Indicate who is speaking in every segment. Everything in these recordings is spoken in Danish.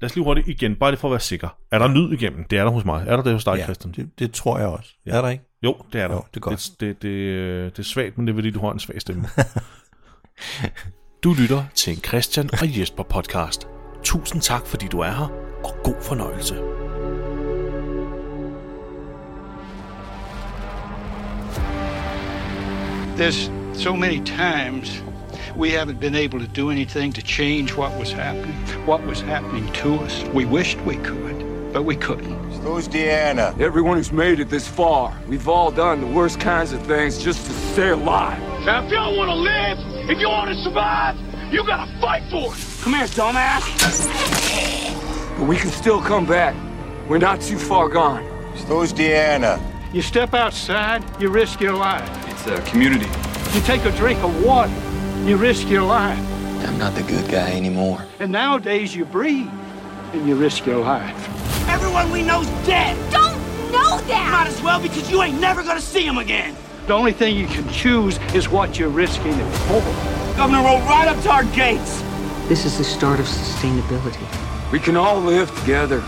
Speaker 1: Lad os lige hurtigt igen, bare lige for at være sikker. Er der lyd igennem? Det er der hos mig. Er der det hos dig, ja. Christian?
Speaker 2: det, det tror jeg også. Ja. Er der ikke?
Speaker 1: Jo, det er der.
Speaker 2: Jo, det er godt.
Speaker 1: Det, det, det, øh, det er svagt, men det er fordi, du har en svag stemme. du lytter til en Christian og Jesper podcast. Tusind tak, fordi du er her, og god fornøjelse.
Speaker 3: There's so many times we haven't been able to do anything to change what was happening, what was happening to us. We wished we could, but we couldn't.
Speaker 4: Who's Deanna?
Speaker 5: Everyone who's made it this far, we've all done the worst kinds of things just to stay alive.
Speaker 6: Now, if y'all want to live, if you want to survive, you gotta fight for it. Come here, dumbass.
Speaker 5: But we can still come back. We're not too far gone.
Speaker 4: Who's Deanna?
Speaker 3: You step outside, you risk your life.
Speaker 7: It's a community.
Speaker 3: You take a drink of water, you risk your life.
Speaker 8: I'm not the good guy anymore.
Speaker 3: And nowadays you breathe and you risk your life.
Speaker 6: Everyone we know's dead.
Speaker 9: Don't know
Speaker 6: Might
Speaker 9: that!
Speaker 6: as well because you ain't never gonna see him again.
Speaker 3: The only thing you can choose is what you're risking it for.
Speaker 6: Governor rolled right up to our gates.
Speaker 10: This is the start of sustainability.
Speaker 5: We can all live together.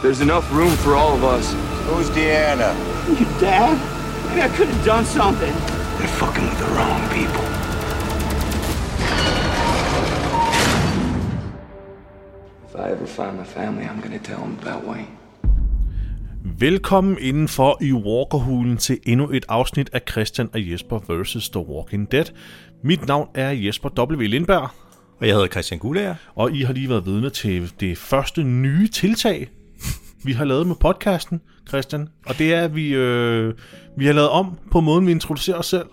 Speaker 5: There's enough room for all of us.
Speaker 4: Who's Deanna?
Speaker 6: Your dad? Maybe I could have done something.
Speaker 3: They're fucking with the wrong people.
Speaker 5: If I ever find my family, I'm gonna tell them about Wayne.
Speaker 1: Velkommen indenfor i Walkerhulen til endnu et afsnit af Christian og Jesper vs. The Walking Dead. Mit navn er Jesper W. Lindberg,
Speaker 2: Og jeg hedder Christian Gulager.
Speaker 1: og I har lige været vidne til det første nye tiltag, vi har lavet med podcasten, Christian. Og det er, at vi, øh, vi har lavet om på måden, vi introducerer os selv.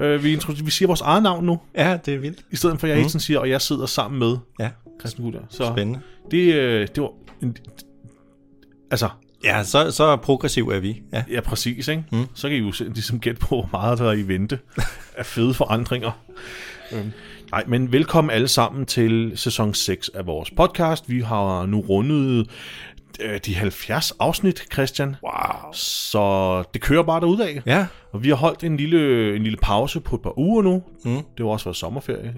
Speaker 1: øh, vi, introducerer, vi siger vores eget navn nu,
Speaker 2: Ja, det er vildt.
Speaker 1: i stedet for at jeg hele tiden siger, og jeg sidder sammen med
Speaker 2: Ja,
Speaker 1: Christian Guller. Så
Speaker 2: spændende.
Speaker 1: Det, øh, det var... En, altså,
Speaker 2: Ja, så, så progressiv er vi. Ja.
Speaker 1: Ja, præcis, ikke? Mm. Så kan I jo selv ligesom gætte på, hvor meget der er i vente af fede forandringer. Øhm, Nej, men velkommen alle sammen til sæson 6 af vores podcast. Vi har nu rundet øh, de 70 afsnit, Christian. Wow. Så det kører bare derudad.
Speaker 2: Ja,
Speaker 1: Og vi har holdt en lille, en lille pause på et par uger nu. Mm. Det har også været sommerferie.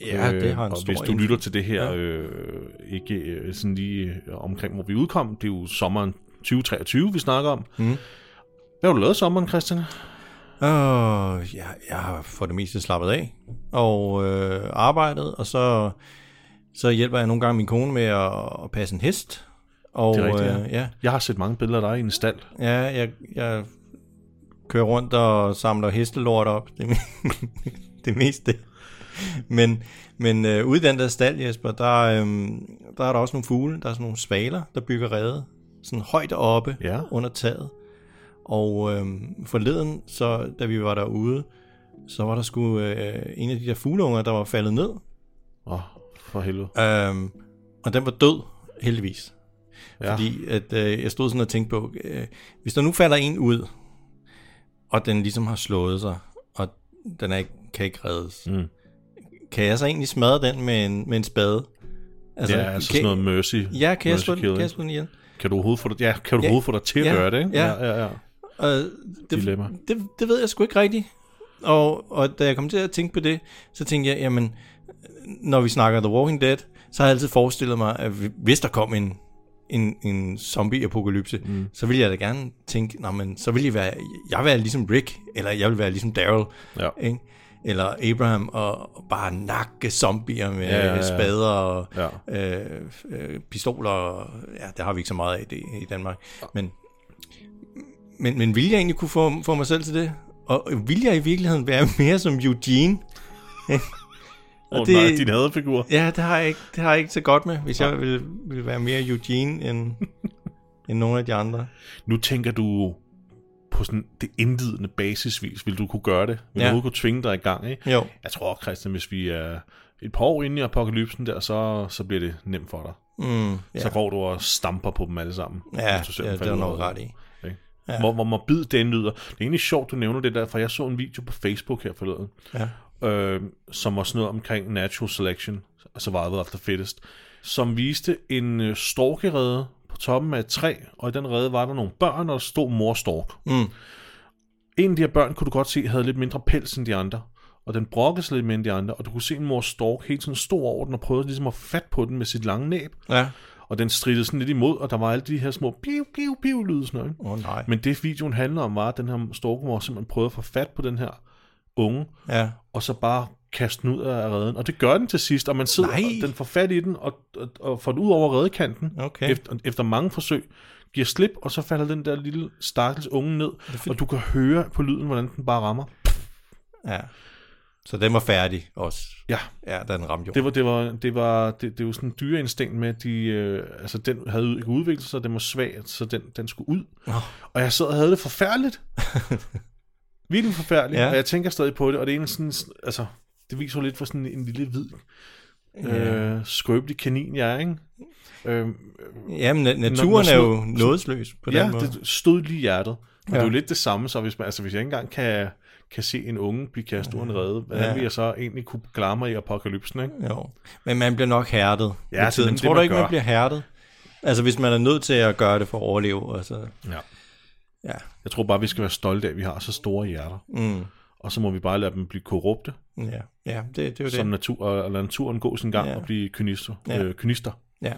Speaker 2: ja det har en
Speaker 1: Øh, og
Speaker 2: stor
Speaker 1: hvis du lytter til det her, ja. øh, ikke øh, sådan lige øh, omkring, hvor vi udkom, det er jo sommeren 2023, vi snakker om. Mm. Hvad har du lavet i sommeren, Christian?
Speaker 2: Åh, jeg, jeg har for det meste slappet af og øh, arbejdet, og så, så hjælper jeg nogle gange min kone med at, at passe en hest. Og,
Speaker 1: Det er rigtigt, ja.
Speaker 2: øh, ja.
Speaker 1: Jeg har set mange billeder af dig i en stald.
Speaker 2: Ja, jeg, jeg kører rundt og samler hestelort op. Det, er min- det meste. Men, men øh, ude i den der stald, Jesper, der, øh, der er der også nogle fugle. Der er sådan nogle svaler, der bygger rede. Sådan højt oppe
Speaker 1: Ja.
Speaker 2: under taget. Og øh, forleden, så, da vi var derude, så var der sgu øh, en af de der fugleunger, der var faldet ned.
Speaker 1: Åh, oh, for helvede.
Speaker 2: Øhm, og den var død, heldigvis.
Speaker 1: Ja.
Speaker 2: Ja. Fordi
Speaker 1: Ah.
Speaker 2: at, øh, jeg stod sådan og tænkte på, øh, hvis der nu falder en ud, og den ligesom har slået sig, og den er ikke, kan ikke reddes, mm. kan jeg så egentlig smadre den med en, med en spade?
Speaker 1: Det er altså sådan
Speaker 2: kan,
Speaker 1: noget mercy.
Speaker 2: Ja, kan jeg,
Speaker 1: mercy
Speaker 2: slå den, kan
Speaker 1: killing.
Speaker 2: jeg slå den ihjel?
Speaker 1: Kan du overhovedet få det, ja, kan du overhovedet få dig til at
Speaker 2: Ja.
Speaker 1: gøre det, ikke?
Speaker 2: Ja.
Speaker 1: ja, ja.
Speaker 2: Og det,
Speaker 1: Dilemma.
Speaker 2: det, det ved jeg sgu ikke rigtigt. Og, og da jeg kom til at tænke på det, så tænkte jeg, jamen, når vi snakker The Walking Dead, så har jeg altid forestillet mig, at hvi- hvis der kom en, en, en zombie-apokalypse, mm. så ville jeg da gerne tænke, Nå, men, så ville jeg være, jeg vil være ligesom Rick, eller jeg vil være ligesom Daryl,
Speaker 1: Ja.
Speaker 2: ikke? eller Abraham, og og bare nakke zombier med
Speaker 1: Ja, ja, ja.
Speaker 2: spader og
Speaker 1: Ja.
Speaker 2: øh, øh, pistoler. Og, ja, det har vi ikke så meget af det, i Danmark. Men, men, men ville jeg egentlig kunne få, få mig selv til det? Og ville jeg i virkeligheden være mere som Eugene?
Speaker 1: Åh oh,
Speaker 2: det-
Speaker 1: det... nej, din hadefigur.
Speaker 2: Ja, det har jeg ikke, det har jeg ikke så godt med, hvis jeg ville, ville være mere Eugene end, end nogle af de andre.
Speaker 1: Nu tænker du på sådan det indledende basisvis. Vil du kunne gøre det? Vil
Speaker 2: Ja.
Speaker 1: ja. du overhovedet kunne tvinge dig i gang, ikke?
Speaker 2: Jo.
Speaker 1: Jeg tror, Christian, hvis vi er et par år inde i apokalypsen der, så, så bliver det nemt for dig.
Speaker 2: Mm, ja,
Speaker 1: Så går du og stamper på dem alle sammen.
Speaker 2: ja,
Speaker 1: hvis du selv
Speaker 2: ja det
Speaker 1: falder
Speaker 2: er du
Speaker 1: ud.
Speaker 2: nok ret i.
Speaker 1: Ikke? Ja. Hvor, hvor morbid den lyder. Det er egentlig sjovt, du nævner det der, for jeg så en video på Facebook her forleden, ja. øh, som var sådan noget omkring natural selection, altså og survival of the fittest, som viste en øh, storkerede på toppen af et træ, og i den rede var der nogle børn, og der stod mor stork. Mm. En af de her børn, kunne du godt se, havde lidt mindre pels end de andre. og den brokkes lidt med end de andre, og du kunne se en mor stork hele tiden stå over den og prøvede ligesom at fat på den med sit lange næb,
Speaker 2: Ja.
Speaker 1: og den stridede sådan lidt imod, og der var alle de her små piu, piu, piu lyde sådan noget. ikke?
Speaker 2: Åh oh, nej.
Speaker 1: Men det videoen handler om var, at den her storkemor simpelthen prøvede at få fat på den her unge,
Speaker 2: Ja.
Speaker 1: og så bare kaste den ud af redden. Og det gør den til sidst, og man sidder,
Speaker 2: Nej.
Speaker 1: og den får fat i den, og, og, og får den ud over redekanten.
Speaker 2: Okay.
Speaker 1: Efter, efter mange forsøg, giver slip, og så falder den der lille stakkels unge ned, og du kan høre på lyden, hvordan den bare rammer.
Speaker 2: ja. Så den var færdig også.
Speaker 1: Ja,
Speaker 2: Ja, den ramte jo.
Speaker 1: det var, det var, det var, det, det var sådan en dyreinnstinkt med, at de, øh, altså den havde ikke udviklet sig, den var svag, så den, den skulle ud. Og jeg sad og havde det forfærdeligt. Virkelig forfærdeligt,
Speaker 2: Ja.
Speaker 1: ja. og jeg tænker stadig på det, og det er egentlig sådan, altså, det viser jo lidt for sådan en lille hvid, øh, skrøbelig kanin, jeg er, ikke? Øh,
Speaker 2: Jamen, na-
Speaker 1: Når-
Speaker 2: naturen
Speaker 1: når
Speaker 2: er jo nådesløs på den
Speaker 1: ja,
Speaker 2: måde.
Speaker 1: det stod lige i hjertet. Men
Speaker 2: Ja.
Speaker 1: ja. det er jo lidt det samme, så hvis, man, altså, hvis jeg ikke engang kan, kan se en unge blive kastet uden redde, hvordan
Speaker 2: Ja.
Speaker 1: ja. vil jeg så egentlig kunne klare mig i apokalypsen, ikke?
Speaker 2: Jo. Men man bliver nok hærdet
Speaker 1: Ja, altså,
Speaker 2: med
Speaker 1: det er
Speaker 2: tiden.
Speaker 1: nemlig
Speaker 2: Tror
Speaker 1: det,
Speaker 2: du
Speaker 1: man
Speaker 2: ikke, man
Speaker 1: gør.
Speaker 2: bliver hærdet? Altså, hvis man er nødt til at gøre det for at overleve, og så...
Speaker 1: Ja.
Speaker 2: Ja.
Speaker 1: Jeg tror bare, vi skal være stolte af, at vi har så store hjerter.
Speaker 2: Mm.
Speaker 1: Og så må vi bare lade dem blive korrupte,
Speaker 2: Ja, ja det, det er jo
Speaker 1: som
Speaker 2: det.
Speaker 1: natur, og og lade naturen gå sin gang
Speaker 2: Ja.
Speaker 1: ja. og blive kynister.
Speaker 2: Ja.
Speaker 1: Ja. Øh, kynister.
Speaker 2: Ja.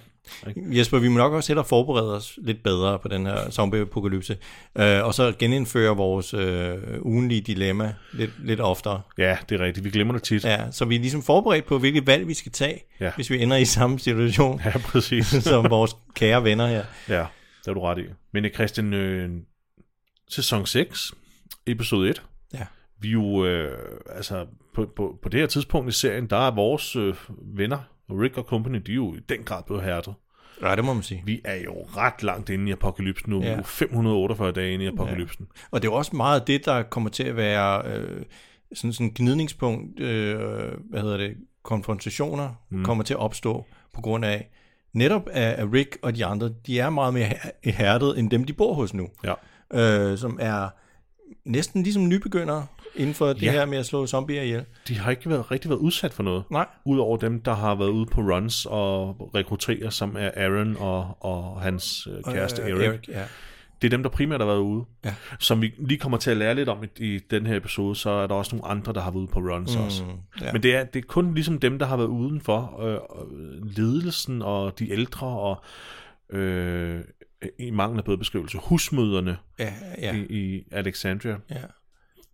Speaker 2: Jesper, vi må nok også hellere forberede os lidt bedre på den her zombie-apokalypse, øh, og så genindføre vores øh, ugenlige dilemma lidt, lidt oftere.
Speaker 1: Ja, det er rigtigt. Vi glemmer det tit. Ja,
Speaker 2: Ja, så vi er ligesom forberedt på, hvilke valg vi skal tage,
Speaker 1: Ja.
Speaker 2: hvis vi ender i samme situation
Speaker 1: ja præcis.
Speaker 2: som vores kære venner her.
Speaker 1: ja, det er du ret i. Men øh, Christian, øh, sæson 6, episode 1.
Speaker 2: Ja.
Speaker 1: Vi er jo, øh, altså, på, på, på det her tidspunkt i serien, der er vores øh, venner, Rick og company, de er jo i den grad blevet hærdet.
Speaker 2: Ja, det må man sige.
Speaker 1: Vi er jo ret langt inde i apokalypsen nu. Ja. Vi
Speaker 2: Ja.
Speaker 1: er jo 548 dage inde i apokalypsen.
Speaker 2: Og det er jo også meget det, der kommer til at være øh, sådan sådan gnidningspunkt, øh, hvad hedder det, konfrontationer mm. kommer til at opstå på grund af netop af af Rick og de andre, de er meget mere her- hærdet end dem, de bor hos nu,
Speaker 1: Ja.
Speaker 2: øh, som er næsten ligesom nybegyndere inden for det
Speaker 1: Ja.
Speaker 2: her med at slå zombier ihjel.
Speaker 1: De har ikke været, rigtig været udsat for noget.
Speaker 2: Nej.
Speaker 1: Udover dem, der har været ude på runs og rekrutterer, som er Aaron og, og hans øh, kæreste øh, Eric. Eric.
Speaker 2: ja.
Speaker 1: Det er dem, der primært har været ude.
Speaker 2: Ja.
Speaker 1: Som vi lige kommer til at lære lidt om i, i den her episode, så er der også nogle andre, der har været ude på runs mm, også.
Speaker 2: ja.
Speaker 1: Ja. Men det er, det er kun ligesom dem, der har været udenfor. Øh, og ledelsen og de ældre og øh, i mangel af bedre beskrivelse, husmøderne
Speaker 2: Ja,
Speaker 1: ja.
Speaker 2: ja,
Speaker 1: i, i Alexandria.
Speaker 2: ja.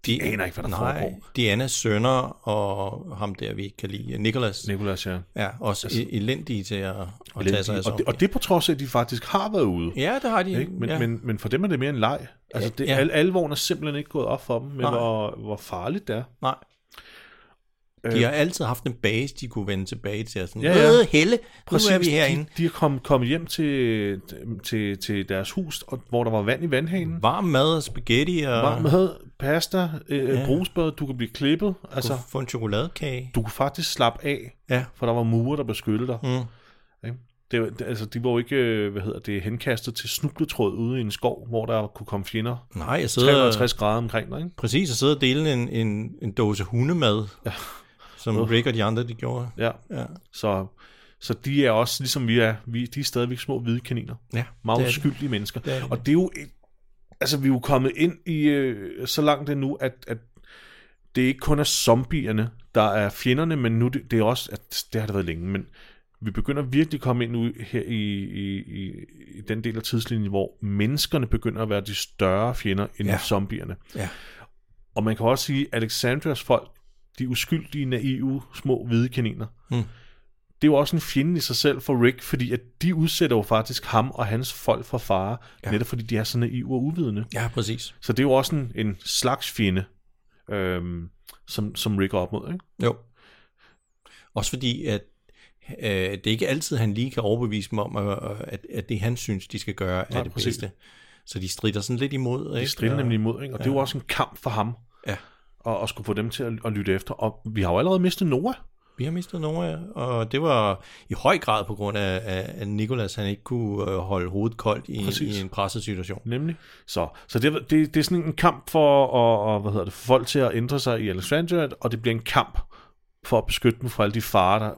Speaker 2: De
Speaker 1: aner ikke, hvad der
Speaker 2: nej,
Speaker 1: foregår.
Speaker 2: Dianas sønner og ham der, vi ikke kan lide, Nicholas,
Speaker 1: Nicolas, ja.
Speaker 2: Ja, også altså, elendige til at, at tage sig af
Speaker 1: Og, det,
Speaker 2: zombier.
Speaker 1: og det på trods af, at de faktisk har været ude.
Speaker 2: Ja, det har de.
Speaker 1: Ikke? Men,
Speaker 2: ja.
Speaker 1: ja. men, men for dem er det mere en leg. Altså, det,
Speaker 2: Ja.
Speaker 1: ja. al, alvoren er simpelthen ikke gået op for dem, men
Speaker 2: Nej.
Speaker 1: hvor, hvor farligt det er.
Speaker 2: Nej. De har altid haft en base, de kunne vende tilbage til. Sådan, ja,
Speaker 1: Øh. Ja,
Speaker 2: ja.
Speaker 1: ja.
Speaker 2: Øh, Helle, nu er vi
Speaker 1: Præcis,
Speaker 2: herinde.
Speaker 1: De, de er kommet kom hjem til, til, til deres hus, og, hvor der var vand i vandhanen.
Speaker 2: Varm mad og spaghetti og
Speaker 1: Varm mad, pasta, øh, ja. brusbad, du kan blive klippet. Altså,
Speaker 2: altså, få en chokoladekage.
Speaker 1: du kunne faktisk slappe af,
Speaker 2: Ja.
Speaker 1: for der var murer, der beskyttede dig. Mm. Ikke? Det, var- det, altså, de var jo ikke øh, hvad hedder det, henkastet til snubletråd ude i en skov, hvor der kunne komme fjender
Speaker 2: Nej, jeg sidder
Speaker 1: 360 grader omkring dig. Ikke?
Speaker 2: præcis og sidder og deler en, en, en dåse hundemad, ja. som Rick og de andre de gjorde.
Speaker 1: Ja.
Speaker 2: Ja,
Speaker 1: Så, så de er også, ligesom vi er, vi, de er stadigvæk små hvide kaniner.
Speaker 2: ja
Speaker 1: Meget
Speaker 2: det er
Speaker 1: det
Speaker 2: det.
Speaker 1: uskyldige det. mennesker.
Speaker 2: Det er det.
Speaker 1: Og det er jo... et- Altså, vi er jo kommet ind i øh, så langt endnu, at, at det ikke kun er zombierne, der er fjenderne, men nu det, det er også... At, det har det været længe, men vi begynder virkelig at komme ind nu her i, i, i, i den del af tidslinjen, hvor menneskerne begynder at være de større fjender end
Speaker 2: Ja.
Speaker 1: ja. zombierne.
Speaker 2: Ja.
Speaker 1: Og man kan også sige, at Alexandrias folk, de uskyldige, naive, små hvide kaniner,
Speaker 2: Mm.
Speaker 1: det er jo også en fjende i sig selv for Rick, fordi at de udsætter jo faktisk ham og hans folk for fare,
Speaker 2: Ja.
Speaker 1: ja. netop fordi de er så naive og uvidende.
Speaker 2: Ja, præcis.
Speaker 1: Så det er jo også en, en slags fjende, øhm, som, som Rick er op mod. Ikke?
Speaker 2: Jo. Også fordi, at øh, det er ikke altid, han lige kan overbevise dem om, at, at, at det, han synes, de skal gøre, er
Speaker 1: Nej,
Speaker 2: det
Speaker 1: præcis.
Speaker 2: bedste. Så de strider sådan lidt imod.
Speaker 1: De
Speaker 2: ikke?
Speaker 1: strider
Speaker 2: Og-
Speaker 1: nemlig imod, ikke? og ja. det er jo også en kamp for ham,
Speaker 2: Ja.
Speaker 1: og, og skulle få dem til at, at lytte efter. Og vi har jo allerede mistet Noah.
Speaker 2: Vi har mistet Nora, og det var i høj grad på grund af, af- at Nikolas han ikke kunne øh, holde hovedet koldt i,
Speaker 1: Præcis.
Speaker 2: i en presset situation.
Speaker 1: Nemlig. Så, så det, det, det er sådan en kamp for og, og, hvad hedder det, for folk til at ændre sig i Alexandria, og det bliver en kamp for at beskytte dem fra alle de farer, der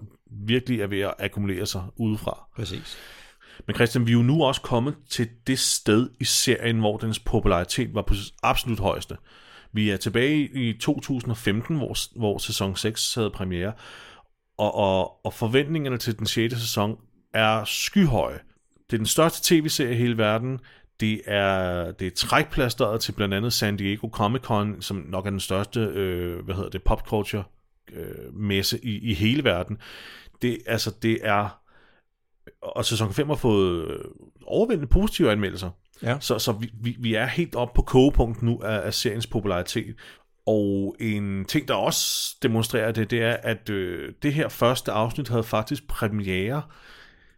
Speaker 1: virkelig er ved at akkumulere sig udefra.
Speaker 2: Præcis.
Speaker 1: Men Christian, vi er jo nu også kommet til det sted i serien, hvor dens popularitet var på sit absolut højeste. Vi er tilbage i 2015, hvor, s- hvor sæson 6 havde premiere, og, og, og forventningerne til den 6. sæson er skyhøje. Det er den største tv-serie i hele verden. Det er, det er trækplasteret til blandt andet San Diego Comic-Con, som nok er den største øh, hvad hedder det, popculture øh, messe i, i hele verden. Det, altså, det er... Og sæson 5 har fået øh, overvældende positive anmeldelser.
Speaker 2: Ja.
Speaker 1: Så, så vi, vi, vi er helt oppe på kogepunkt nu af, af seriens popularitet. Og en ting, der også demonstrerer det, det er, at øh, det her første afsnit havde faktisk premiere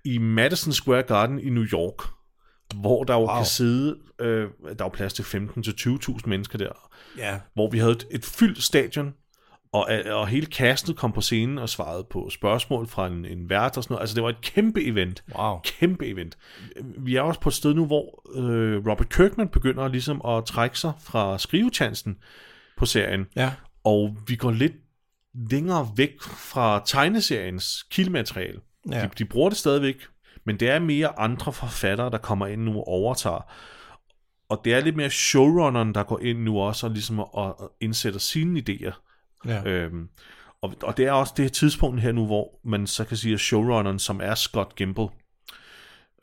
Speaker 1: i Madison Square Garden i New York, hvor der jo wow. kan sidde, øh, der er jo plads til 15-20.000 mennesker der
Speaker 2: Ja.
Speaker 1: hvor vi havde et, et fyldt stadion, og, øh, og hele castet kom på scenen og svarede på spørgsmål fra en, en vært og sådan noget. Altså, det var et kæmpe event.
Speaker 2: Wow.
Speaker 1: Kæmpe event. Vi er også på et sted nu, hvor øh, Robert Kirkman begynder ligesom at trække sig fra skrivechancen på serien,
Speaker 2: Ja.
Speaker 1: og vi går lidt længere væk fra tegneseriens kildemateriale.
Speaker 2: Ja.
Speaker 1: De, de bruger det stadigvæk, men det er mere andre forfattere, der kommer ind nu og overtager. Og det er lidt mere showrunneren, der går ind nu også og ligesom og, og indsætter sine idéer.
Speaker 2: Ja.
Speaker 1: Øhm, og, og det er også det her tidspunkt her nu, hvor man så kan sige, at showrunneren, som er Scott Gimple,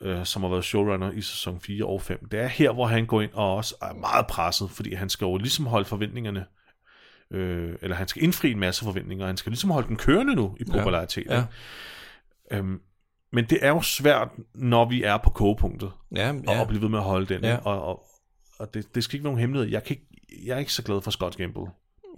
Speaker 1: øh, som har været showrunner i sæson 4 og 5, det er her, hvor han går ind og også er meget presset, fordi han skal jo ligesom holde forventningerne, øh, eller han skal indfri en masse forventninger, og han skal ligesom holde den kørende nu i popularitet.
Speaker 2: Ja.
Speaker 1: ikke? Øhm, men det er jo svært, når vi er på kogepunktet
Speaker 2: Ja,
Speaker 1: og,
Speaker 2: ja.
Speaker 1: og blive ved med at holde den.
Speaker 2: Ja.
Speaker 1: Ja. Og, og, og det, det skal ikke være nogen hemmelighed. Jeg, kan ikke, jeg er ikke så glad for Scott Gamble.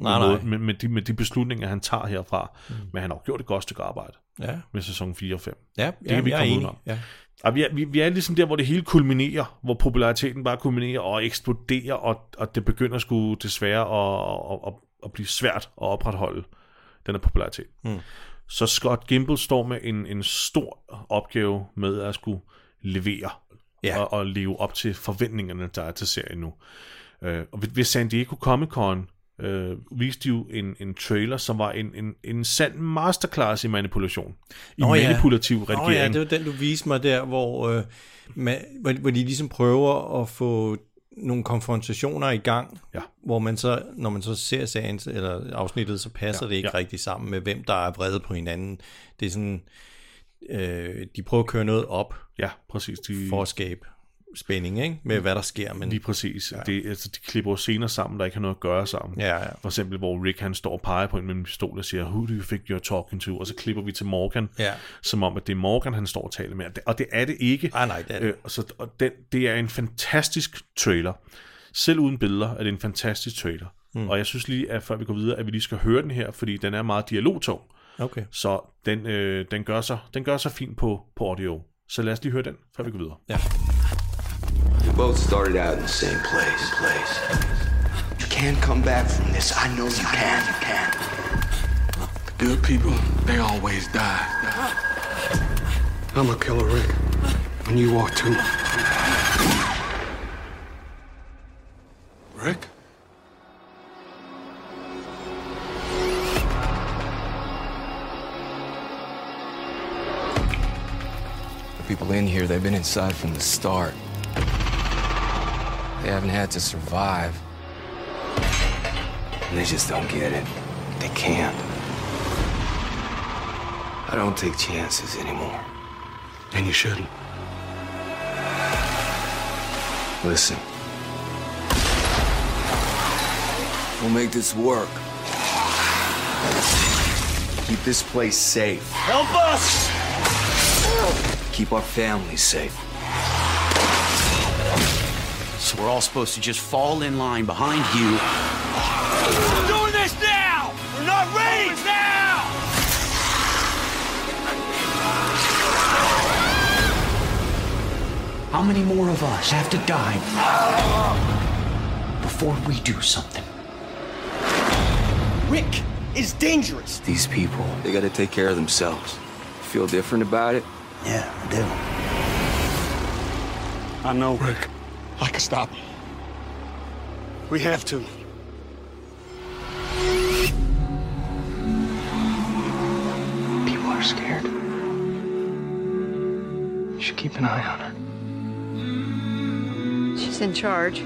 Speaker 2: Nej,
Speaker 1: Med,
Speaker 2: nej.
Speaker 1: Med, med, de, med de beslutninger, han tager herfra. Mm. Men han har jo gjort et godt stykke arbejde
Speaker 2: ja.
Speaker 1: med sæson 4 og 5.
Speaker 2: Ja,
Speaker 1: kan
Speaker 2: ja,
Speaker 1: vi ikke
Speaker 2: jeg er
Speaker 1: komme
Speaker 2: enig.
Speaker 1: udenom.
Speaker 2: Ja.
Speaker 1: Og vi, er, vi, vi er ligesom der, hvor det hele kulminerer, hvor populariteten bare kulminerer og eksploderer, og, og det begynder sgu desværre at, at, at, at blive svært at opretholde den her popularitet. Mm. Så Scott Gimple står med en, en stor opgave med at skulle levere
Speaker 2: Ja.
Speaker 1: og, og leve op til forventningerne, der er til serien nu. Øh, og ved, ved San Diego Comic-Con øh, viste de jo en, en trailer, som var en, en, en sand masterclass i manipulation. I
Speaker 2: Nå ja.
Speaker 1: manipulativ redigering.
Speaker 2: Nå ja, det var den, du viste mig der, hvor, øh, man, hvor, hvor de ligesom prøver at få nogle konfrontationer i gang,
Speaker 1: Ja.
Speaker 2: hvor man så, når man så ser serien, eller afsnittet, så passer ja, det ikke ja.
Speaker 1: ja.
Speaker 2: rigtig sammen med, hvem der er vrede på hinanden. Det er sådan, øh, de prøver at køre noget op
Speaker 1: Ja, præcis. De,
Speaker 2: for at skabe spænding, ikke? Med hvad der sker, men...
Speaker 1: Lige præcis. Ja. Det, altså, de klipper jo scener sammen, der ikke har noget at gøre sammen.
Speaker 2: Ja, ja.
Speaker 1: For eksempel, hvor Rick han står og peger på en med en pistol og siger, who do you think you're talking to? Og så klipper vi til Morgan,
Speaker 2: Ja.
Speaker 1: som om, at det er Morgan, han står og taler med. Og det- Og det er det ikke.
Speaker 2: Ah, nej, det er det.
Speaker 1: Øh, og så, og den, det er en fantastisk trailer. Selv uden billeder er det en fantastisk trailer. Mm. Og jeg synes lige, at før vi går videre, at vi lige skal høre den her, fordi den er meget dialogtung.
Speaker 2: Okay.
Speaker 1: Så den, øh, den, gør sig, den gør sig fint på, på audio. Så lad os lige høre den, før vi går videre.
Speaker 8: We both started out in the same place. Place. You can come back from this. I know you can. You can.
Speaker 7: Good people, they always die. I'm a killer, Rick. And you are too. Rick?
Speaker 8: The people in here, they've been inside from the start. They haven't had to survive. And they just don't get it. They can't. I don't take chances anymore.
Speaker 7: And you shouldn't.
Speaker 8: Listen. We'll make this work. Keep this place safe. Help us! Keep our families safe.
Speaker 9: So we're all supposed to just fall in line behind you.
Speaker 6: We're doing this now! We're not ready! now!
Speaker 9: How many more of us have to die before we do something? Rick is dangerous.
Speaker 8: These people, they gotta take care of themselves. Feel different about it?
Speaker 9: Yeah, I do.
Speaker 6: I know.
Speaker 7: Rick,
Speaker 6: I can stop him. We have to.
Speaker 8: People are scared. You should keep an eye on her.
Speaker 10: She's in charge.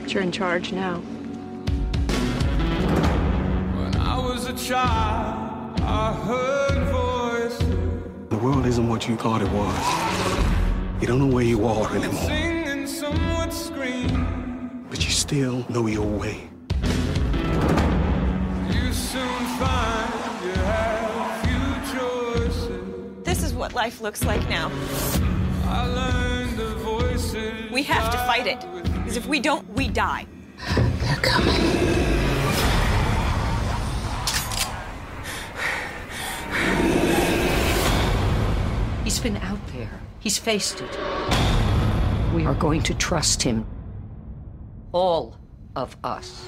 Speaker 10: But you're in charge now.
Speaker 11: was a child, I heard voices
Speaker 7: The world isn't what you thought it was. You don't know where you are anymore,
Speaker 11: sing and some would scream.
Speaker 7: but you still know your way.
Speaker 11: You soon find you have few choices.
Speaker 12: This is what life looks like now.
Speaker 11: I learned the voices.
Speaker 12: We have to fight it. Because if we don't, we die.
Speaker 13: He's been out there. He's faced it. We are going to trust him. All of us.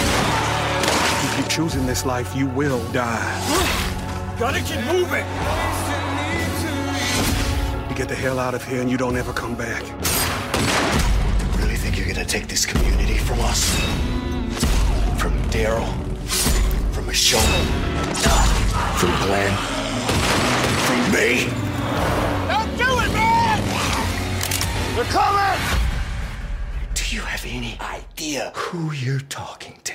Speaker 7: If you're choosing this life, you will die.
Speaker 11: Gotta keep moving.
Speaker 7: You get the hell out of here and you don't ever come back.
Speaker 8: Really think you're gonna take this community from us? From Daryl? From Michelle? From Glenn? From me?
Speaker 11: Don't do it, man! They're coming!
Speaker 8: Do you have any idea who you're talking to?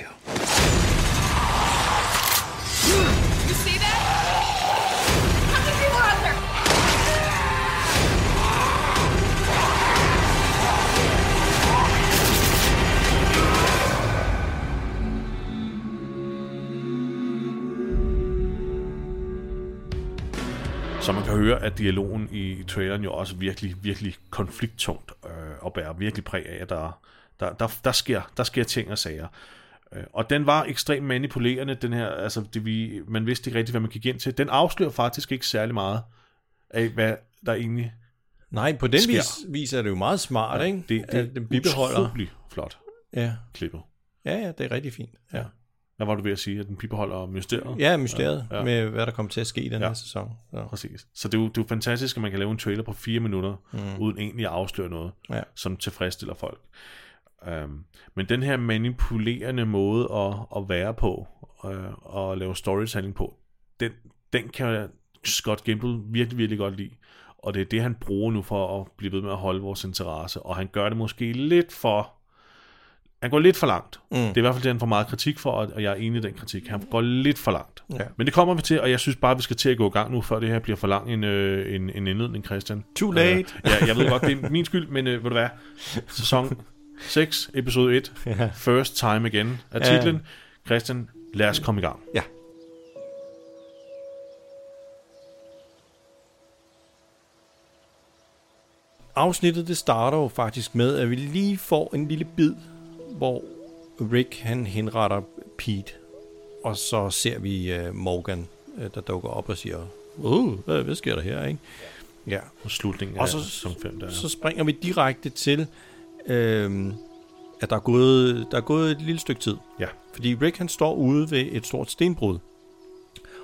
Speaker 11: You see that? How many people are out there?
Speaker 1: Så man kan høre, at dialogen i traileren jo også virkelig, virkelig konflikttungt øh, og bærer virkelig præg af, at der, der, der, der, sker, der sker ting og sager. Øh, Og den var ekstremt manipulerende, den her, altså det, vi, man vidste ikke rigtigt, hvad man gik ind til. Den afslører faktisk ikke særlig meget af, hvad der egentlig
Speaker 2: Nej, på den
Speaker 1: sker.
Speaker 2: vis, vis er det jo meget smart,
Speaker 1: Ja,
Speaker 2: ikke?
Speaker 1: det- det
Speaker 2: At
Speaker 1: er
Speaker 2: den bibeholder.
Speaker 1: utrolig flot.
Speaker 2: Ja.
Speaker 1: klippet.
Speaker 2: ja, ja, det er rigtig fint. Ja,
Speaker 1: Hvad var du ved at sige, at den bibeholder mysteriet?
Speaker 2: ja mysteriet ja, ja. med, hvad der kommer til at ske i den ja. her sæson. Ja.
Speaker 1: Præcis. Så det er, jo, det er jo fantastisk, at man kan lave en trailer på fire minutter,
Speaker 2: Mm.
Speaker 1: mm. uden egentlig at afsløre noget,
Speaker 2: Ja.
Speaker 1: som tilfredsstiller folk. Um, men den her manipulerende måde at, at være på, øh, og lave storytelling på, den, den kan Scott Gimple virkelig, virkelig godt lide. Og det er det, han bruger nu for at blive ved med at holde vores interesse. Og han gør det måske lidt for... Han går lidt for langt.
Speaker 2: Mm.
Speaker 1: Det er i hvert fald det, han får meget kritik for, og og jeg er enig i den kritik. Han går lidt for langt.
Speaker 2: Ja.
Speaker 1: Men det kommer vi til, og jeg synes bare, vi skal til at gå i gang nu, før det her bliver for lang en, øh, en, en indledning, Christian.
Speaker 2: Too late.
Speaker 1: Øh, ja, jeg ved godt, det er min skyld, men øh, ved du hvad? Sæson 6, episode 1,
Speaker 2: Ja.
Speaker 1: First Time Again er
Speaker 2: Ja.
Speaker 1: titlen. Christian, lad os komme i gang.
Speaker 2: Ja. Afsnittet det starter jo faktisk med, at vi lige får en lille bid, hvor Rick han henretter Pete. Og så ser vi uh, Morgan, uh, der dukker op og siger, uh, hvad, hvad sker der her, ikke? Ja.
Speaker 1: Og slutningen
Speaker 2: og
Speaker 1: af
Speaker 2: så,
Speaker 1: sæson fem, der er.
Speaker 2: så springer vi direkte til, øhm, at der er, gået, der er gået et lille stykke tid.
Speaker 1: Ja.
Speaker 2: Fordi Rick han står ude ved et stort stenbrud.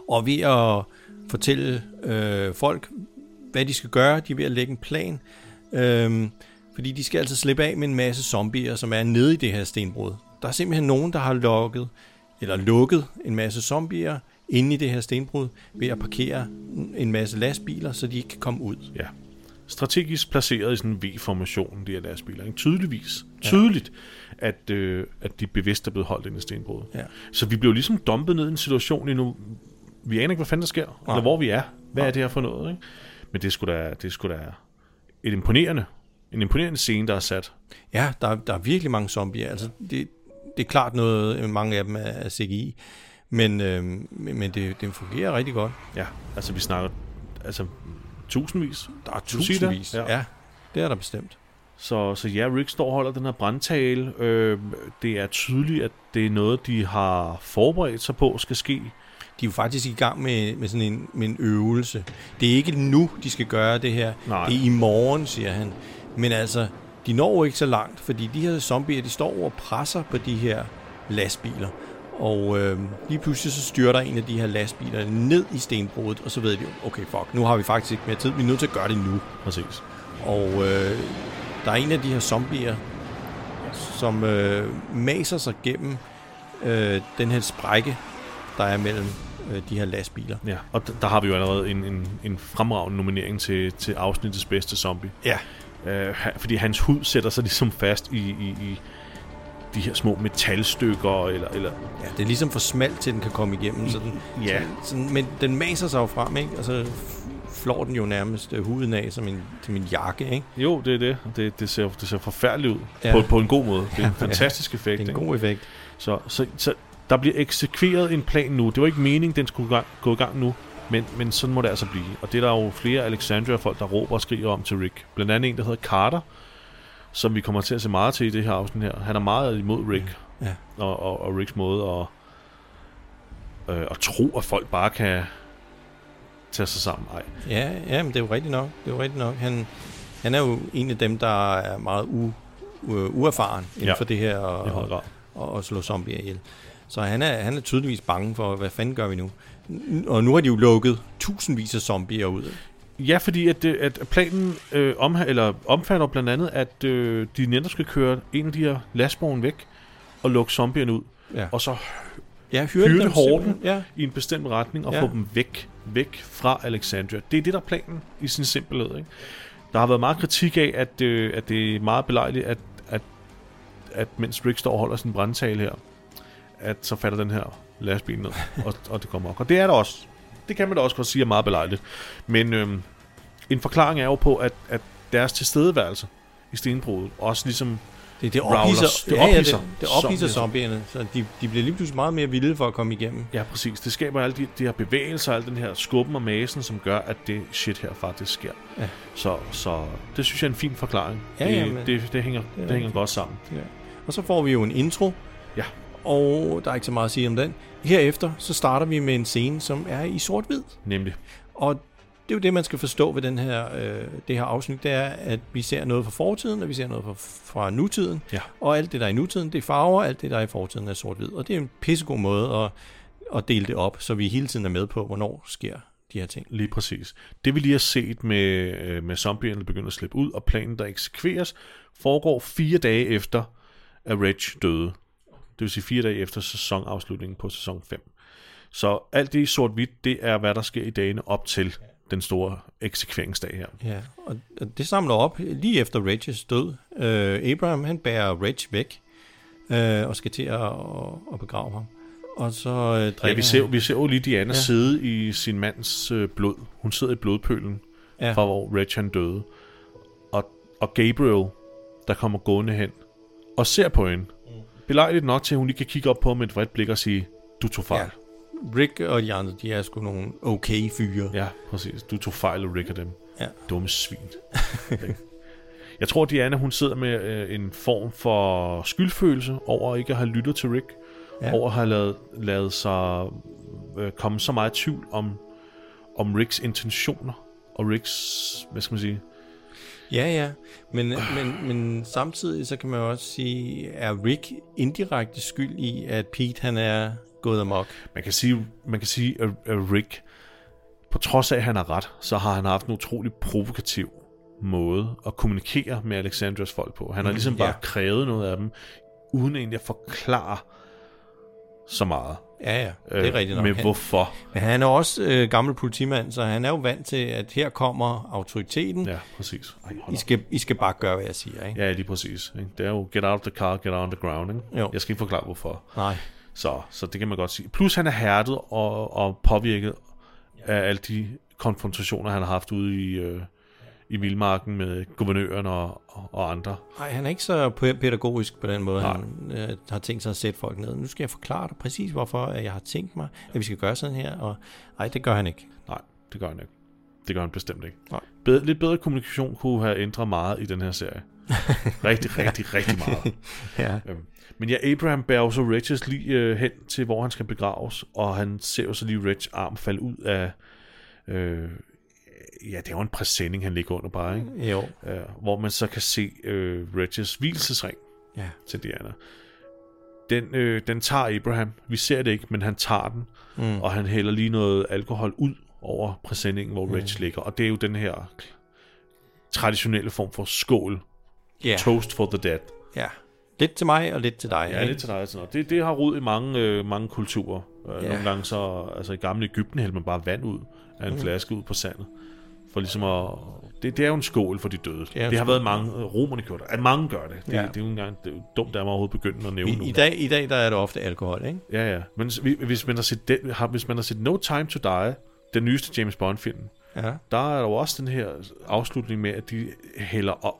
Speaker 2: Og ved at fortælle øh, folk, hvad de skal gøre, de er ved at lægge en plan. Øhm, fordi de skal altså slippe af med en masse zombier, som er nede i det her stenbrud. Der er simpelthen nogen, der har lukket, eller lukket en masse zombier inde i det her stenbrud, ved at parkere en masse lastbiler, så de ikke kan komme ud.
Speaker 1: Ja. Strategisk placeret i sådan en V-formation, de her lastbiler. Ikke? Tydeligvis. Tydeligt, at, øh, at de bevidst er blevet holdt inde i stenbruddet.
Speaker 2: Ja.
Speaker 1: Så vi blev ligesom dumpet ned i en situation lige nu. Vi aner ikke, hvad fanden der sker, Nej. eller hvor vi er. Hvad er det her for noget? Ikke? Men det skulle da, det skulle da et imponerende, en imponerende scene, der er sat.
Speaker 2: Ja, der, er- der er virkelig mange zombier. Altså, det, det er klart noget, mange af dem er, er CGI, men, øh, men- men det, det fungerer rigtig godt.
Speaker 1: Ja, altså vi snakker altså, tusindvis.
Speaker 2: Der er
Speaker 1: Du siger det?
Speaker 2: tusindvis. Ja. ja, det er der bestemt.
Speaker 1: Så, så ja, Rick står og holder den her brandtale. Øh, det er tydeligt, at det er noget, de har forberedt sig på, skal ske.
Speaker 2: De er jo faktisk i gang med, med sådan en, med en øvelse. Det er ikke nu, de skal gøre det her.
Speaker 1: Nej.
Speaker 2: Det er i morgen, siger han. Men altså, de når jo ikke så langt, fordi de her zombier, de står over og presser på de her lastbiler. Og øh, lige pludselig så styrter en af de her lastbiler ned i stenbruddet, og så ved de jo, okay, fuck, nu har vi faktisk ikke mere tid, vi er nødt til at gøre det nu.
Speaker 1: Præcis.
Speaker 2: Og øh, der er en af de her zombier, som øh, maser sig gennem øh, den her sprække, der er mellem øh, de her lastbiler.
Speaker 1: Ja, og d- der har vi jo allerede en, en, en fremragende nominering til, til afsnittets bedste zombie.
Speaker 2: Ja.
Speaker 1: Øh, ha- fordi hans hud sætter sig ligesom fast i, i, i, de her små metalstykker, eller... eller
Speaker 2: ja, det er ligesom for smalt til, den kan komme igennem. Så den,
Speaker 1: Ja.
Speaker 2: sådan, sådan, men den maser sig jo frem, ikke? Og så flår den jo nærmest øh, huden af som en, som en jakke, ikke?
Speaker 1: Jo, det er det. Det, det, ser, det ser forfærdeligt ud.
Speaker 2: Ja.
Speaker 1: Ja. På, på en god måde. Det er
Speaker 2: Ja,
Speaker 1: en fantastisk
Speaker 2: ja.
Speaker 1: effekt.
Speaker 2: Det er en
Speaker 1: ikke?
Speaker 2: god effekt.
Speaker 1: Så, så, så der bliver eksekveret en plan nu. Det var ikke meningen, den skulle gang, gå i gang nu. Men, men sådan må det altså blive. Og det er der jo flere Alexandria-folk, der råber og skriger om til Rick. Blandt andet en, der hedder Carter, som vi kommer til at se meget til i det her afsnit her. Han er meget imod Rick.
Speaker 2: Ja.
Speaker 1: Og, og, og Ricks måde at, øh, at tro, at folk bare kan tage sig sammen. Ej.
Speaker 2: Ja, ja, men det er jo rigtigt nok. Det er jo rigtigt nok. Han, han er jo en af dem, der er meget u, u, uerfaren inden
Speaker 1: Ja,
Speaker 2: for det her
Speaker 1: i høj grad.
Speaker 2: og, og, og slå zombier ihjel. Så han er, han er tydeligvis bange for, hvad fanden gør vi nu? N- Og nu har de jo lukket tusindvis af zombier ud.
Speaker 1: Ja, fordi at, øh, at planen øh, om, eller omfatter blandt andet, at øh, de netop skal køre en af de her lastvogne væk og lukke zombierne ud.
Speaker 2: Ja.
Speaker 1: Og så
Speaker 2: Ja, hyrde
Speaker 1: hyrde
Speaker 2: dem
Speaker 1: horden
Speaker 2: simpelthen, ja.
Speaker 1: ja. i en bestemt retning og
Speaker 2: Ja.
Speaker 1: ja. få dem væk, væk fra Alexandria. Det er det, der er planen i sin simpelhed. Ikke? Der har været meget kritik af, at, øh, at det er meget belejligt, at, at, at mens Rick står og holder sin brandtale her, at så falder den her lastbil ned, og, og det kommer op. Og det er der også. Det kan man da også godt sige er meget belejligt. Men øhm, en forklaring er jo på, at, at deres tilstedeværelse i stenbruget også ligesom
Speaker 2: Det, det
Speaker 1: ravler-
Speaker 2: ophidser,
Speaker 1: det
Speaker 2: ja, ja,
Speaker 1: ophidser,
Speaker 2: det, det ophidser
Speaker 1: zombierne.
Speaker 2: zombierne, så de, de bliver lige pludselig meget mere vilde for at komme igennem.
Speaker 1: Ja, præcis. Det skaber alle de, de her bevægelser, al den her skubben og masen, som gør, at det shit her faktisk sker.
Speaker 2: Ja.
Speaker 1: Så, så det synes jeg er en fin forklaring.
Speaker 2: Ja,
Speaker 1: det,
Speaker 2: ja, men-
Speaker 1: det, det, hænger,
Speaker 2: er
Speaker 1: det, det hænger
Speaker 2: rigtigt.
Speaker 1: godt sammen.
Speaker 2: Ja. Og så får vi jo en intro.
Speaker 1: Ja.
Speaker 2: Og der er ikke så meget at sige om den. Herefter så starter vi med en scene, som er i sort-hvid.
Speaker 1: Nemlig.
Speaker 2: Og det er jo det, man skal forstå ved den her, øh, det her afsnit, det er, at vi ser noget fra fortiden, og vi ser noget fra, fra nutiden.
Speaker 1: Ja.
Speaker 2: Og alt det, der er i nutiden, det er farver, og alt det, der er i fortiden, er sort-hvid. Og det er en pissegod måde at, at dele det op, så vi hele tiden er med på, hvornår sker de her ting.
Speaker 1: Lige præcis. Det vi lige har set med, øh, med zombierne, der begynder at slippe ud, og planen, der eksekveres, foregår fire dage efter, at Reg døde. Det vil sige fire dage efter sæsonafslutningen på sæson 5. Så alt det i sort-hvidt, det er, hvad der sker i dagene op til den store eksekveringsdag her.
Speaker 2: Ja, og, og det samler op lige efter Regis død. Øh, Abraham, han bærer Reg væk øh, og skal til at, at begrave ham. Og så øh, drikker
Speaker 1: Ja, vi ser,
Speaker 2: han.
Speaker 1: vi ser jo lige Diana
Speaker 2: Ja.
Speaker 1: ja. sidde i sin mands øh, blod. Hun sidder i blodpølen,
Speaker 2: Ja.
Speaker 1: ja. fra hvor Reg han døde. Og, og Gabriel, der kommer gående hen, og ser på hende. Belejligt nok til, at hun lige kan kigge op på ham med et vredt blik og sige, du tog fejl. Ja.
Speaker 2: Rick og de andre, de er sgu nogle okay fyre.
Speaker 1: Ja, præcis. Du tog fejl, Rick og dem.
Speaker 2: Ja.
Speaker 1: Dumme svin. Ikke? Jeg tror, Diana hun sidder med øh, en form for skyldfølelse over ikke at have lyttet til Rick.
Speaker 2: Ja.
Speaker 1: Ja. Over at have lavet, lavet sig øh, komme så meget i tvivl om, om Ricks intentioner. Og Ricks, hvad skal man sige?
Speaker 2: Ja, ja. Men, men, men samtidig så kan man jo også sige, er Rick indirekte skyld i, at Pete han er gået amok?
Speaker 1: Man kan sige, man kan sige at, at Rick, på trods af, at han har ret, så har han haft en utrolig provokativ måde at kommunikere med Alexandras folk på. Han har
Speaker 2: Mm,
Speaker 1: ligesom bare
Speaker 2: ja.
Speaker 1: krævet noget af dem, uden egentlig at forklare så meget.
Speaker 2: Ja, ja. Det er
Speaker 1: Øh,
Speaker 2: rigtigt nok.
Speaker 1: Med
Speaker 2: Han-
Speaker 1: hvorfor.
Speaker 2: Men han er også øh, gammel politimand, så han er jo vant til, at her kommer autoriteten.
Speaker 1: Ja, præcis. Ej, hold
Speaker 2: I
Speaker 1: op.
Speaker 2: skal, I skal bare gøre, hvad jeg siger, ikke?
Speaker 1: Ja, lige præcis. ikke? Det er jo get out of the car, get on the ground. Ikke?
Speaker 2: Jo.
Speaker 1: Jeg skal ikke forklare, hvorfor.
Speaker 2: Nej.
Speaker 1: Så, så det kan man godt sige. Plus han er hærdet og, og påvirket af alle de konfrontationer, han har haft ude i, øh, i Vildmarken med guvernøren og, og, og andre.
Speaker 2: Nej, han er ikke så pæ- pædagogisk på den måde, Nej. han øh, har tænkt sig at sætte folk ned. Nu skal jeg forklare dig præcis, hvorfor at jeg har tænkt mig, at vi skal gøre sådan her. Og nej, det gør han ikke.
Speaker 1: Nej, det gør han ikke. Det gør han bestemt ikke.
Speaker 2: Nej.
Speaker 1: Bedre, lidt bedre kommunikation kunne have ændret meget i den her serie. Rigtig, rigtig, rigtig meget.
Speaker 2: Ja.
Speaker 1: Øhm, Men ja, Abraham bærer jo så Regis lige øh, hen til, hvor han skal begraves, og han ser jo så lige Reg arm falde ud af... Øh, ja, det er jo en præsending, han ligger under bare, ikke?
Speaker 2: Jo.
Speaker 1: Øh, hvor man så kan se øh, Regis hvilesesring
Speaker 2: Ja.
Speaker 1: til Diana. Den, øh, den tager Abraham. Vi ser det ikke, men han tager den,
Speaker 2: Mm.
Speaker 1: og han hælder lige noget alkohol ud over præsendingen, hvor Reg ligger. Og det er jo den her traditionelle form for skål.
Speaker 2: Ja.
Speaker 1: Toast for the dead.
Speaker 2: Ja. Lidt til mig og lidt til dig.
Speaker 1: Ja,
Speaker 2: ikke?
Speaker 1: lidt til dig og sådan noget. Det, det har rod i mange, øh, mange kulturer. Øh,
Speaker 2: Ja.
Speaker 1: Nogle gange så, altså i gamle Ægypten hældte man bare vand ud af en
Speaker 2: Mm.
Speaker 1: flaske ud på sandet, For ligesom at... Det, det er jo en skål for de døde.
Speaker 2: er en
Speaker 1: det har
Speaker 2: skål.
Speaker 1: været mange... øh, Romerne gjorde det. At mange gør det. Det, ja.
Speaker 2: Ja.
Speaker 1: det er jo ikke engang det er jo dumt, at man overhovedet begyndt at nævne
Speaker 2: I, i,
Speaker 1: nogen.
Speaker 2: dag, I dag der er det ofte alkohol, ikke?
Speaker 1: Ja, ja. Men s- vi- hvis man har set, den, har, hvis man har set No Time to Die, den nyeste James Bond-film,
Speaker 2: Ja.
Speaker 1: der er der jo også den her afslutning med, at de hælder op,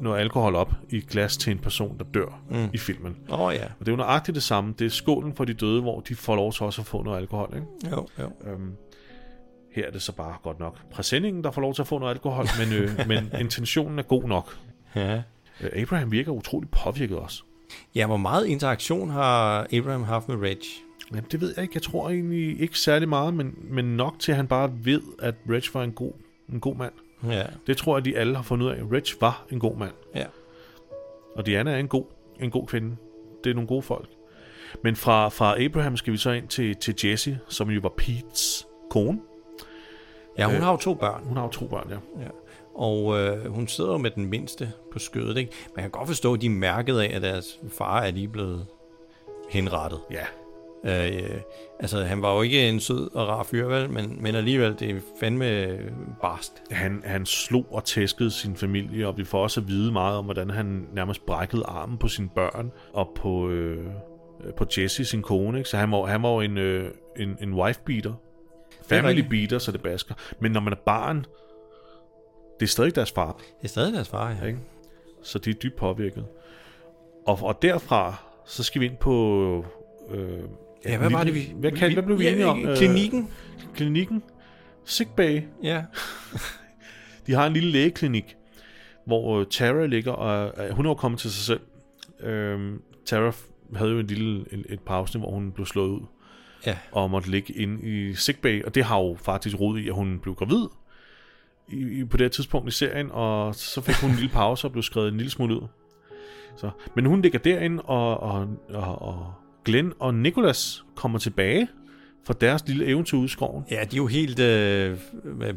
Speaker 1: noget alkohol op i et glas til en person, der dør mm.
Speaker 2: Mm.
Speaker 1: i filmen.
Speaker 2: Åh, ja.
Speaker 1: Og det er jo nøjagtigt det samme. Det er skålen for de døde, hvor de får lov til også at få noget alkohol. Ikke?
Speaker 2: Jo, jo.
Speaker 1: Øhm, her er det så bare godt nok præsendingen, der får lov til at få noget alkohol, men, øh, men intentionen er god nok.
Speaker 2: Ja.
Speaker 1: Øh, Abraham virker utrolig påvirket også.
Speaker 2: Ja, hvor meget interaktion har Abraham haft med Reg?
Speaker 1: Jamen, det ved jeg ikke. Jeg tror egentlig ikke særlig meget, men, men nok til, at han bare ved, at Reg var en god, en god mand.
Speaker 2: Ja.
Speaker 1: Det tror jeg, de alle har fundet ud af. Reg var en god mand.
Speaker 2: Ja.
Speaker 1: Og Diana er en god, en god kvinde. Det er nogle gode folk. Men fra, fra Abraham skal vi så ind til, til Jessie, som jo var Pete's kone.
Speaker 2: Ja, hun
Speaker 1: Øh,
Speaker 2: har jo to børn.
Speaker 1: Hun har jo to børn, ja.
Speaker 2: Ja. Og øh, hun sidder jo med den mindste på skødet, ikke? Man kan godt forstå, at de er mærket af, at deres far er lige blevet henrettet.
Speaker 1: Ja.
Speaker 2: Øh, altså, han var jo ikke en sød og rar fyr, vel? Men, men alligevel, det er fandme øh, barst.
Speaker 1: Han, han slog og tæskede sin familie, og vi får også at vide meget om, hvordan han nærmest brækkede armen på sine børn og på, øh, øh, på Jessie, sin kone. Ikke? Så han var, han var jo en, øh, en, en wife-beater. Family
Speaker 2: rigtigt.
Speaker 1: beater, så det basker. Men når man er barn, det er stadig deres far.
Speaker 2: Det er stadig deres far, ja.
Speaker 1: Ikke? Så de er dybt påvirket. Og, og derfra, så skal vi ind på... Øh,
Speaker 2: Ja, hvad var det, vi-
Speaker 1: Hvad, kan,
Speaker 2: vi-
Speaker 1: hvad blev vi
Speaker 2: ja,
Speaker 1: enige om?
Speaker 2: øh, klinikken.
Speaker 1: Øh, klinikken. Sickbay.
Speaker 2: Ja.
Speaker 1: de har en lille lægeklinik, hvor øh, Tara ligger, og øh, hun er jo kommet til sig selv. Øh, Tara f- havde jo en lille, en, et par afsnit, hvor hun blev slået ud.
Speaker 2: Ja.
Speaker 1: Og måtte ligge inde i sickbay, og det har jo faktisk rod i, at hun blev gravid i, i, på det her tidspunkt i serien, og så fik hun en lille pause og blev skrevet en lille smule ud. Så, men hun ligger derinde, og, og, og, og Glenn og Nicholas kommer tilbage fra deres lille eventyr ude i skoven.
Speaker 2: Ja, de er jo helt øh,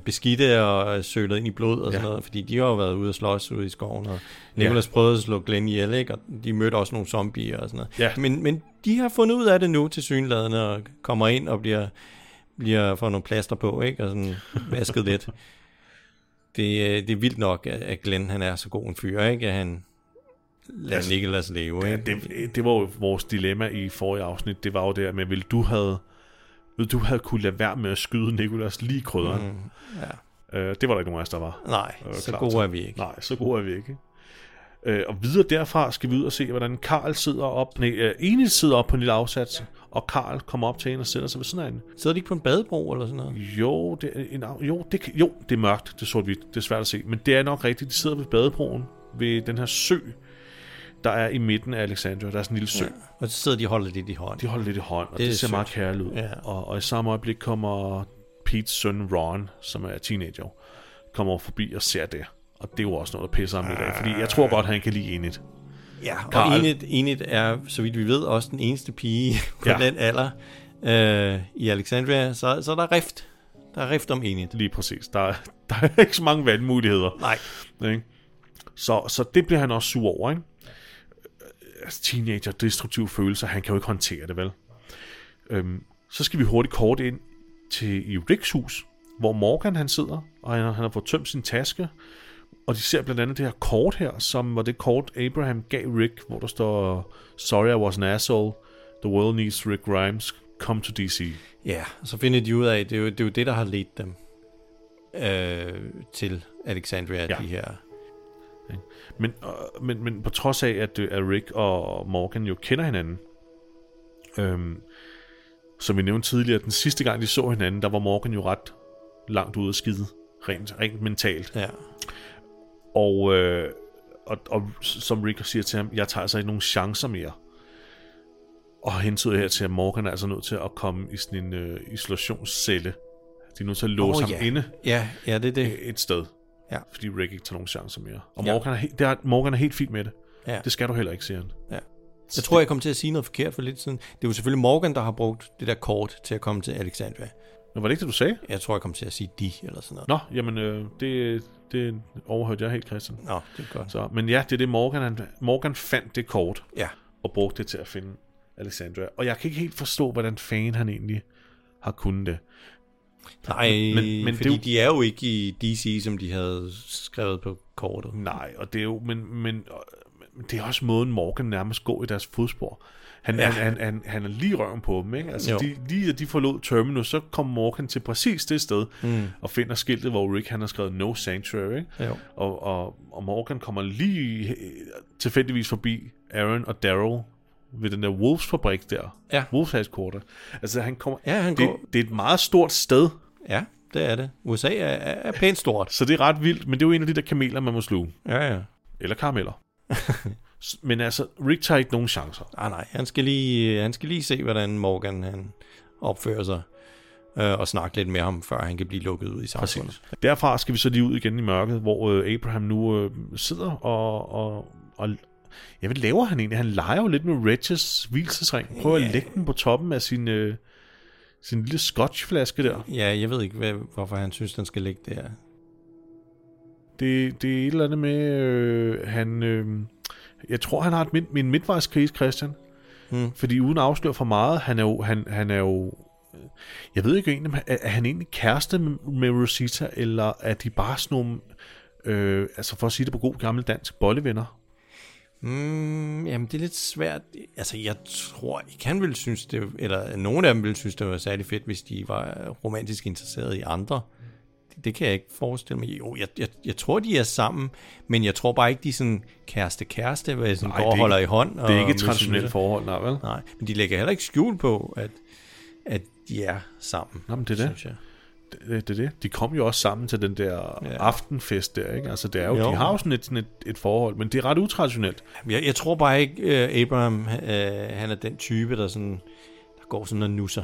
Speaker 2: beskidte og sølet ind i blod og sådan
Speaker 1: Ja.
Speaker 2: ja. noget, fordi de har jo været ude og slås ude i skoven, og Nicholas ja. prøvede at slå Glenn ihjel, ikke? og de mødte også nogle zombier og sådan noget.
Speaker 1: Ja.
Speaker 2: Men, men de har fundet ud af det nu til synladende og kommer ind og bliver, bliver får nogle plaster på, ikke? og sådan vasket lidt. Det, øh, det er vildt nok, at- at Glenn han er så god en fyr, ikke? at han
Speaker 1: Altså,
Speaker 2: lader altså, Nicholas leve.
Speaker 1: Ja,
Speaker 2: Ikke?
Speaker 1: det, det var jo vores dilemma i forrige afsnit. Det var jo der med, vil du have, vil du have kunne lade være med at skyde Nikolas lige i krydderen?
Speaker 2: Mm,
Speaker 1: ja. øh, det var der ikke nogen af os, der var.
Speaker 2: Nej,
Speaker 1: øh,
Speaker 2: så
Speaker 1: klar
Speaker 2: gode
Speaker 1: til.
Speaker 2: er vi ikke.
Speaker 1: Nej, så gode er vi ikke. Øh, og videre derfra skal vi ud og se, hvordan Karl sidder op, nej, øh, Enid sidder op på en lille afsats, og Karl kommer op til hende og sætter sig ved siden af hende.
Speaker 2: Sidder de ikke på en badebro eller sådan noget?
Speaker 1: Jo, det er, en, af- jo, det, kan- jo, det er mørkt, det er sort-hvidt, det er svært at se, men det er nok rigtigt, de sidder ved badebroen, ved den her sø, der er i midten af Alexandria, der er sådan en lille sø. Ja.
Speaker 2: Og så sidder de og holder lidt i hånden.
Speaker 1: De holder lidt i hånd, og det,
Speaker 2: Det er
Speaker 1: det ser
Speaker 2: sødt.
Speaker 1: meget kærligt ud.
Speaker 2: Ja.
Speaker 1: Og, og i samme øjeblik kommer Pete's søn Ron, som er teenager, kommer forbi og ser det. Og det er jo også noget, der pisser ham lidt af, fordi jeg tror godt, han kan lide Enid.
Speaker 2: Ja,
Speaker 1: Karl.
Speaker 2: og Enid, Enid er, så vidt vi ved, også den eneste pige på
Speaker 1: Ja.
Speaker 2: ja. den alder øh, i Alexandria. Så, så er der rift. Der er rift om Enid.
Speaker 1: Lige præcis. Der, er- der er ikke så mange valgmuligheder. Nej. Ikke? Så, så det bliver han også sur over, ikke? Altså, teenager, destruktive følelser, han kan jo ikke håndtere det, vel? Øhm, så skal vi hurtigt kort ind til i Ricks hus, hvor Morgan han sidder, og han, han har fået tømt sin taske, og de ser blandt andet det her kort her, som var det kort, Abraham gav Rick, hvor der står, Sorry I was an asshole, the world needs Rick Grimes, come to DC.
Speaker 2: Ja, og så finder de ud af, at det er jo det, er jo det der har ledt dem øh, til Alexandria, ja. de her.
Speaker 1: Men, øh, men, men på trods af, at, øh, at Rick og Morgan jo kender hinanden, øhm, som vi nævnte tidligere, den sidste gang de så hinanden, der var Morgan jo ret langt ude at skide, rent, rent mentalt.
Speaker 2: Ja.
Speaker 1: Og, øh, og, og som Rick siger til ham, jeg tager altså ikke nogen chancer mere. Og hentyder her til, at Morgan er altså nødt til at komme i sådan en øh, isolationscelle. De er nødt til at låse ham
Speaker 2: Åh, ja.
Speaker 1: inde Øh,
Speaker 2: Ja, ja, det er det.
Speaker 1: et sted.
Speaker 2: Ja.
Speaker 1: Fordi Rick ikke tager nogen chancer mere. Og
Speaker 2: Ja.
Speaker 1: Morgan, er, he- det er, Morgan er helt fint med det.
Speaker 2: Ja.
Speaker 1: Det skal du heller ikke, siger han.
Speaker 2: Ja. Jeg tror, jeg kom til at sige noget forkert for lidt siden. Det er jo selvfølgelig Morgan, der har brugt det der kort til at komme til Alexandria.
Speaker 1: Nå, var det ikke det, du sagde?
Speaker 2: Jeg tror, jeg kom til at sige de, eller sådan noget.
Speaker 1: Nå, jamen, øh, det, det overhørte jeg helt, Christian.
Speaker 2: Nå, det er godt.
Speaker 1: Så, men ja, det er det, Morgan, han, Morgan fandt det kort.
Speaker 2: Ja.
Speaker 1: Og brugte det til at finde Alexandra. Og jeg kan ikke helt forstå, hvordan fanden han egentlig har kunnet det.
Speaker 2: Nej, men, men
Speaker 1: men
Speaker 2: fordi
Speaker 1: det
Speaker 2: det
Speaker 1: er jo-
Speaker 2: de er jo ikke i DC, som de havde skrevet på kortet.
Speaker 1: Nej, og det er jo, men, men, men det er også måden Morgan nærmest går i deres fodspor. Han,
Speaker 2: Ja.
Speaker 1: ja. han, han, han, han er lige røven på dem, ikke? Altså,
Speaker 2: Jo.
Speaker 1: de, lige da de forlod Terminus, så kom Morgan til præcis det sted,
Speaker 2: Mm.
Speaker 1: mm. og finder skiltet, hvor Rick han har skrevet No Sanctuary, ikke?
Speaker 2: Jo.
Speaker 1: Og, og, og Morgan kommer lige øh, tilfældigvis forbi Aaron og Daryl ved den der Wolves fabrik der.
Speaker 2: Ja.
Speaker 1: Wolves headquarter. Altså, han kommer...
Speaker 2: Ja, han
Speaker 1: det,
Speaker 2: går-
Speaker 1: det er et meget stort sted.
Speaker 2: Ja, det er det. USA er, er, er pænt stort.
Speaker 1: Så det er ret vildt, men det er jo en af de der kameler, man må sluge.
Speaker 2: Ja, ja.
Speaker 1: Eller karameller. S- men altså, Rick tager ikke nogen chancer.
Speaker 2: Ah, nej, han skal, lige, han skal lige se, hvordan Morgan han opfører sig. Øh, og snakke lidt med ham, før han kan blive lukket ud i samfundet. Præcis.
Speaker 1: Derfra skal vi så lige ud igen i mørket, hvor øh, Abraham nu øh, sidder og... og, og ja, hvad laver han egentlig? Han leger jo lidt med Regis hvilesesring. Prøver at lægge den på toppen af sin, øh, sin lille scotchflaske der.
Speaker 2: Ja, jeg ved ikke, hvad, hvorfor han synes, den skal ligge der.
Speaker 1: Det, det er et eller andet med, øh, han... Øh, jeg tror, han har et mid, en midtvejskrise, Christian.
Speaker 2: Mm.
Speaker 1: Fordi uden at afsløre for meget, han er jo... Han, han er jo øh, jeg ved ikke egentlig, om han- er, er han egentlig kæreste med, med Rosita, eller er de bare sådan nogle, øh, altså for at sige det på god gammel dansk, bollevenner?
Speaker 2: Mm, jamen, det er lidt svært. Altså, jeg tror ikke, han ville synes det, eller nogen af dem ville synes, det var særlig fedt, hvis de var romantisk interesserede i andre. Det, det kan jeg ikke forestille mig. Jo, jeg, jeg, jeg tror, de er sammen, men jeg tror bare ikke, de er sådan kæreste-kæreste, hvor jeg sådan
Speaker 1: Nej, det
Speaker 2: går og
Speaker 1: er
Speaker 2: holder i
Speaker 1: ikke-
Speaker 2: hånd.
Speaker 1: det er
Speaker 2: og
Speaker 1: ikke et
Speaker 2: mødes
Speaker 1: traditionelt
Speaker 2: med.
Speaker 1: forhold, nej, vel?
Speaker 2: Nej, men de lægger heller ikke skjul på, at, at de er sammen.
Speaker 1: Nå, men det er det.
Speaker 2: synes jeg.
Speaker 1: Det, det, det er det. De kom jo også sammen til den der ja. aftenfest der, ikke? Altså, det er jo,
Speaker 2: Jo.
Speaker 1: jo. de har jo sådan, et, sådan et, et forhold, men det er ret utraditionelt.
Speaker 2: Jeg, jeg tror bare ikke, uh, Abraham, uh, han er den type, der sådan der går sådan og nusser.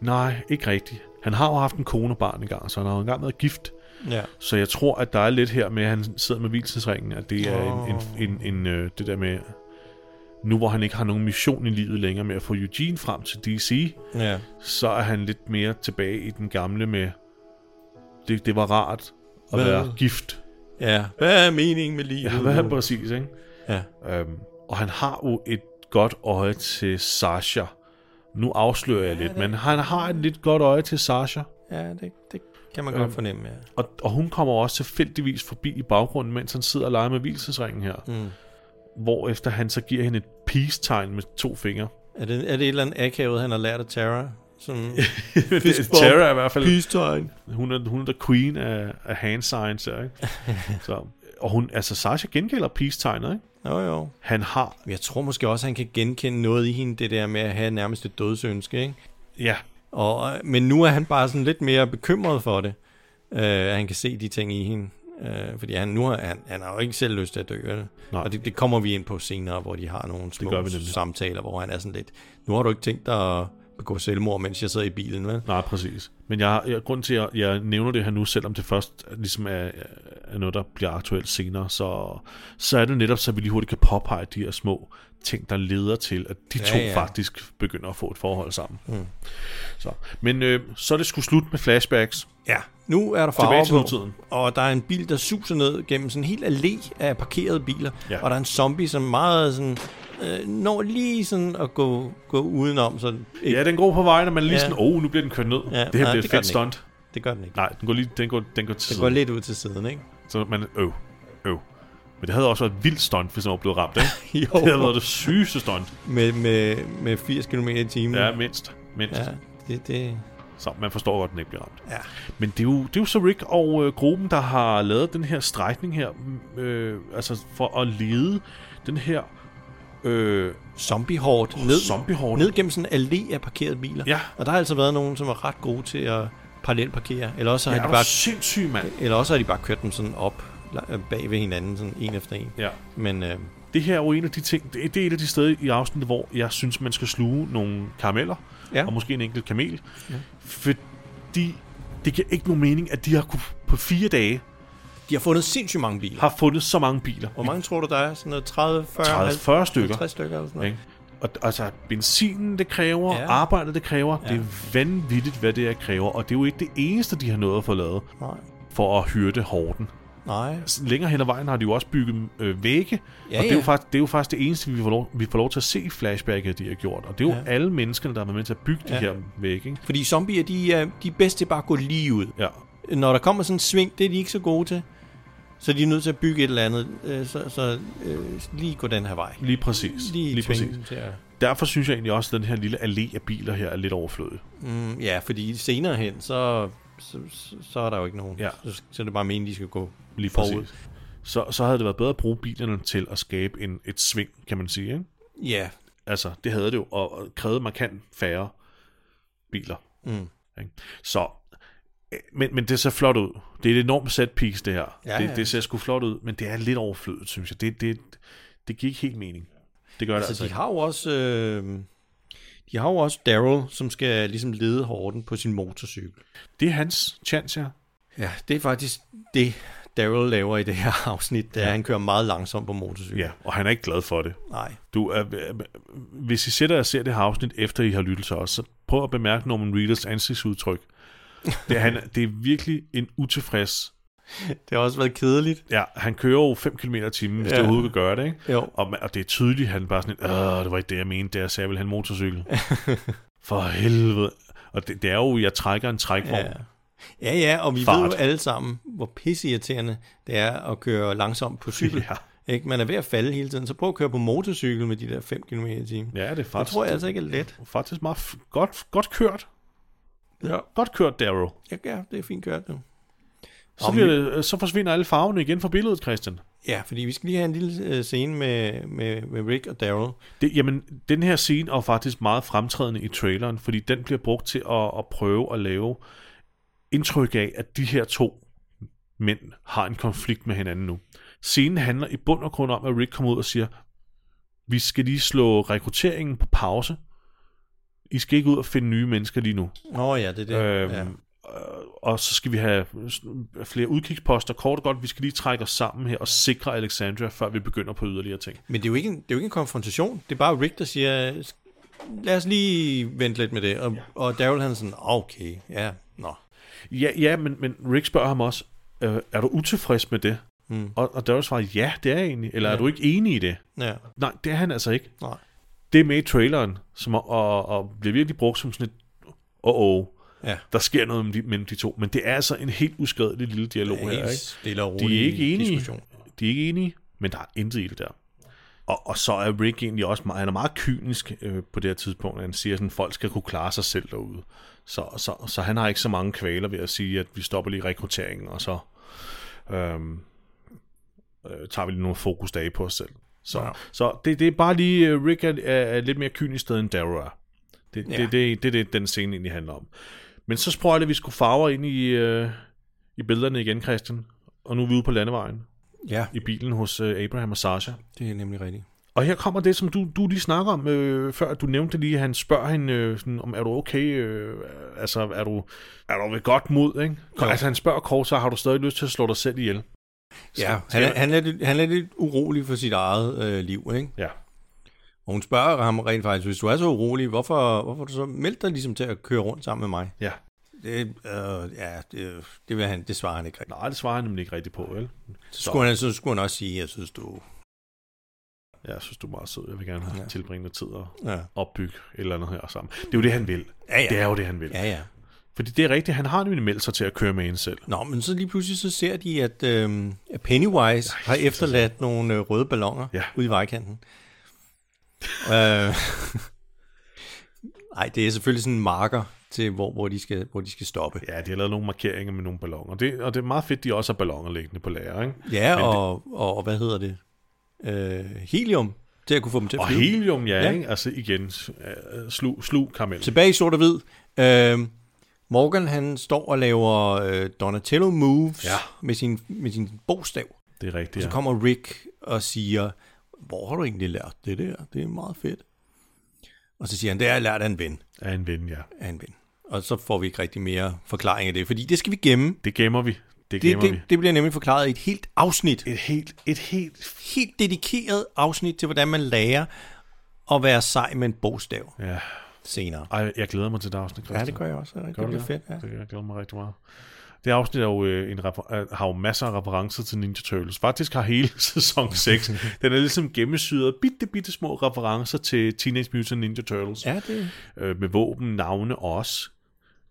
Speaker 1: Nej, ikke rigtigt. Han har jo haft en kone og barn engang, så han har jo engang været gift.
Speaker 2: Ja.
Speaker 1: Så jeg tror, at der er lidt her med, at han sidder med hvilesesringen, at det er en, en, en, en, øh, det der med, nu hvor han ikke har nogen mission i livet længere med at få Eugene frem til DC,
Speaker 2: Ja.
Speaker 1: så er han lidt mere tilbage i den gamle med, det, det var rart at
Speaker 2: Hvad?
Speaker 1: hvad? være gift.
Speaker 2: Ja, hvad er meningen med livet?
Speaker 1: Ja, hvad er
Speaker 2: nu?
Speaker 1: præcis, ikke?
Speaker 2: Ja.
Speaker 1: Øhm, og han har jo et godt øje til Sasha. Nu afslører jeg lidt, men han har et lidt godt øje til Sasha.
Speaker 2: Ja, det, det kan man godt
Speaker 1: Øhm,
Speaker 2: fornemme, ja.
Speaker 1: Og, og hun kommer også tilfældigvis forbi i baggrunden, mens han sidder og leger med hvilesesringen her.
Speaker 2: Mm.
Speaker 1: Hvor efter han så giver hende et peace-tegn med to fingre.
Speaker 2: Er det, er det et eller andet akavet, han har lært af Tara? Sådan
Speaker 1: Fistbump. Tara er i hvert fald...
Speaker 2: Peace-tegn.
Speaker 1: Hun er, hun er the queen af, af hand signs, her, ikke? så, og hun, altså Sasha gengælder peace-tegnet, ikke?
Speaker 2: Jo, jo.
Speaker 1: Han har...
Speaker 2: Jeg tror måske også, han kan genkende noget i hende, det der med at have nærmest et dødsønske, ikke?
Speaker 1: Ja,
Speaker 2: Og, men nu er han bare sådan lidt mere bekymret for det, øh, at han kan se de ting i hende. Øh, fordi han, nu har, han, han har jo ikke selv lyst til at dø. vel?
Speaker 1: Nej.
Speaker 2: Og det, det kommer vi ind på senere, hvor de har nogle
Speaker 1: gør
Speaker 2: små
Speaker 1: vi nemlig.
Speaker 2: samtaler, hvor han er sådan lidt, nu har du ikke tænkt dig at begå selvmord, mens jeg sidder i bilen, vel?
Speaker 1: nej, præcis. Men jeg, jeg grund til, at jeg, jeg nævner det her nu, selvom det først ligesom er, er noget, der bliver aktuelt senere, så, så er det netop, så vi lige hurtigt kan påpege de her små ting, der leder til, at de
Speaker 2: Ja,
Speaker 1: ja, to
Speaker 2: ja.
Speaker 1: ja. faktisk begynder at få et forhold sammen.
Speaker 2: Mm.
Speaker 1: Så. Men øh, så er det skulle slut med flashbacks.
Speaker 2: Ja, nu er der
Speaker 1: Tilbage til
Speaker 2: farver på,
Speaker 1: nutiden.
Speaker 2: og der er en bil, der suser ned gennem sådan en hel allé af parkerede biler, ja.
Speaker 1: Ja.
Speaker 2: og der er en zombie, som meget sådan, øh, når lige sådan at gå, gå udenom. Så ikke,
Speaker 1: Ja, den går på vejen, og man er lige
Speaker 2: Ja.
Speaker 1: ja. sådan, oh, nu bliver den kørt ned. Ja, det her bliver et
Speaker 2: nej, gør
Speaker 1: fedt
Speaker 2: den ikke.
Speaker 1: stunt.
Speaker 2: Det gør den ikke.
Speaker 1: Nej, den går, lige, den går, den går til
Speaker 2: Den
Speaker 1: siden.
Speaker 2: går lidt ud til siden, ikke?
Speaker 1: Så man, øv, øv. Men det havde også været et vildt stunt, hvis han var blevet ramt, ikke?
Speaker 2: Jo.
Speaker 1: Det havde været det sygeste stunt.
Speaker 2: Med, med, med 80 km i timen.
Speaker 1: Ja, mindst. mindst.
Speaker 2: Mm. Ja, det, det,
Speaker 1: Så man forstår godt, at den ikke bliver ramt.
Speaker 2: Ja.
Speaker 1: Men det er, jo, det er jo så Rick og øh, gruppen, der har lavet den her strækning her, mm, øh, altså for at lede den her øh,
Speaker 2: zombiehårdt ned,
Speaker 1: zombiehorde.
Speaker 2: ned gennem sådan en allé af parkerede biler.
Speaker 1: Ja.
Speaker 2: Og der har altså været nogen, som var ret gode til at parallelparkere. Eller også
Speaker 1: Ja,
Speaker 2: har,
Speaker 1: er
Speaker 2: de
Speaker 1: du
Speaker 2: bare,
Speaker 1: sindssyg, mand.
Speaker 2: eller også har de bare kørt dem sådan op la- bag ved hinanden, sådan en efter en.
Speaker 1: Ja.
Speaker 2: Men øh,
Speaker 1: Det her er jo en af de ting, det, det er et af de steder i afsnittet, hvor jeg synes, man skal sluge nogle karameller,
Speaker 2: Ja.
Speaker 1: og måske en enkelt kamel,
Speaker 2: Ja.
Speaker 1: ja. fordi det giver ikke nogen mening, at de har kunne, på fire dage
Speaker 2: de har fundet sindssygt mange biler.
Speaker 1: har fundet så mange biler.
Speaker 2: Hvor mange tror du, der er? Sådan noget 30, 40,
Speaker 1: 30, 40 stykker.
Speaker 2: 50 stykker eller sådan noget.
Speaker 1: Ikke? Og altså, benzinen det kræver,
Speaker 2: Ja.
Speaker 1: ja. arbejdet det kræver, ja.
Speaker 2: Ja.
Speaker 1: det er vanvittigt, hvad det er kræver, og det er jo ikke det eneste, de har nået at få lavet
Speaker 2: Nej.
Speaker 1: for at hyrde horden.
Speaker 2: Nej.
Speaker 1: Længere hen ad vejen har de jo også bygget øh, vægge,
Speaker 2: Ja,
Speaker 1: ja, og det er, jo
Speaker 2: ja.
Speaker 1: faktisk, det er jo faktisk det eneste, vi får lov, vi får lov til at se i flashbacket, de har gjort. Og det er jo
Speaker 2: Ja.
Speaker 1: ja. alle menneskerne, der har været med til at bygge ja.
Speaker 2: Ja.
Speaker 1: de her vægge. Ikke?
Speaker 2: Fordi zombier, de er, de er bedst til bare at gå lige ud.
Speaker 1: Ja.
Speaker 2: Når der kommer sådan en sving, det er de ikke så gode til. Så de er nødt til at bygge et eller andet. øh, Så, så øh, lige gå den her vej.
Speaker 1: Lige præcis.
Speaker 2: Lige
Speaker 1: lige
Speaker 2: tvinge
Speaker 1: præcis.
Speaker 2: dem til at-
Speaker 1: Derfor synes jeg egentlig også, at den her lille allé af biler her er lidt overflødig.
Speaker 2: Mm, ja, fordi senere hen, så, så, så- så er der jo ikke nogen.
Speaker 1: Ja.
Speaker 2: Så, så er det bare meningen, de skal gå
Speaker 1: Lige præcis. Så, så havde det været bedre at bruge bilerne til at skabe en, et sving, kan man sige. Ikke?
Speaker 2: Ja.
Speaker 1: Altså, det havde det jo, og og krævede markant færre biler.
Speaker 2: Mm.
Speaker 1: Ikke? Så, øh, men, men det ser flot ud. Det er et enormt set piece, det her.
Speaker 2: Ja,
Speaker 1: det,
Speaker 2: ja.
Speaker 1: det ser sgu flot ud, men det er lidt overflødet, synes jeg. Det, det, det giver ikke helt mening. Det gør
Speaker 2: Altså,
Speaker 1: det altså
Speaker 2: de
Speaker 1: ikke.
Speaker 2: har jo også... Øh, de har jo også Daryl, som skal ligesom lede horden på sin motorcykel.
Speaker 1: Det er hans chance her.
Speaker 2: Ja, det er faktisk det, Daryl laver i det her afsnit, der ja. han kører meget langsomt på motorcykel.
Speaker 1: Ja, og han er ikke glad for det.
Speaker 2: Nej.
Speaker 1: Du, er, hvis I sætter og ser det her afsnit, efter I har lyttet til os, så prøv at bemærke Norman Reedus ansigtsudtryk. Det er, han, det er virkelig en utilfreds.
Speaker 2: Det har også været kedeligt.
Speaker 1: Ja, han kører jo 5 km i timen, hvis
Speaker 2: Ja.
Speaker 1: ja. det overhovedet kan gøre det, ikke?
Speaker 2: Jo.
Speaker 1: Og, man- og det er tydeligt, han bare sådan, lidt, Åh, det var ikke det, jeg mente, da jeg sagde, at jeg ville have en motorcykel. For helvede. Og det, det er jo, jeg trækker en trækvogn.
Speaker 2: Ja. Ja, ja, og vi Fart.
Speaker 1: Fart.
Speaker 2: ved jo alle sammen, hvor pisseirriterende det er at køre langsomt på cykel. Ja. Ikke? Man er ved at falde hele tiden, så prøv at køre på motorcykel med de der 5 km i timen.
Speaker 1: Ja, det er faktisk...
Speaker 2: Det tror jeg altså ikke er let.
Speaker 1: Faktisk meget f- godt, godt kørt.
Speaker 2: Ja.
Speaker 1: Godt kørt, Darrow.
Speaker 2: Ja, ja det er fint kørt nu.
Speaker 1: Så, bliver det, så forsvinder alle farverne igen fra billedet, Christian.
Speaker 2: Ja, fordi vi skal lige have en lille øh, scene med, med, med Rick og Daryl.
Speaker 1: Det, jamen, den her scene er faktisk meget fremtrædende i traileren, fordi den bliver brugt til at, at prøve at lave indtryk af, at de her to mænd har en konflikt med hinanden nu. Scenen handler i bund og grund om, at Rick kommer ud og siger, vi skal lige slå rekrutteringen på pause. I skal ikke ud og finde nye mennesker lige nu.
Speaker 2: Nå ja, det er
Speaker 1: Øhm,
Speaker 2: det. ja.
Speaker 1: øh, Og så skal vi have øh, flere udkigsposter. Kort og godt, vi skal lige trække os sammen her og sikre Alexandria, før vi begynder på yderligere ting.
Speaker 2: Men det er, jo ikke en, det er jo ikke en konfrontation. Det er bare Rick, der siger, "Sk- lad os lige vente lidt med det. Og, ja. og Daryl han er sådan, okay, ja, nå.
Speaker 1: Ja, ja men, men Rick spørger ham også, øh, er du utilfreds med det?
Speaker 2: Mm.
Speaker 1: Og, og Daryl svarer, ja, det er jeg egentlig. Eller ja.
Speaker 2: Ja.
Speaker 1: er du ikke enig i det?
Speaker 2: Ja.
Speaker 1: Nej, det er han altså ikke.
Speaker 2: Nej.
Speaker 1: Det er med i traileren, som er, og, og bliver virkelig brugt som sådan et, åh, oh,
Speaker 2: Ja.
Speaker 1: der sker noget mellem de, mellem de to. Men det er altså en helt uskredelig lille dialog
Speaker 2: Det er
Speaker 1: her.
Speaker 2: helt
Speaker 1: Ikke?
Speaker 2: stille og
Speaker 1: de
Speaker 2: rolig
Speaker 1: er ikke enige.
Speaker 2: diskussion.
Speaker 1: De er ikke enige, men der er intet i det der. Og, og så er Rick egentlig også meget, han er meget kynisk øh, på det her tidspunkt. Han siger, sådan, at folk skal kunne klare sig selv derude. Så, så, så han har ikke så mange kvaler ved at sige, at vi stopper lige rekrutteringen, og så øhm, øh, tager vi lige nogle fokusdage på os selv. Så, ja. så det, det er bare lige, øh, Rick er, er, er lidt mere kynisk sted end Daryl er. Det,
Speaker 2: Ja.
Speaker 1: ja. det, det, det, det, den scene egentlig handler om. Men så sprøjter vi sgu farver ind i, øh, i billederne igen, Christian. Og nu er vi ude på landevejen.
Speaker 2: Ja.
Speaker 1: I bilen hos øh, Abraham og Sasha.
Speaker 2: Det er nemlig rigtigt.
Speaker 1: Og her kommer det, som du, du lige snakker om øh, før. Du nævnte lige, at han spørger hende, øh, sådan, om er du okay? Øh, altså, er du, er du ved godt mod? Ikke?
Speaker 2: Jo.
Speaker 1: Altså, han spørger kort, så har du stadig lyst til at slå dig selv ihjel?
Speaker 2: Ja,
Speaker 1: Skal-
Speaker 2: han, er-
Speaker 1: skal-
Speaker 2: han, er lidt, han er lidt urolig for sit eget øh, liv, ikke?
Speaker 1: Ja.
Speaker 2: Og hun spørger ham rent faktisk, hvis du er så urolig, hvorfor, hvorfor har du så meldt dig ligesom til at køre rundt sammen med mig?
Speaker 1: Ja.
Speaker 2: Det, øh, ja, det, det, vil han, det svarer han ikke rigtigt.
Speaker 1: Nej, det svarer han nemlig ikke rigtigt på, vel?
Speaker 2: Så skulle, han, så skulle han også sige, jeg synes, du...
Speaker 1: Ja, jeg synes, du er meget sød. Jeg vil gerne have
Speaker 2: Ja.
Speaker 1: ja. tilbringende tid og
Speaker 2: Ja.
Speaker 1: ja. opbygge et eller andet her sammen. Det er jo det, han vil.
Speaker 2: Ja, ja.
Speaker 1: Det er jo det, han vil.
Speaker 2: Ja, ja.
Speaker 1: Fordi det er rigtigt, han har nemlig meldt sig til at køre med en selv.
Speaker 2: Nå, men så lige pludselig så ser de, at øh, Pennywise har efterladt nogle øh, røde ballonger
Speaker 1: Ja.
Speaker 2: ude i vejkanten. øh, ej, det er selvfølgelig sådan en marker til, hvor, hvor, de, skal, hvor de skal stoppe.
Speaker 1: Ja, de har lavet nogle markeringer med nogle balloner. Det, og det er meget fedt, de også har balloner liggende på lager, ikke?
Speaker 2: Ja,
Speaker 1: Men
Speaker 2: og, og, og hvad hedder det? Øh, helium, til at kunne få dem til
Speaker 1: Det,
Speaker 2: at
Speaker 1: og
Speaker 2: flyve.
Speaker 1: helium, ja, ja. Ikke? Altså igen, s- øh, slu, slu karamel.
Speaker 2: Tilbage i sort og hvid. Øh, Morgan, han står og laver øh, Donatello moves
Speaker 1: Ja.
Speaker 2: med, sin, med sin bogstav.
Speaker 1: Det er rigtigt,
Speaker 2: Og så
Speaker 1: ja.
Speaker 2: kommer Rick og siger, hvor har du egentlig lært det der? Det er meget fedt. Og så siger han, det har jeg lært af en ven.
Speaker 1: Af en ven, ja.
Speaker 2: Af en ven. Og så får vi ikke rigtig mere forklaring af det, fordi det skal vi gemme.
Speaker 1: Det gemmer vi. Det
Speaker 2: Det,
Speaker 1: gemmer
Speaker 2: det,
Speaker 1: vi.
Speaker 2: det bliver nemlig forklaret i et helt afsnit.
Speaker 1: Et helt, et helt...
Speaker 2: Helt dedikeret afsnit til, hvordan man lærer at være sej med en bogstav
Speaker 1: Ja.
Speaker 2: senere.
Speaker 1: Ej, jeg glæder mig til det afsnit, Christian.
Speaker 2: Ja, det gør jeg også. Det
Speaker 1: Gør
Speaker 2: bliver
Speaker 1: det?
Speaker 2: fedt, ja.
Speaker 1: Det, jeg glæder mig rigtig meget. Det afsnit er jo, øh, en refer- er- har jo masser af referencer til Ninja Turtles. Faktisk har hele sæson 6, den er ligesom gennemsyret af bitte, bitte små referencer til Teenage Mutant Ninja Turtles.
Speaker 2: Ja, det-
Speaker 1: Øh, med våben, navne og også.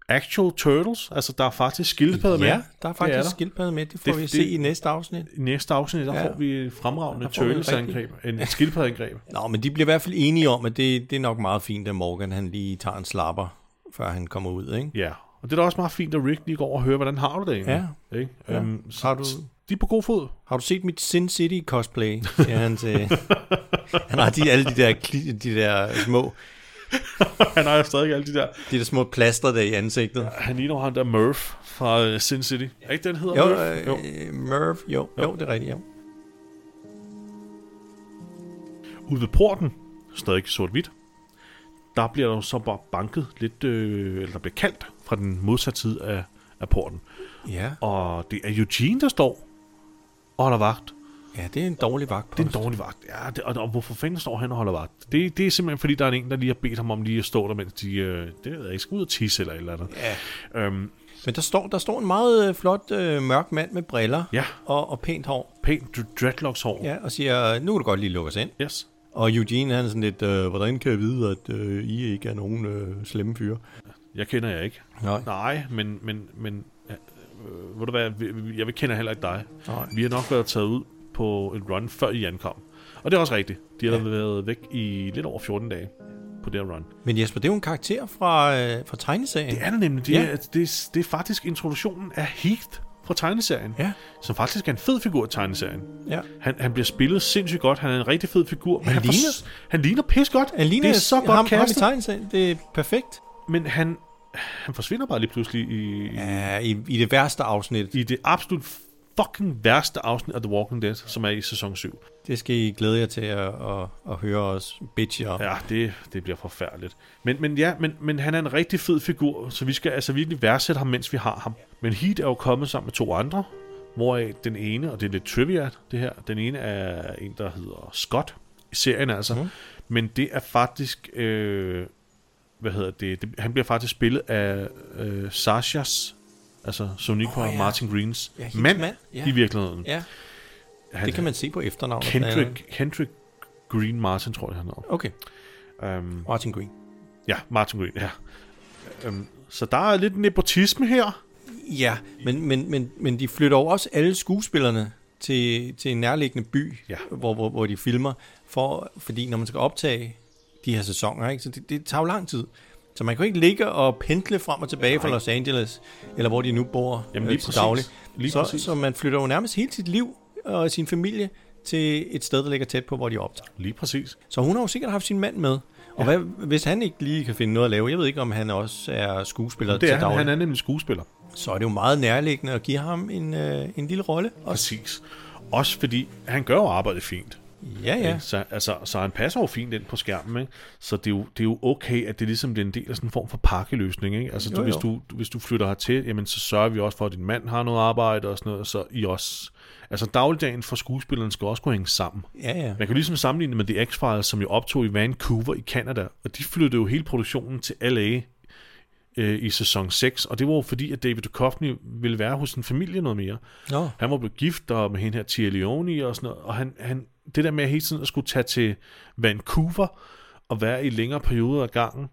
Speaker 1: Actual Turtles, altså der er faktisk skildpadder med.
Speaker 2: Ja, der er
Speaker 1: Det
Speaker 2: faktisk skildpadder med. Det får vi at se i næste afsnit.
Speaker 1: I næste afsnit, der
Speaker 2: Ja.
Speaker 1: ja. får vi et fremragende
Speaker 2: Der får vi et
Speaker 1: Turtles-angreb.
Speaker 2: rigtigt-
Speaker 1: En et skildpaddeangreb.
Speaker 2: Nå, men de bliver i hvert fald enige om, at det, det er nok meget fint, at Morgan han lige tager en slapper, før han kommer ud, ikke?
Speaker 1: Ja, og det er da også meget fint, at Rick lige går over og hører, hvordan har du det egentlig?
Speaker 2: Ja.
Speaker 1: Ikke?
Speaker 2: Ja.
Speaker 1: Øhm,
Speaker 2: har du,
Speaker 1: de er på god fod.
Speaker 2: Har du set mit Sin City cosplay? Siger han til... han har de, alle de der, kli- de der små...
Speaker 1: han har jo stadig alle de der...
Speaker 2: De der små plaster der i ansigtet.
Speaker 1: Han ligner jo ham der Murph fra øh, Sin City. Er ikke den hedder
Speaker 2: Jo,
Speaker 1: Murph?
Speaker 2: øh, Murph, jo, jo, det er rigtigt, jo.
Speaker 1: Ude ved porten, stadig sort-hvidt, der bliver der jo så bare banket lidt, øh, eller der bliver kaldt fra den modsatte side af, af porten.
Speaker 2: Ja.
Speaker 1: Og det er Eugene, der står og holder vagt.
Speaker 2: Ja, det er en dårlig vagt.
Speaker 1: Det er en dårlig vagt, ja. Det, og, og hvorfor fanden står han og holder vagt? Det, det er simpelthen, fordi der er en, der lige har bedt ham om lige at stå der, mens de, øh, det ved jeg ikke, skal ud og tisse eller et eller andet. Ja. Øhm,
Speaker 2: Men der står, der står en meget øh, flot øh, mørk mand med briller
Speaker 1: Ja.
Speaker 2: og, og pænt hår.
Speaker 1: Pænt dreadlocks hår.
Speaker 2: Ja, og siger, nu kan du godt lige lukke os ind.
Speaker 1: Yes.
Speaker 2: Og Eugene, han er sådan lidt, øh, hvordan kan jeg vide, at øh, I ikke er nogen øh, slemme fyre?
Speaker 1: Jeg kender jeg ikke.
Speaker 2: Nej.
Speaker 1: Nej, men, men, men ja, øh, ved du hvad, vi- vi- jeg kender heller ikke dig.
Speaker 2: Nej.
Speaker 1: Vi har nok været taget ud på et run, før I ankom. Og det er også rigtigt. De har ja. været væk i lidt over 14 dage på det her run.
Speaker 2: Men Jesper, det er jo en karakter fra, øh, fra tegneserien.
Speaker 1: Det er det nemlig. Det,
Speaker 2: Ja.
Speaker 1: ja. er, altså, det, er- det er faktisk introduktionen af Heath fra tegneserien.
Speaker 2: Ja.
Speaker 1: Som faktisk er en fed figur i tegneserien.
Speaker 2: Ja.
Speaker 1: Han, han bliver spillet sindssygt godt. Han er en rigtig fed figur. men
Speaker 2: Han
Speaker 1: får-
Speaker 2: ligner-
Speaker 1: han ligner pis godt.
Speaker 2: Han ligner
Speaker 1: det er så
Speaker 2: ham,
Speaker 1: godt
Speaker 2: ham i
Speaker 1: castet.
Speaker 2: tegneserien. Det er perfekt.
Speaker 1: Men han, han forsvinder bare lige pludselig i,
Speaker 2: ja, i, i det værste afsnit.
Speaker 1: I det absolut fucking værste afsnit af The Walking Dead, som er i sæson 7.
Speaker 2: Det skal I glæde jer til at, at, at høre os bitche om.
Speaker 1: Ja, det, det bliver forfærdeligt. Men, men ja, men, men han er en rigtig fed figur, så vi skal altså virkelig værdsætte ham, mens vi har ham. Men Heat er jo kommet sammen med to andre, hvoraf den ene, og det er lidt trivia det her, den ene er en, der hedder Scott i serien altså.
Speaker 2: Mhm.
Speaker 1: Mm. Men det er faktisk, øh, hvad hedder det, det, han bliver faktisk spillet af øh, Sashas, altså Sonico oh,
Speaker 2: Åh,
Speaker 1: ja. og
Speaker 2: ja.
Speaker 1: Martin Greens
Speaker 2: Ja, hendes
Speaker 1: mand,
Speaker 2: mand, ja.
Speaker 1: i virkeligheden.
Speaker 2: Ja. Det kan man se på efternavnet.
Speaker 1: Kendrick, Kendrick Green Martin, tror jeg, han hedder.
Speaker 2: Okay.
Speaker 1: Um,
Speaker 2: Martin Green.
Speaker 1: Ja, Martin Green, ja. Um, så der er lidt nepotisme her.
Speaker 2: Ja, men, men, men, men de flytter jo også alle skuespillerne til, til en nærliggende by, ja. hvor, hvor, hvor de filmer, for, fordi når man skal optage de her sæsoner, ikke, så det, det tager jo lang tid. Så man kan jo ikke ligge og pendle frem og tilbage fra
Speaker 1: Nej.
Speaker 2: Los Angeles, eller hvor de nu bor
Speaker 1: Jamen,
Speaker 2: øh,
Speaker 1: lige
Speaker 2: til
Speaker 1: præcis.
Speaker 2: daglig.
Speaker 1: Lige
Speaker 2: så,
Speaker 1: præcis.
Speaker 2: så man flytter jo nærmest hele sit liv og sin familie til et sted, der ligger tæt på, hvor de optager.
Speaker 1: Lige præcis.
Speaker 2: Så hun har jo sikkert haft sin mand med. Og hvad, hvis han ikke lige kan finde noget at lave, jeg ved ikke, om han også er skuespiller
Speaker 1: Det er
Speaker 2: til
Speaker 1: han,
Speaker 2: daglig
Speaker 1: han er nemlig skuespiller.
Speaker 2: så er det jo meget nærliggende at give ham en, øh, en lille rolle.
Speaker 1: Præcis. Også fordi han gør jo arbejdet fint.
Speaker 2: Ja, ja.
Speaker 1: Ikke? Så, altså, så han passer jo fint ind på skærmen. Ikke? Så det er, jo, det er jo okay, at det ligesom bliver en del af sådan en form for pakkeløsning. Ikke? Altså,
Speaker 2: Jo,
Speaker 1: jo, du, hvis,
Speaker 2: jo.
Speaker 1: du, du- hvis du flytter hertil, jamen, så sørger vi også for, at din mand har noget arbejde og sådan noget, så I også... Altså dagligdagen for skuespilleren skal også kunne hænge sammen.
Speaker 2: Ja, ja.
Speaker 1: Man kan jo ligesom sammenligne med The X-Files, som jo optog i Vancouver i Canada, og de flyttede jo hele produktionen til L.A., øh, i sæson 6, og det var jo fordi, at David Duchovny ville være hos sin familie noget mere.
Speaker 2: Nå.
Speaker 1: Han var blevet gift og med hende her Tia Leone og sådan noget, og han, han, det der med hele tiden at skulle tage til Vancouver og være i længere perioder af gangen,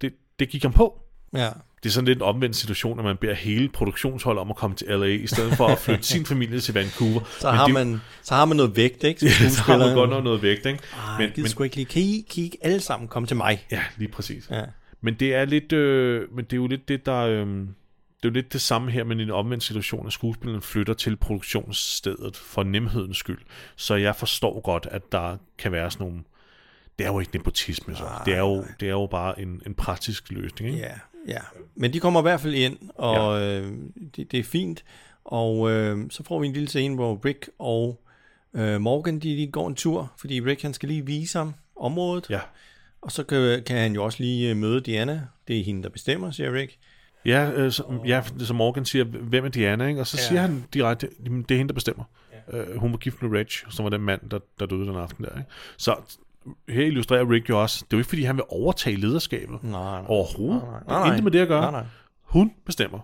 Speaker 1: det, det gik ham på.
Speaker 2: Ja.
Speaker 1: Det er sådan lidt en omvendt situation, at man beder hele produktionsholdet om at komme til LA, i stedet for at flytte sin familie til Vancouver.
Speaker 2: Så har,
Speaker 1: det, er jo-
Speaker 2: man, så har man noget vægt, ikke? Som
Speaker 1: Ja, så har man
Speaker 2: skuespiller.
Speaker 1: godt nok noget vægt, ikke?
Speaker 2: Ej, men, men, Ah, sgu ikke lige. Kan I, kan I ikke alle sammen komme til mig?
Speaker 1: Ja, lige præcis.
Speaker 2: Ja.
Speaker 1: Men det er lidt, øh, men det er jo lidt det, der... Øh, det er jo lidt det samme her, men i en omvendt situation, at skuespilleren flytter til produktionsstedet for nemhedens skyld. Så jeg forstår godt, at der kan være sådan nogle... Det er jo ikke nepotisme, så. Det er jo, det er jo bare en, en praktisk løsning, ikke?
Speaker 2: Ja, ja. Men de kommer i hvert fald ind, og ja. øh, det, det er fint. Og øh, så får vi en lille scene, hvor Rick og øh, Morgan, de, de går en tur, fordi Rick, han skal lige vise ham området.
Speaker 1: Ja.
Speaker 2: Og så kan, kan han jo også lige øh, møde Diana. Det er hende, der bestemmer, siger Rick.
Speaker 1: Ja, øh, som, ja, som Morgan siger, hvem er Diana, ikke? Og så ja. siger han direkte, "Jamen, det er hende, der bestemmer. Ja. Øh, hun var gift med Reg, som var den mand, der, der døde den aften der, ikke? Så her illustrerer Rick jo også, det er jo ikke, fordi han vil overtage lederskabet
Speaker 2: nej.
Speaker 1: overhovedet.
Speaker 2: Nej, nej.
Speaker 1: Det
Speaker 2: Nej,
Speaker 1: er
Speaker 2: nej.
Speaker 1: intet med det at gøre.
Speaker 2: Nej, nej.
Speaker 1: Hun bestemmer.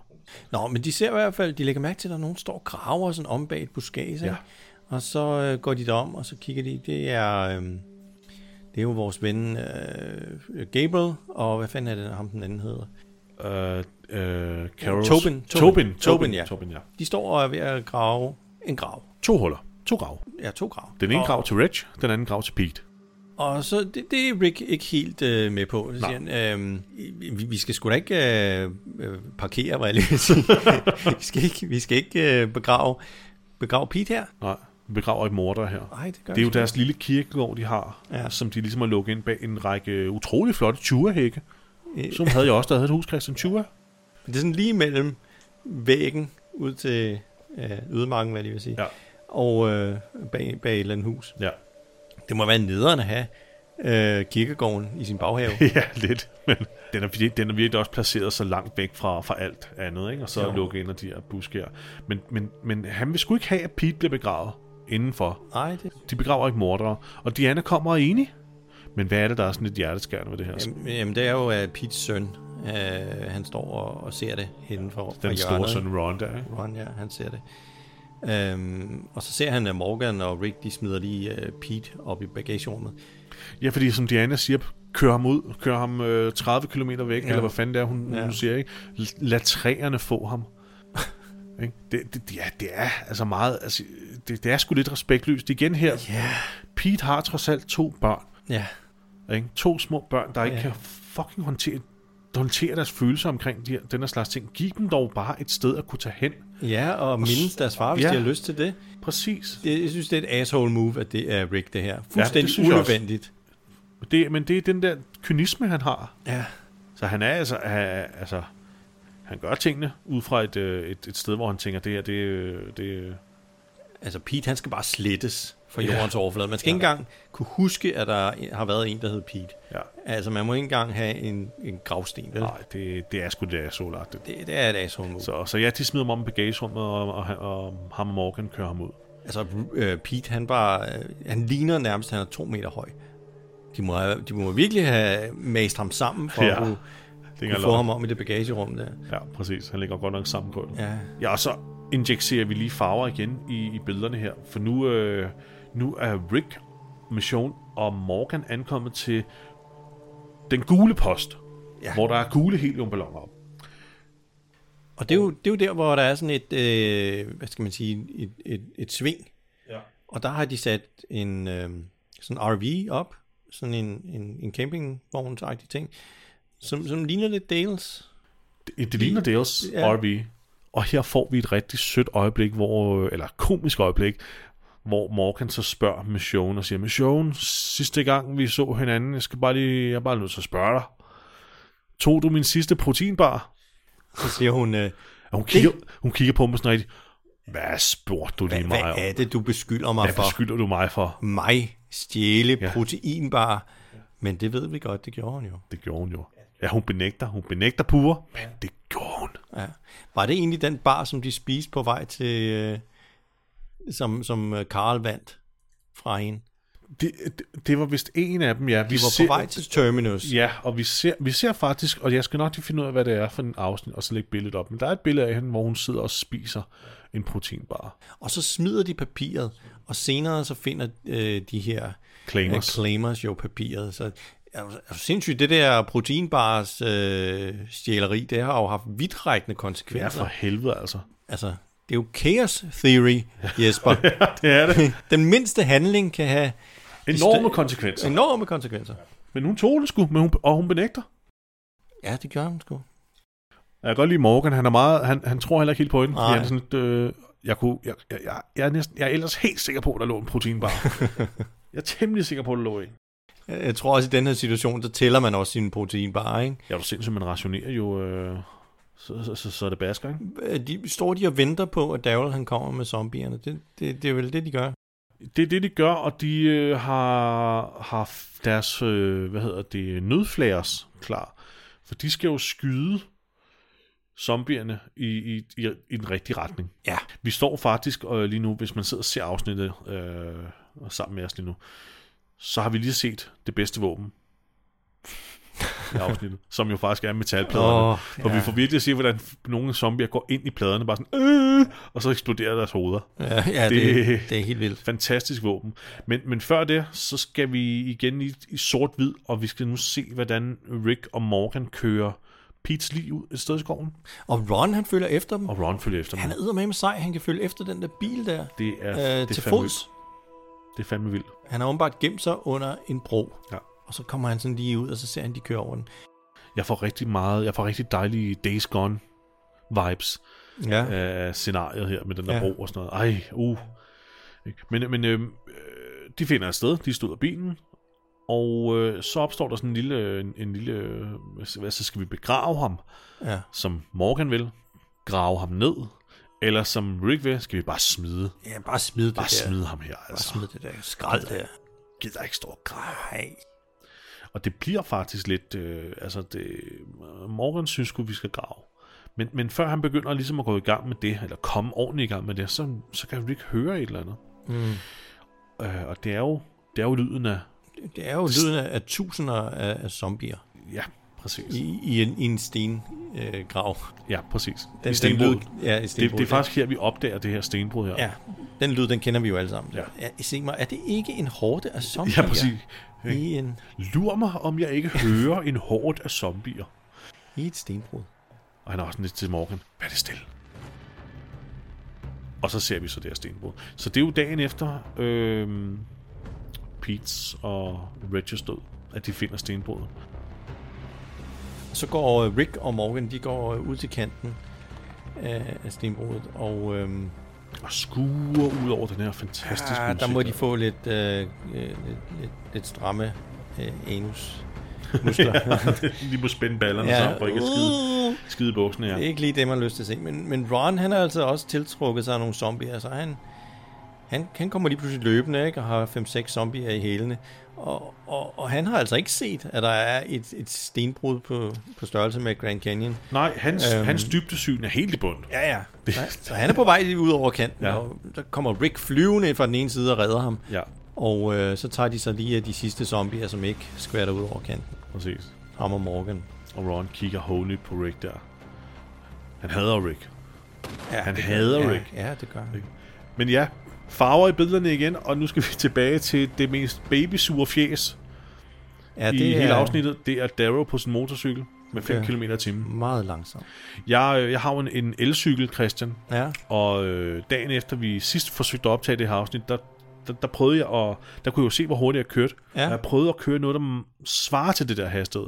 Speaker 2: Nå, men de ser i hvert fald, de lægger mærke til, at der er nogen, der står og graver sådan om bag et buskage. Ja. Og så øh, går de derom, og så kigger de. Det er, øh, det er jo vores ven øh, Gabriel, og hvad fanden er det, ham den anden hedder?
Speaker 1: Øh, øh, Carols-
Speaker 2: Tobin.
Speaker 1: Tobin,
Speaker 2: Tobin, ja.
Speaker 1: Tobin, ja.
Speaker 2: De står og er ved at grave en grav.
Speaker 1: To huller. To grav.
Speaker 2: Ja, to grav.
Speaker 1: Den ene
Speaker 2: Og-
Speaker 1: grav til Reg, den anden grav til Pete.
Speaker 2: Og så, det, det er Rick ikke helt øh, med på. Så siger han, øh, vi, vi skal sgu da ikke øh, øh, parkere, var jeg lige ved at sige. vi skal ikke, vi skal ikke øh, begrave, begrave Pete her.
Speaker 1: Nej, vi begraver et morder her.
Speaker 2: Nej, det gør
Speaker 1: Det er jo
Speaker 2: vi sgu
Speaker 1: deres
Speaker 2: ikke.
Speaker 1: lille kirkegård, de har,
Speaker 2: Ja.
Speaker 1: ja. som de ligesom har lukket ind bag en række utrolig flotte tjurehække. Som havde jeg også, der havde et hus, Christian Tjure.
Speaker 2: Men det er sådan lige mellem væggen ud til øh, ydermarken, hvad jeg lige vil sige, ja. og øh, bag, bag et eller andet hus.
Speaker 1: Ja.
Speaker 2: Det må være nederen at have øh, kirkegården i sin baghave.
Speaker 1: ja, lidt. Men den er, vir- den er virkelig også placeret så langt væk fra, fra alt andet, ikke? og så
Speaker 2: Jo.
Speaker 1: lukket ind af de her buske her. Men, men, men han vil sgu ikke have, at Pete bliver begravet indenfor.
Speaker 2: Nej, det...
Speaker 1: De begraver ikke mordere. Og Diana kommer og er enig. Men hvad er det, der er sådan lidt hjerteskærende ved det her?
Speaker 2: Jamen, jamen, det er jo uh, Pete's søn. Uh, han står og, og ser det henne for, fra
Speaker 1: Den store
Speaker 2: hjørnet,
Speaker 1: søn
Speaker 2: ikke?
Speaker 1: Ron der, ikke?
Speaker 2: Ron, ja, han ser det. Um, og så ser han, at Morgan og Rick, de smider lige uh, Pete op i bagagerummet.
Speaker 1: Ja, fordi som Diana siger, kør ham ud, kør ham øh, 30 km væk,
Speaker 2: Ja.
Speaker 1: ja. eller hvad fanden det er, hun,
Speaker 2: Ja.
Speaker 1: ja. hun siger, ikke? L- Lad træerne få ham. Ikke? det, det, ja, det er altså meget, altså, det, det er sgu lidt respektløst igen her.
Speaker 2: Yeah.
Speaker 1: Pete har trods alt to børn.
Speaker 2: Ja.
Speaker 1: Ikke? To små børn, der ikke
Speaker 2: Ja.
Speaker 1: kan fucking håndtere, håndtere deres følelser omkring de her, den her slags ting. Giv dem dog bare et sted at kunne tage hen.
Speaker 2: Ja, og mindes deres far, hvis
Speaker 1: Ja.
Speaker 2: de har lyst til det.
Speaker 1: Præcis.
Speaker 2: Det, jeg synes, det er et asshole move, at det er Rick, det her. Fuldstændig ja,
Speaker 1: synes jeg også.
Speaker 2: unødvendigt.
Speaker 1: Det, men det er den der kynisme, han har.
Speaker 2: Ja.
Speaker 1: Så han er altså, ha- altså han gør tingene ud fra et, øh, et, et sted, hvor han tænker, det her, det, øh, det øh,
Speaker 2: Altså, Pete, han skal bare slettes fra
Speaker 1: Ja.
Speaker 2: jordens overflade. Man skal ja. ikke engang kunne huske, at der har været en, der hed Pete.
Speaker 1: Ja.
Speaker 2: Altså, man må ikke engang have en, en gravsten. Vel?
Speaker 1: Nej, det, det er sgu det asshole-agtigt.
Speaker 2: Det, det er et asshole
Speaker 1: Så, så ja, de smider ham om i bagagerummet, og, og, han- og ham og Morgan kører ham ud.
Speaker 2: Altså, øh, Pete, han bare, øh, han ligner nærmest, at han er to meter høj. De må, have, de må virkelig have mast ham sammen, for ja,
Speaker 1: Ja,
Speaker 2: at kunne,
Speaker 1: det kan
Speaker 2: kunne få
Speaker 1: jeg love.
Speaker 2: ham om i det bagagerum der.
Speaker 1: Ja, præcis. Han ligger godt nok sammenkrøllet.
Speaker 2: Ja.
Speaker 1: ja, og så injicerer vi lige farver igen i, i billederne her, for nu, øh, nu er Rick, Mission og Morgan ankommet til den gule post,
Speaker 2: ja.
Speaker 1: hvor der er gule heliumballoner op.
Speaker 2: Og det er, jo, det er jo der, hvor der er sådan et, øh, hvad skal man sige, et, et, et sving.
Speaker 1: Ja.
Speaker 2: Og der har de sat en øh, sådan RV op, sådan en, en, en campingvognsagtig ting, som, som ligner lidt Dales.
Speaker 1: Det, det ligner Dales
Speaker 2: Ja.
Speaker 1: ja. RV. Og her får vi et rigtig sødt øjeblik, hvor, øh, eller komisk øjeblik, hvor Morgan så spørger Michonne og siger, Michonne, sidste gang vi så hinanden, jeg skal bare lige, jeg er bare nødt til at spørge dig. Tog du min sidste proteinbar?
Speaker 2: Så siger hun, øh,
Speaker 1: hun, kigger, hun kigger på mig sådan rigtig, hvad spurgte du lige
Speaker 2: Hvad,
Speaker 1: mig
Speaker 2: hvad
Speaker 1: om?
Speaker 2: er det, du beskylder mig
Speaker 1: Hvad
Speaker 2: for?
Speaker 1: beskylder du mig for?
Speaker 2: Mig stjæle ja. proteinbar. Men det ved vi godt, det gjorde hun jo.
Speaker 1: Det gjorde hun jo. Ja, hun benægter, hun benægter pure, men det gjorde hun.
Speaker 2: Ja. Var det egentlig den bar, som de spiste på vej til, øh, som, som øh, Karl vandt fra hende?
Speaker 1: Det, det, det var vist en af dem, ja.
Speaker 2: De var på vej til Terminus.
Speaker 1: Ja, og vi ser, vi ser faktisk, og jeg skal nok lige finde ud af, hvad det er for en afsnit, og så lægge billedet op. Men der er et billede af hende, hvor hun sidder og spiser en proteinbar.
Speaker 2: Og så smider de papiret, og senere så finder øh, de her
Speaker 1: Claimers.
Speaker 2: Øh, claimers jo papiret. Så er du, er du sindssygt, det der proteinbars øh, stjæleri, det har jo haft vidtrækkende konsekvenser.
Speaker 1: Ja, for helvede altså.
Speaker 2: Altså, det er jo chaos theory, Jesper. ja,
Speaker 1: det er det.
Speaker 2: Den mindste handling kan have... de
Speaker 1: Enorme
Speaker 2: stø-
Speaker 1: konsekvenser.
Speaker 2: Enorme konsekvenser.
Speaker 1: Men hun tog det sgu, men hun, og hun benægter.
Speaker 2: Ja, det gør hun sgu.
Speaker 1: Jeg kan godt lide Morgan, han, er meget, han, han tror heller ikke helt på hende. fordi
Speaker 2: Nej.
Speaker 1: Han er sådan lidt, øh, jeg, kunne, jeg, jeg, jeg, jeg, er næsten, jeg er ellers helt sikker på, at der lå en proteinbar. jeg er temmelig sikker på, at der lå en.
Speaker 2: Jeg jeg tror også, i den her situation, så tæller man også sine proteinbarer, ikke?
Speaker 1: Ja, du sindssygt, man rationerer jo, øh, så, så, så, så er det basker, ikke?
Speaker 2: Øh, De, står de og venter på, at Daryl han kommer med zombierne? Det, det, det er vel det, de gør.
Speaker 1: Det er det, de gør, og de øh, har, har f- deres, øh, hvad hedder det, nødflagers klar. For de skal jo skyde zombierne i, i, i, i den rigtige retning.
Speaker 2: Ja.
Speaker 1: Vi står faktisk øh, lige nu, hvis man sidder og ser afsnittet øh, og sammen med os lige nu, så har vi lige set det bedste våben. i afsnittet, som jo faktisk er metalpladerne.
Speaker 2: Åh,
Speaker 1: Oh, hvor vi
Speaker 2: ja.
Speaker 1: får virkelig at se, hvordan nogle zombier går ind i pladerne, bare sådan, øh, og så eksploderer deres hoveder.
Speaker 2: Ja, ja, det- det er helt vildt.
Speaker 1: Fantastisk våben. Men, men før det, så skal vi igen i, i sort-hvid, og vi skal nu se, hvordan Rick og Morgan kører Pete's liv ud et sted i skoven.
Speaker 2: Og Ron, han følger efter dem.
Speaker 1: Og Ron følger efter dem.
Speaker 2: Han er med med sej, han kan følge efter den der bil der.
Speaker 1: Det er,
Speaker 2: øh,
Speaker 1: det er
Speaker 2: til
Speaker 1: fandme
Speaker 2: fods.
Speaker 1: vildt. Det er fandme vildt.
Speaker 2: Han har åbenbart gemt sig under en bro.
Speaker 1: Ja.
Speaker 2: Og så kommer han sådan lige ud, og så ser han, de kører over den.
Speaker 1: Jeg får rigtig meget, jeg får rigtig dejlige Days Gone vibes
Speaker 2: Ja.
Speaker 1: af scenariet her med den der
Speaker 2: Ja.
Speaker 1: ja. bro og sådan noget. Ej, uh. Ikke? Men, men øh, de finder et sted, de stod af bilen, og øh, så opstår der sådan en lille, en, en lille, øh, hvad så skal vi begrave ham,
Speaker 2: Ja.
Speaker 1: som Morgan vil, grave ham ned, eller som Rick vil, skal vi bare smide.
Speaker 2: Ja, bare smid det
Speaker 1: bare
Speaker 2: der.
Speaker 1: smide ham her,
Speaker 2: Bare
Speaker 1: altså.
Speaker 2: smid det der skrald der.
Speaker 1: Gider ikke stå og græde. Og det bliver faktisk lidt, øh, altså det, Morgan synes sgu, vi skal grave. Men, men før han begynder ligesom at gå i gang med det, eller komme ordentligt i gang med det, så, så kan vi ikke høre et eller andet.
Speaker 2: Mm.
Speaker 1: Øh, og det er jo, det er jo lyden af,
Speaker 2: Det er jo lyden af, af tusinder af, af zombier.
Speaker 1: Ja, præcis.
Speaker 2: I, i, en, i en stengrav. Øh, grav.
Speaker 1: ja, præcis.
Speaker 2: Den-
Speaker 1: I stenbrud.
Speaker 2: den lyd- ja, i
Speaker 1: det,
Speaker 2: stenbrud,
Speaker 1: det er
Speaker 2: ja.
Speaker 1: faktisk her, vi opdager det her stenbrud her.
Speaker 2: Ja, den lyd, den kender vi jo alle sammen. Ja. ja se mig, er det ikke en horde af zombier?
Speaker 1: Ja, præcis.
Speaker 2: I en...
Speaker 1: Lur mig, om jeg ikke hører en hord af zombier.
Speaker 2: I et stenbrud.
Speaker 1: Og han er også sådan lidt til Morgan. Vær det stille. Og så ser vi så det her stenbrud. Så det er jo dagen efter øh, Pete's og Regis død, at de finder stenbruddet.
Speaker 2: Så går øh, Rick og Morgan, de går øh, ud til kanten af, af stenbrudet, og... Øhm,
Speaker 1: og skuer ud over den her fantastiske
Speaker 2: ah, Der
Speaker 1: udsigt
Speaker 2: må de
Speaker 1: der.
Speaker 2: få lidt, øh, øh, lidt, lidt, lidt stramme øh, anus. Muskler.
Speaker 1: Ja, de må spænde ballerne sammen for ikke at skide- skide i bukserne, ja.
Speaker 2: Uh. Det er ikke lige det, man har lyst til at se. Men, men Ron, han har altså også tiltrukket sig af nogle zombier, så han, han, han kommer lige pludselig løbende ikke, og har 5-6 zombier i hælene. Og, og, og han har altså ikke set, at der er et, et stenbrud på, på størrelse med Grand Canyon.
Speaker 1: Nej, hans, øhm, hans dybdesyn er helt i bund.
Speaker 2: Ja, ja. Så han er på vej lige ud over kanten, ja.
Speaker 1: Ja.
Speaker 2: og der kommer Rick flyvende ind fra den ene side og redder ham.
Speaker 1: Ja.
Speaker 2: Og øh, så tager de så lige af de sidste zombier, som ikke skvatter ud over kanten.
Speaker 1: Præcis.
Speaker 2: Ham og Morgan.
Speaker 1: Og Ron kigger hånligt på Rick der. Han hader Rick.
Speaker 2: Ja,
Speaker 1: han
Speaker 2: det gør-
Speaker 1: hader
Speaker 2: ja,
Speaker 1: Rick.
Speaker 2: ja, det gør han.
Speaker 1: Men ja, farver i billederne igen, og nu skal vi tilbage til det mest babysure fjes
Speaker 2: Ja,
Speaker 1: ja, det
Speaker 2: det
Speaker 1: i hele
Speaker 2: er-
Speaker 1: afsnittet. Det er Darrow på sin motorcykel med 5
Speaker 2: Ja.
Speaker 1: km i timen.
Speaker 2: Meget langsomt.
Speaker 1: Jeg, øh, jeg har jo en, en elcykel, Christian.
Speaker 2: Ja.
Speaker 1: Og øh, dagen efter vi sidst forsøgte at optage det her afsnit, der, der, der prøvede jeg at... Der kunne jeg jo se, hvor hurtigt jeg kørte.
Speaker 2: Ja.
Speaker 1: Og jeg prøvede at køre noget, der m- svarer til det der hastighed.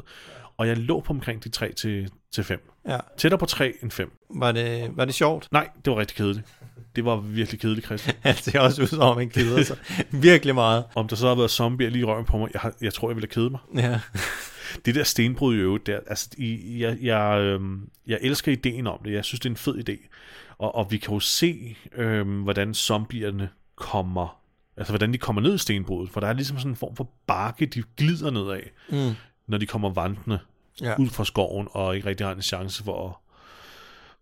Speaker 1: Og jeg lå på omkring de 3 til, til 5.
Speaker 2: Ja.
Speaker 1: Tættere på 3 end 5.
Speaker 2: Var det, var det sjovt?
Speaker 1: Nej, det var rigtig kedeligt. Det var virkelig kedeligt, Christian.
Speaker 2: Han ser også ud som om, han keder sig virkelig meget.
Speaker 1: Om der så har været zombier lige i røven på mig, jeg, har, jeg tror, jeg ville have kedet mig.
Speaker 2: Ja.
Speaker 1: det der stenbrud i øvrigt, der, altså, i, jeg, jeg, øhm, jeg elsker ideen om det. Jeg synes, det er en fed idé. Og, og vi kan jo se, øhm, hvordan zombierne kommer, altså hvordan de kommer ned i stenbruddet, for der er ligesom sådan en form for bakke, de glider nedad,
Speaker 2: Mm.
Speaker 1: når de kommer vandrende
Speaker 2: Ja.
Speaker 1: ja. ud fra skoven, og ikke rigtig har en chance for at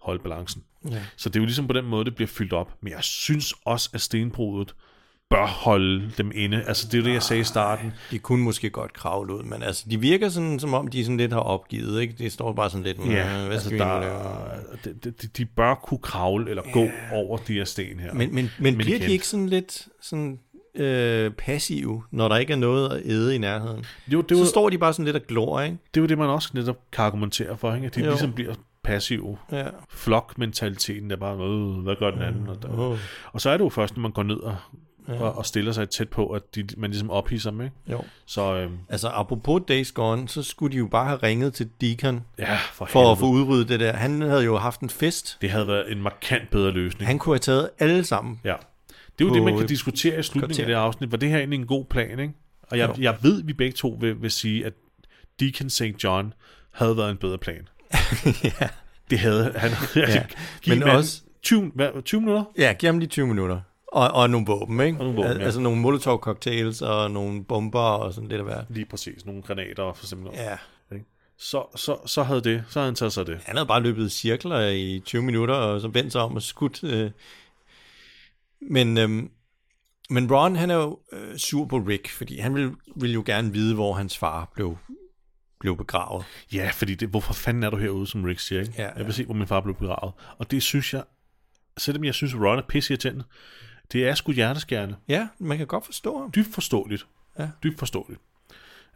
Speaker 1: holde balancen.
Speaker 2: Ja.
Speaker 1: Så det er jo ligesom på den måde, det bliver fyldt op. Men jeg synes også, at stenbruddet bør holde dem inde. Altså det er jo det, jeg sagde i starten.
Speaker 2: De kunne måske godt kravle ud, men altså, de virker sådan, som om de sådan lidt har opgivet, ikke? Det står bare sådan lidt, "Mm,
Speaker 1: Ja,
Speaker 2: hvad
Speaker 1: altså
Speaker 2: skal vi
Speaker 1: der,
Speaker 2: nu lave?"
Speaker 1: er- de, de, de bør kunne kravle eller gå over de her sten her.
Speaker 2: Men, men, men bliver
Speaker 1: igen,
Speaker 2: de ikke sådan lidt sådan, øh, passive, når der ikke er noget at æde i nærheden?
Speaker 1: Jo, det er
Speaker 2: så
Speaker 1: jo-
Speaker 2: står de bare sådan lidt og glor, ikke?
Speaker 1: Det er jo det, man også netop kan argumentere for, ikke? at de
Speaker 2: Jo.
Speaker 1: jo. ligesom bliver passive.
Speaker 2: Ja. Mm.
Speaker 1: Flokmentaliteten er bare, "Øh, hvad gør den anden? Og, der.
Speaker 2: Åh.
Speaker 1: og så er det jo først, når man går ned og,
Speaker 2: Ja.
Speaker 1: og, og stiller sig tæt på, at de, man ligesom ophidser dem. Ikke?
Speaker 2: Jo.
Speaker 1: Så øhm,
Speaker 2: Altså, apropos Days Gone, så skulle de jo bare have ringet til Deacon
Speaker 1: Ja, for
Speaker 2: for at
Speaker 1: helvede.
Speaker 2: få udryddet det der. Han havde jo haft en fest.
Speaker 1: det havde været en markant bedre løsning.
Speaker 2: Han kunne have taget alle sammen.
Speaker 1: Ja. Det er jo
Speaker 2: På
Speaker 1: det, man kan
Speaker 2: et
Speaker 1: diskutere i slutningen
Speaker 2: kvarter.
Speaker 1: af det her afsnit. Var det her egentlig en god plan, ikke? Og
Speaker 2: Jo.
Speaker 1: jeg, jeg ved, vi begge to vil, vil sige, at Deacon St. John havde været en bedre plan.
Speaker 2: ja.
Speaker 1: Det havde han.
Speaker 2: Ja,
Speaker 1: Giv
Speaker 2: men
Speaker 1: manden
Speaker 2: også-
Speaker 1: 20, hvad, 20 minutter?
Speaker 2: Ja, giv ham lige 20 minutter. Og, og nogle våben, ikke? Og
Speaker 1: nogle våben, ja.
Speaker 2: Altså nogle molotov-cocktails og nogle bomber og sådan lidt af hvert.
Speaker 1: Lige præcis. Nogle granater for eksempel.
Speaker 2: Ja.
Speaker 1: Ikke? Så, så, så havde det. Så havde han taget sig af det.
Speaker 2: Han havde bare løbet i cirkler i 20 minutter, og så vendt sig om og skudt. Øh. Men, øhm, men Ron, han er jo øh, sur på Rick, fordi han ville, ville jo gerne vide, hvor hans far blev blev begravet.
Speaker 1: Ja, fordi det, hvorfor fanden er du herude, som Rick siger, ikke?
Speaker 2: Ja,
Speaker 1: Jeg vil se, hvor min far blev begravet. Og det synes jeg, selvom jeg synes, Ron er pisse irriterende, det er sgu hjerteskærende.
Speaker 2: Ja, man kan godt forstå ham.
Speaker 1: Dybt forståeligt.
Speaker 2: Ja.
Speaker 1: Dybt forståeligt.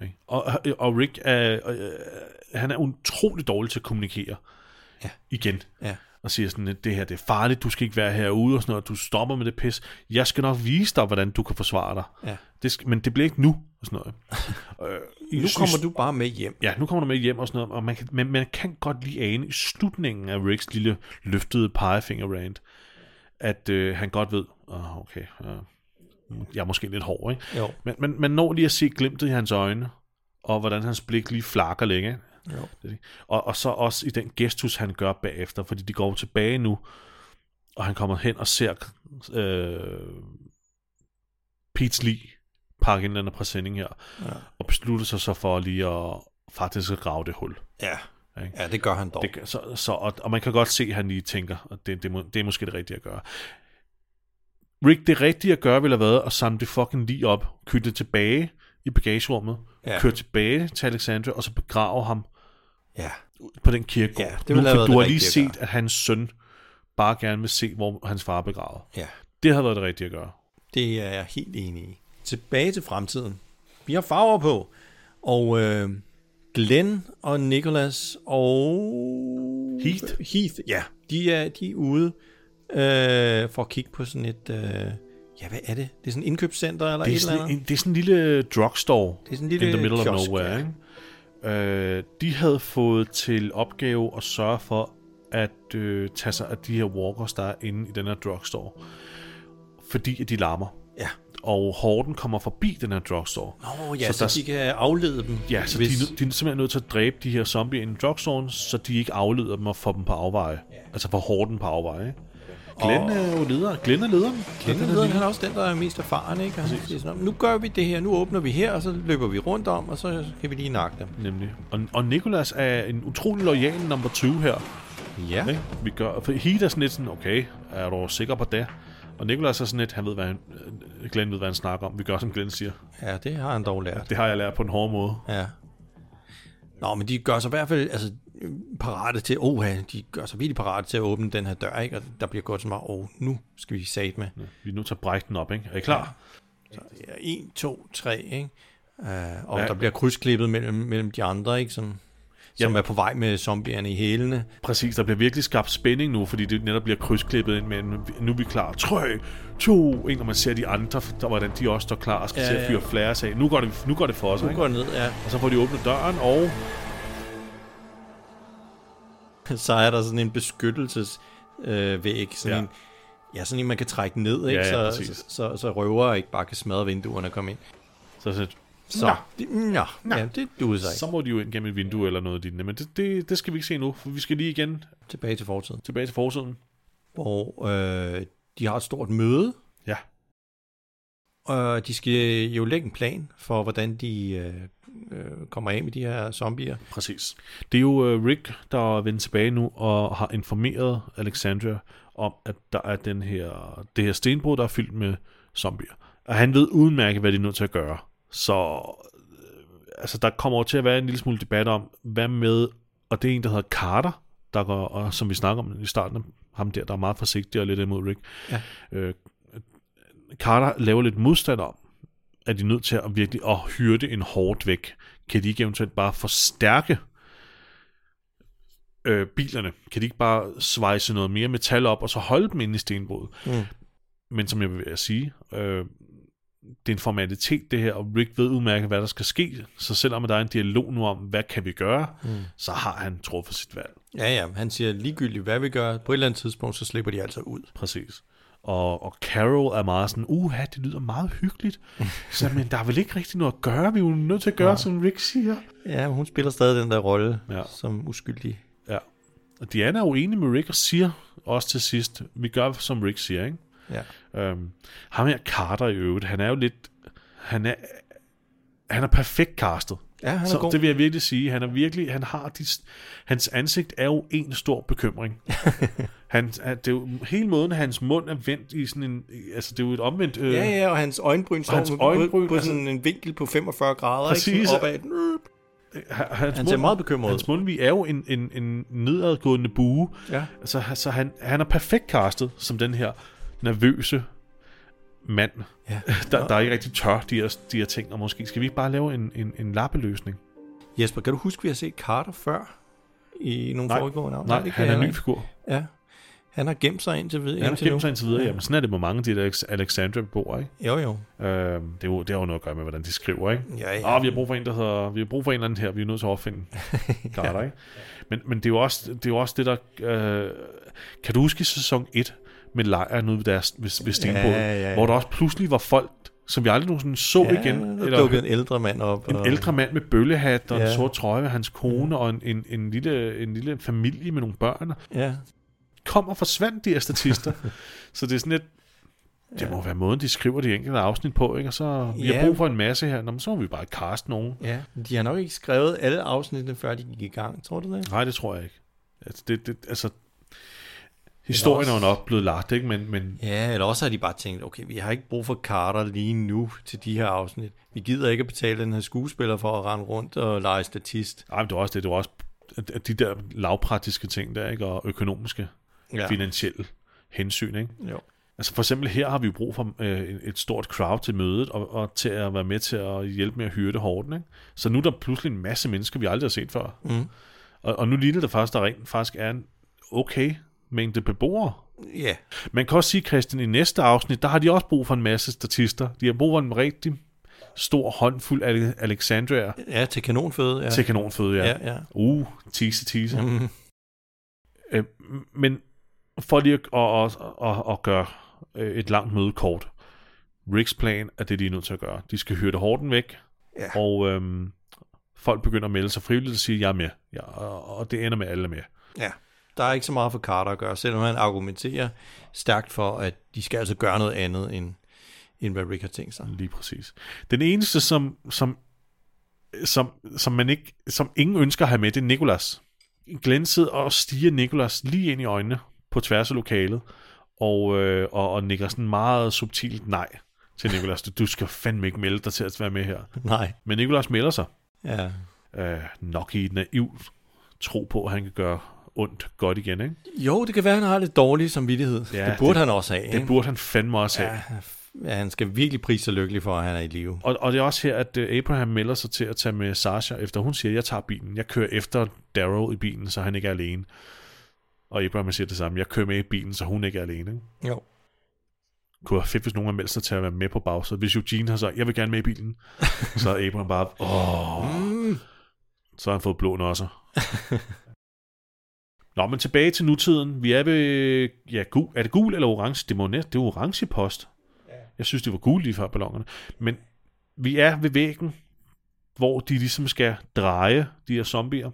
Speaker 1: Ikke? Og, og Rick, er, øh, han er utrolig dårlig til at kommunikere.
Speaker 2: Ja.
Speaker 1: Igen.
Speaker 2: Ja.
Speaker 1: Og siger sådan, at det her det er farligt, du skal ikke være herude og sådan noget, du stopper med det pis. Jeg skal nok vise dig, hvordan du kan forsvare dig.
Speaker 2: Ja.
Speaker 1: Det skal, men det bliver ikke nu og sådan noget. øh, i-
Speaker 2: Nu kommer du bare med hjem.
Speaker 1: Ja, nu kommer du med hjem og sådan noget, og man kan, men man kan godt lige ane i slutningen af Ricks lille løftede pegefinger rant, at øh, han godt ved, oh, okay, øh, jeg er måske lidt hård, ikke?
Speaker 2: Jo.
Speaker 1: Men, men man når lige at se glimtet i hans øjne, og hvordan hans blik lige flakker længe.
Speaker 2: Jo.
Speaker 1: Det er det. Og, og så også i den gestus, han gør bagefter, fordi de går tilbage nu, og han kommer hen og ser øh, Pete's lige pakke en eller anden præsending her,
Speaker 2: Ja.
Speaker 1: og beslutter sig så for lige at faktisk at grave det hul.
Speaker 2: Ja.
Speaker 1: Ikke?
Speaker 2: Ja, det gør han dog.
Speaker 1: Det, gør- så, så, og, og man kan godt se, at han lige tænker, at det, det, må, det er måske det rigtige at gøre. Rick, det rigtige at gøre ville have været at samle det fucking lige op, kylde det tilbage i bagagerummet,
Speaker 2: Ja.
Speaker 1: ja. køre tilbage til Alexandria, og så begrave ham
Speaker 2: Ja.
Speaker 1: på den kirkegård.
Speaker 2: Ja, det
Speaker 1: nu,
Speaker 2: ville have
Speaker 1: for
Speaker 2: været
Speaker 1: du
Speaker 2: det
Speaker 1: har lige
Speaker 2: rigtige at
Speaker 1: set, at hans søn bare gerne vil se, hvor hans far er begravet.
Speaker 2: Ja.
Speaker 1: Det havde været det rigtige at gøre.
Speaker 2: Det er jeg helt enig i. Tilbage til fremtiden. Vi har farver på. Og øh, Glenn og Nicholas og... Heath. Heath, ja. De er, de er ude øh, for at kigge på sådan et... Øh, ja, hvad er det? Det er sådan et indkøbscenter eller
Speaker 1: Det er,
Speaker 2: et eller
Speaker 1: sådan,
Speaker 2: andet?
Speaker 1: en, det er sådan en lille drugstore
Speaker 2: Det er sådan en lille
Speaker 1: in the middle
Speaker 2: kiosk,
Speaker 1: of nowhere. Ikke? Øh, de havde fået til opgave at sørge for at øh, tage sig af de her walkers, der er inde i den her drugstore. Fordi at de larmer.
Speaker 2: Ja.
Speaker 1: Og Horden kommer forbi den her drugstore.
Speaker 2: Nå ja, så,
Speaker 1: der-
Speaker 2: så de kan aflede dem.
Speaker 1: Ja, så
Speaker 2: hvis-
Speaker 1: de, er nød- de er simpelthen nødt til at dræbe de her zombier inden i drugstoren, så de ikke afleder dem og får dem på afveje. Altså får Horden på afveje. ikke? Glenn
Speaker 2: Og-
Speaker 1: er jo leder. Glenn er lederen.
Speaker 2: Glenn
Speaker 1: Den
Speaker 2: er
Speaker 1: her
Speaker 2: lederen,
Speaker 1: lille-
Speaker 2: han er også den, der er mest erfaren, ikke? Og han siger sådan, nu gør vi det her, nu åbner vi her, og så løber vi rundt om, og så kan vi lige nakke dem.
Speaker 1: Nemlig. Og, og Nikolas er en utrolig lojal nummer 20 her.
Speaker 2: Ja.
Speaker 1: Okay? Vi gør, for Heat er sådan lidt sådan, okay, er du sikker på det? Og Nikolas er sådan lidt, han ved, hvad han, øh, Glenn ved, hvad han snakker om. Vi gør, som Glenn siger.
Speaker 2: Ja, det har han dog lært.
Speaker 1: Det har jeg lært på en hård måde.
Speaker 2: Ja. Nå, men de gør sig i hvert fald altså, parate til, oh, de gør sig virkelig parate til at åbne den her dør, ikke? Og der bliver gået så meget, oh, nu skal vi sat med.
Speaker 1: Vi er nødt til at brække den op, ikke? Er I klar?
Speaker 2: Det er 1, 2, 3, ikke? Uh, og
Speaker 1: Ja.
Speaker 2: ja. der bliver krydsklippet mellem, mellem de andre, ikke? Som, som
Speaker 1: Ja.
Speaker 2: er på vej med zombierne i hælene.
Speaker 1: Præcis, der bliver virkelig skabt spænding nu, fordi det netop bliver krydsklippet ind, men nu er vi klar. 3, 2, 1, og man ser de andre, der, hvordan de også står klar og skal
Speaker 2: Ja,
Speaker 1: ja, til
Speaker 2: ja.
Speaker 1: at fyre flares af. Nu går det, nu går det for os,
Speaker 2: Nu
Speaker 1: ikke?
Speaker 2: går det ned, ja.
Speaker 1: Og så får de åbnet døren, og
Speaker 2: så er der sådan en beskyttelsesvæg, sådan ja.
Speaker 1: Ja.
Speaker 2: en, ja, sådan en, man kan trække ned, ikke?
Speaker 1: Ja, ja,
Speaker 2: så,
Speaker 1: præcis.
Speaker 2: så, så, så røvere ikke bare kan smadre vinduerne og komme ind.
Speaker 1: så er det sådan,
Speaker 2: Så,
Speaker 1: Nå.
Speaker 2: det, nå, ja, det duede sig
Speaker 1: Så
Speaker 2: ikke.
Speaker 1: må de jo ind gennem et vindue eller noget lignende, men det, det, det skal vi ikke se nu, for vi skal lige igen
Speaker 2: Tilbage til fortiden,
Speaker 1: tilbage til forsiden.
Speaker 2: hvor øh, de har et stort møde,
Speaker 1: Ja.
Speaker 2: og de skal jo lægge en plan for, hvordan de øh, øh, kommer af med de her zombier.
Speaker 1: Præcis. Det er jo øh, Rick, der er vendt tilbage nu og har informeret Alexandria om, at der er den her, det her stenbrud, der er fyldt med zombier. Og han ved udmærket, hvad de er nødt til at gøre. Så øh, altså, der kommer over til at være en lille smule debat om, hvad med, og det er en, der hedder Carter, der går, og som vi snakker om i starten, ham der, der er meget forsigtig og lidt imod Rick.
Speaker 2: Ja.
Speaker 1: Øh, Carter laver lidt modstand om, er de nødt til at virkelig at hyrde en hårdt væk. Kan de ikke eventuelt bare forstærke øh, bilerne? Kan de ikke bare svejse noget mere metal op, og så holde dem inde i stenbruddet?
Speaker 2: Mm.
Speaker 1: Men som jeg vil ved at sige, øh, det er en formalitet det her, og Rick ved udmærket, hvad der skal ske. Så selvom der er en dialog nu om, hvad kan vi gøre, mm. så har han truffet sit valg.
Speaker 2: Ja, ja, han siger ligegyldigt, hvad vi gør. På et eller andet tidspunkt, så slipper de altså ud.
Speaker 1: Præcis. Og, og Carol er meget sådan, uha, det lyder meget hyggeligt. så, men der er vel ikke rigtig noget at gøre, vi er jo nødt til at gøre, ja. som Rick siger.
Speaker 2: Ja, men hun spiller stadig den der rolle ja.
Speaker 1: Ja.
Speaker 2: som uskyldig.
Speaker 1: Ja. Og Diana er jo enig med Rick og siger også til sidst, vi gør, som Rick siger, ikke?
Speaker 2: Ja.
Speaker 1: Øhm, ham her Carter i øvrigt, han er jo lidt... Han er, han er perfekt castet.
Speaker 2: Ja, han er
Speaker 1: så
Speaker 2: god.
Speaker 1: det vil jeg virkelig sige. Han er virkelig, han har de, hans ansigt er jo en stor bekymring. han, han- det er jo, hele måden, hans mund er vendt i sådan en, altså det er jo et omvendt, øh,
Speaker 2: Ja, ja, og hans øjenbryn står
Speaker 1: hans
Speaker 2: på,
Speaker 1: øjenbryn,
Speaker 2: på, på
Speaker 1: altså-
Speaker 2: sådan en vinkel på 45 grader,
Speaker 1: Præcis.
Speaker 2: ikke? Sådan opad.
Speaker 1: hans
Speaker 2: Han ser
Speaker 1: mund-
Speaker 2: meget bekymret ud.
Speaker 1: Hans mundvig er jo en, en, en nedadgående bue.
Speaker 2: Ja.
Speaker 1: Så, så han, han er perfekt castet som den her nervøse mand,
Speaker 2: Ja.
Speaker 1: der, der er ikke rigtig tør de her, de her ting. Og måske skal vi ikke bare lave en, en, en lappeløsning?
Speaker 2: Jesper, kan du huske, vi har set Carter før? I nogle
Speaker 1: Nej.
Speaker 2: foregående afsnit?
Speaker 1: Nej,
Speaker 2: Det
Speaker 1: han
Speaker 2: kan
Speaker 1: er en
Speaker 2: jeg
Speaker 1: ny
Speaker 2: ikke.
Speaker 1: figur.
Speaker 2: Ja. Han har gemt sig indtil videre.
Speaker 1: Han har
Speaker 2: indtil nu.
Speaker 1: gemt sig indtil videre.
Speaker 2: Ja.
Speaker 1: Jamen, sådan er det med mange af de der Alex- Alexandra-beboere, ikke?
Speaker 2: Jo, jo.
Speaker 1: Øhm, det, er jo, det har jo noget at gøre med, hvordan de skriver, ikke?
Speaker 2: Ja, ja.
Speaker 1: Åh, vi har brug for en, der hedder, vi har brug for en eller anden her, vi er nødt til at opfinde Carter, ikke? Men, men det, er jo også, det er jo også det, der... Øh, kan du huske i sæson 1 med lejren ude ved, deres, ved, ved Stenbåden,
Speaker 2: Ja, ja, ja.
Speaker 1: hvor der også pludselig var folk, som vi aldrig nogensinde så
Speaker 2: Ja,
Speaker 1: igen.
Speaker 2: der dukkede en ældre mand op,
Speaker 1: En
Speaker 2: og-
Speaker 1: ældre mand med bøllehat og ja. en
Speaker 2: Ja. Mm.
Speaker 1: sort trøje med hans kone og en, en, en, lille, en lille familie med nogle børn.
Speaker 2: Ja.
Speaker 1: Kom og forsvandt de her statister. så det er sådan lidt, det må være måden, de skriver de enkelte afsnit på, ikke? Og så, vi
Speaker 2: Ja.
Speaker 1: har brug for en masse her. Nå, men så må vi bare kaste nogen.
Speaker 2: Ja, de har nok ikke skrevet alle afsnittene, før de gik i gang, tror du det?
Speaker 1: Nej, det tror jeg ikke. Altså, det, det, altså historien er jo
Speaker 2: også-
Speaker 1: nok blevet lagt, ikke? Men, men
Speaker 2: Ja, eller også har de bare tænkt, okay, vi har ikke brug for Carter lige nu til de her afsnit. Vi gider ikke at betale den her skuespiller for at rende rundt og lege statist.
Speaker 1: Ej, men det var også det, det var også at- at de der lavpraktiske ting der, ikke? og økonomiske,
Speaker 2: Ja.
Speaker 1: ja. finansielle hensyn. Ikke?
Speaker 2: Jo.
Speaker 1: Altså for eksempel her har vi jo brug for øh, et- et stort crowd til mødet, og, og til at være med til at hjælpe med at hyrde hården. Ikke? Så nu er der pludselig en masse mennesker, vi aldrig har set før.
Speaker 2: Mm.
Speaker 1: Og, og nu ligner det faktisk, der rent faktisk er en okay mængde beboere.
Speaker 2: Ja.
Speaker 1: Man kan også sige, Christian, i næste afsnit, der har de også brug for en masse statister. De har brug for en rigtig stor håndfuld Ale- Alexandria
Speaker 2: Ja, til kanonføde. Ja.
Speaker 1: til kanonføde, ja.
Speaker 2: Ja, ja.
Speaker 1: Uh, tise, tise.
Speaker 2: Mhm.
Speaker 1: Øh, men for lige at, at, at, at, at gøre øh, et langt møde kort, Ricks plan er det, de er nødt til at gøre. De skal hyrde Horten væk,
Speaker 2: Ja.
Speaker 1: og øhm, folk begynder at melde sig frivilligt og sige, jeg er med. Ja, og, og det ender med, at alle er med.
Speaker 2: Ja. Der er ikke så meget for Carter at gøre, selvom han argumenterer stærkt for, at de skal altså gøre noget andet, end, end hvad Rick har tænkt sig.
Speaker 1: Lige præcis. Den eneste, som, som, som, som, man ikke, som ingen ønsker at have med, det er Nikolas. Glenn sidder og stiger Nikolas lige ind i øjnene på tværs af lokalet, og, øh, og, og nikker sådan meget subtilt nej til Nikolas. Du, du skal fandme ikke melde dig til at være med her.
Speaker 2: Nej.
Speaker 1: Men Nikolas melder sig.
Speaker 2: Ja.
Speaker 1: Øh, nok i et naivt tro på, at han kan gøre ondt godt igen, ikke?
Speaker 2: Jo, det kan være, at han har lidt dårlig samvittighed. Ja, det burde det, han også have.
Speaker 1: Det
Speaker 2: ikke?
Speaker 1: burde han fandme også have.
Speaker 2: Ja, ja, han skal virkelig prise sig lykkelig for, at han er i live.
Speaker 1: Og, og det er også her, at øh, Abraham melder sig til at tage med Sasha, efter hun siger, jeg tager bilen. Jeg kører efter Darrow i bilen, så han ikke er alene. Og Abraham siger det samme, jeg kører med i bilen, så hun ikke er alene. ikke?
Speaker 2: Jo.
Speaker 1: Kunne være fedt, hvis nogen har meldt sig til at være med på bagsædet. Hvis Eugene har sagt, jeg vil gerne med i bilen, så er Abraham bare, åh,
Speaker 2: Mm.
Speaker 1: så har han fået blå nosser. Nå, men tilbage til nutiden. Vi er ved, ja, gul, er det gul eller orange? Det, må næst, det er orange post. Jeg synes, det var gul lige før ballongerne. Men vi er ved væggen, hvor de ligesom skal dreje de her zombier.